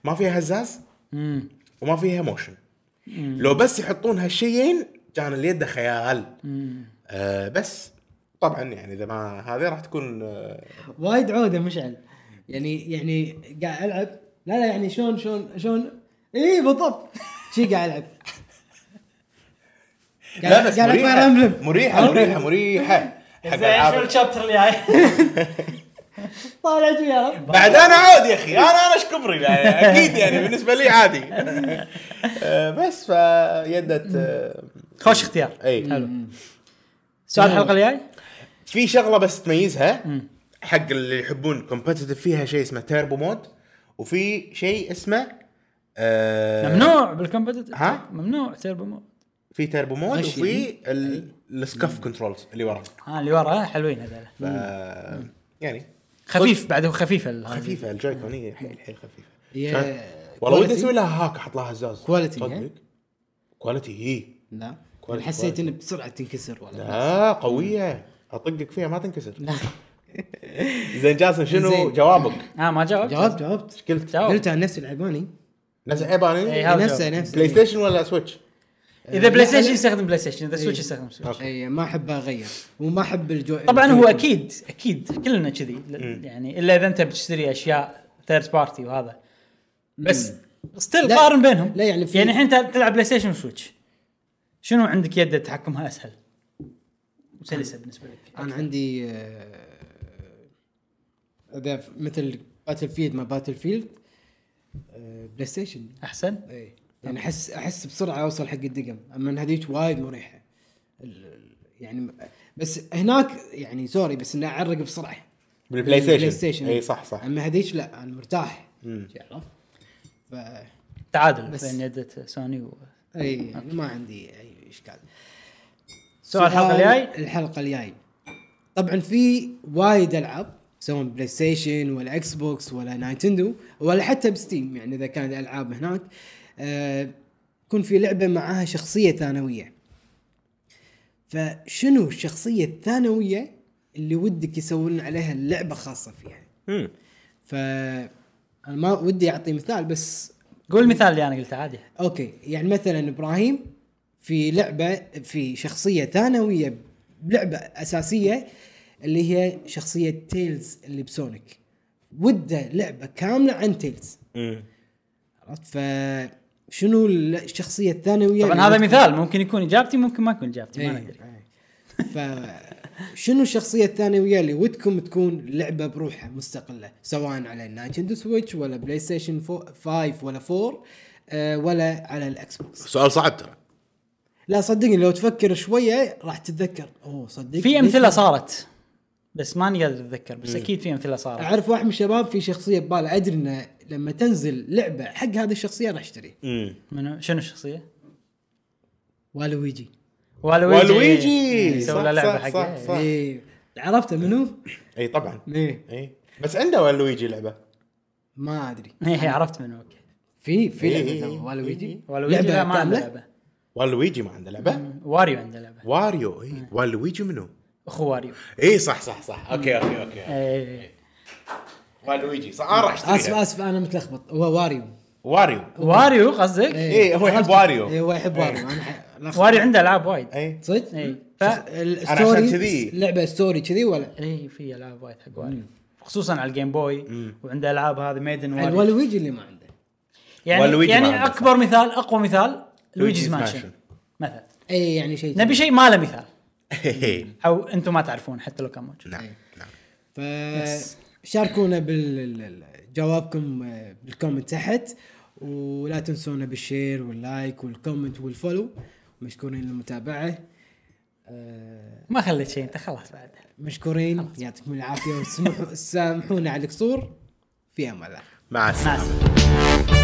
ما فيها هزاز وما فيها موشن لو بس يحطون هالشيئين كان اليد خيال آه بس طبعا يعني اذا ما هذه راح تكون آه وايد عوده مشعل يعني يعني قاعد العب لا لا يعني شلون شلون شلون اي بالضبط شي قاعد العب لا بس قاعد ألعب Fire مريحه Emblem. مريحه مريحه مريحه حق زين شنو ألعاب- الشابتر اللي جاي؟ طالع شو يا رب بعد انا عاد يا اخي انا انا شكبري يعني اكيد يعني بالنسبه لي عادي آه بس فيدت آه إيه. خوش اختيار اي حلو سؤال الحلقه الجاي؟ في شغله بس تميزها حق اللي يحبون كومبتتف فيها شيء اسمه تيربو مود وفي شيء اسمه آه ممنوع بالكومبتتف ها؟ ممنوع تيربو مو في تيربو مود غشي. وفي ال- السكف كنترولز اللي ورا ها اللي ورا حلوين هذول ف- يعني خفيف بعد هو خفيف ال- خفيفه الجويكون هي حيل حيل خفيفه هي شايف؟ والله ودي quality. اسوي لها هاك احط لها هزاز Quality، إيه؟ صدق. إيه. ها؟ كواليتي هي لا كويس، نعم. حسيت كويس. انه بسرعه تنكسر والله لا قويه اطقك آه، فيها ما تنكسر لا زين جاسم شنو زين. جوابك؟ ها ما جاوبت؟ جاوبت جاوبت قلت جاوب. قلت عن نفس العيباني نفس عيباني إي، هذا نفسه جواب. نفسه بلاي ستيشن ولا سويتش؟ اذا بلاي لا، ستيشن لا. يستخدم بلاي ستيشن اذا سويتش يستخدم سويتش أوكي. اي إيه، ما احب اغير وما احب الجو طبعا هو الجويكون. اكيد اكيد كلنا كذي ل- يعني الا اذا انت بتشتري اشياء ثيرد بارتي وهذا بس ستيل لا. قارن بينهم لا، يعني في- يعني الحين انت تلعب بلاي ستيشن وسويتش شنو عندك يد تحكمها اسهل؟ وسلسه بالنسبه لك انا عندي آه، اذا مثل باتل فيلد ما باتل فيلد آه، بلاي ستيشن احسن؟ اي يعني احس احس بسرعه اوصل حق الدقم اما إن هذيك وايد مريحه ال- ال- يعني م- بس هناك يعني سوري بس انه اعرق بسرعه بالبلاي ستيشن بلاي ستيشن اي صح صح اما هذيك لا انا مرتاح مم. عرفت؟ ف تعادل بس. بين يد سوني و... اي يعني ما عندي اي اشكال سؤال الحلقة الجاي؟ الحلقه الجاي طبعا في وايد العاب سواء بلاي ستيشن ولا اكس بوكس ولا نايتندو ولا حتى بستيم يعني اذا كانت العاب هناك آه يكون في لعبه معاها شخصيه ثانويه فشنو الشخصيه الثانويه اللي ودك يسوون عليها لعبه خاصه فيها مم. ف انا ما ودي اعطي مثال بس قول مثال اللي انا قلته عادي اوكي يعني مثلا ابراهيم في لعبه في شخصيه ثانويه بلعبه اساسيه اللي هي شخصيه تيلز اللي بسونيك وده لعبه كامله عن تيلز مم. عرفت فشنو الشخصيه الثانويه طبعا اللي هذا ما- ممكن- مثال ممكن يكون اجابتي ممكن ما يكون اجابتي ما يعني إيه. ندري فشنو الشخصيه الثانويه اللي ودكم تكون لعبه بروحها مستقله سواء على النايتندو سويتش ولا بلاي ستيشن 5 ولا 4 آه، ولا على الاكس بوكس سؤال صعب ترى لا صدقني لو تفكر شويه راح تتذكر اوه صدق في ليش امثله ما- صارت بس ما نقدر نتذكر بس اكيد في امثله صارت اعرف واحد من الشباب في شخصيه بباله ادري انه لما تنزل لعبه حق هذه الشخصيه راح اشتريها منو شنو الشخصيه؟ والويجي والويجي والويجي سوى صح، له لعبه صح، حقه صح. إيه. ايه عرفته منو؟ اي طبعا ايه اي بس عنده والويجي لعبه ما ادري إيه، عرفت منو اوكي في في إيه، لعبه إيه، إيه إيه، والويجي إيه. والويجي لا ما عنده كاملة؟ لعبه والويجي ما عنده لعبه واريو عنده لعبه واريو اي والويجي منو؟ اخو واريو اي صح صح صح اوكي اوكي اوكي إيه. والويجي صح انا راح اسف اشتريها اسف انا متلخبط هو واريو واريو واريو قصدك؟ اي إيه، هو يحب إيه. اي واريو إيه، هو يحب واريو انا ح- لخبط. واريو عنده العاب وايد اي صدق؟ إيه. ف- عشان الستوري كذي- لعبه ستوري كذي ولا اي إيه، في العاب وايد حق واريو خصوصا على الجيم بوي وعنده العاب هذه ميدن واريو الويجي اللي ما عنده يعني والويجي ما يعني عنده، صح. اكبر مثال اقوى مثال لويجيز لويجيز مانشن مانشن. مثلا اي يعني شيء نبي شيء ما له مثال إي. او انتم ما تعرفون حتى لو كان موجود نعم نعم ف شاركونا بجوابكم بالكومنت آه، تحت ولا تنسونا بالشير واللايك والكومنت والفولو مشكورين للمتابعه آه، ما خليت شيء انت خلاص بعد مشكورين يعطيكم العافيه وسامحونا على القصور في امان الله مع مع السلامه السلامه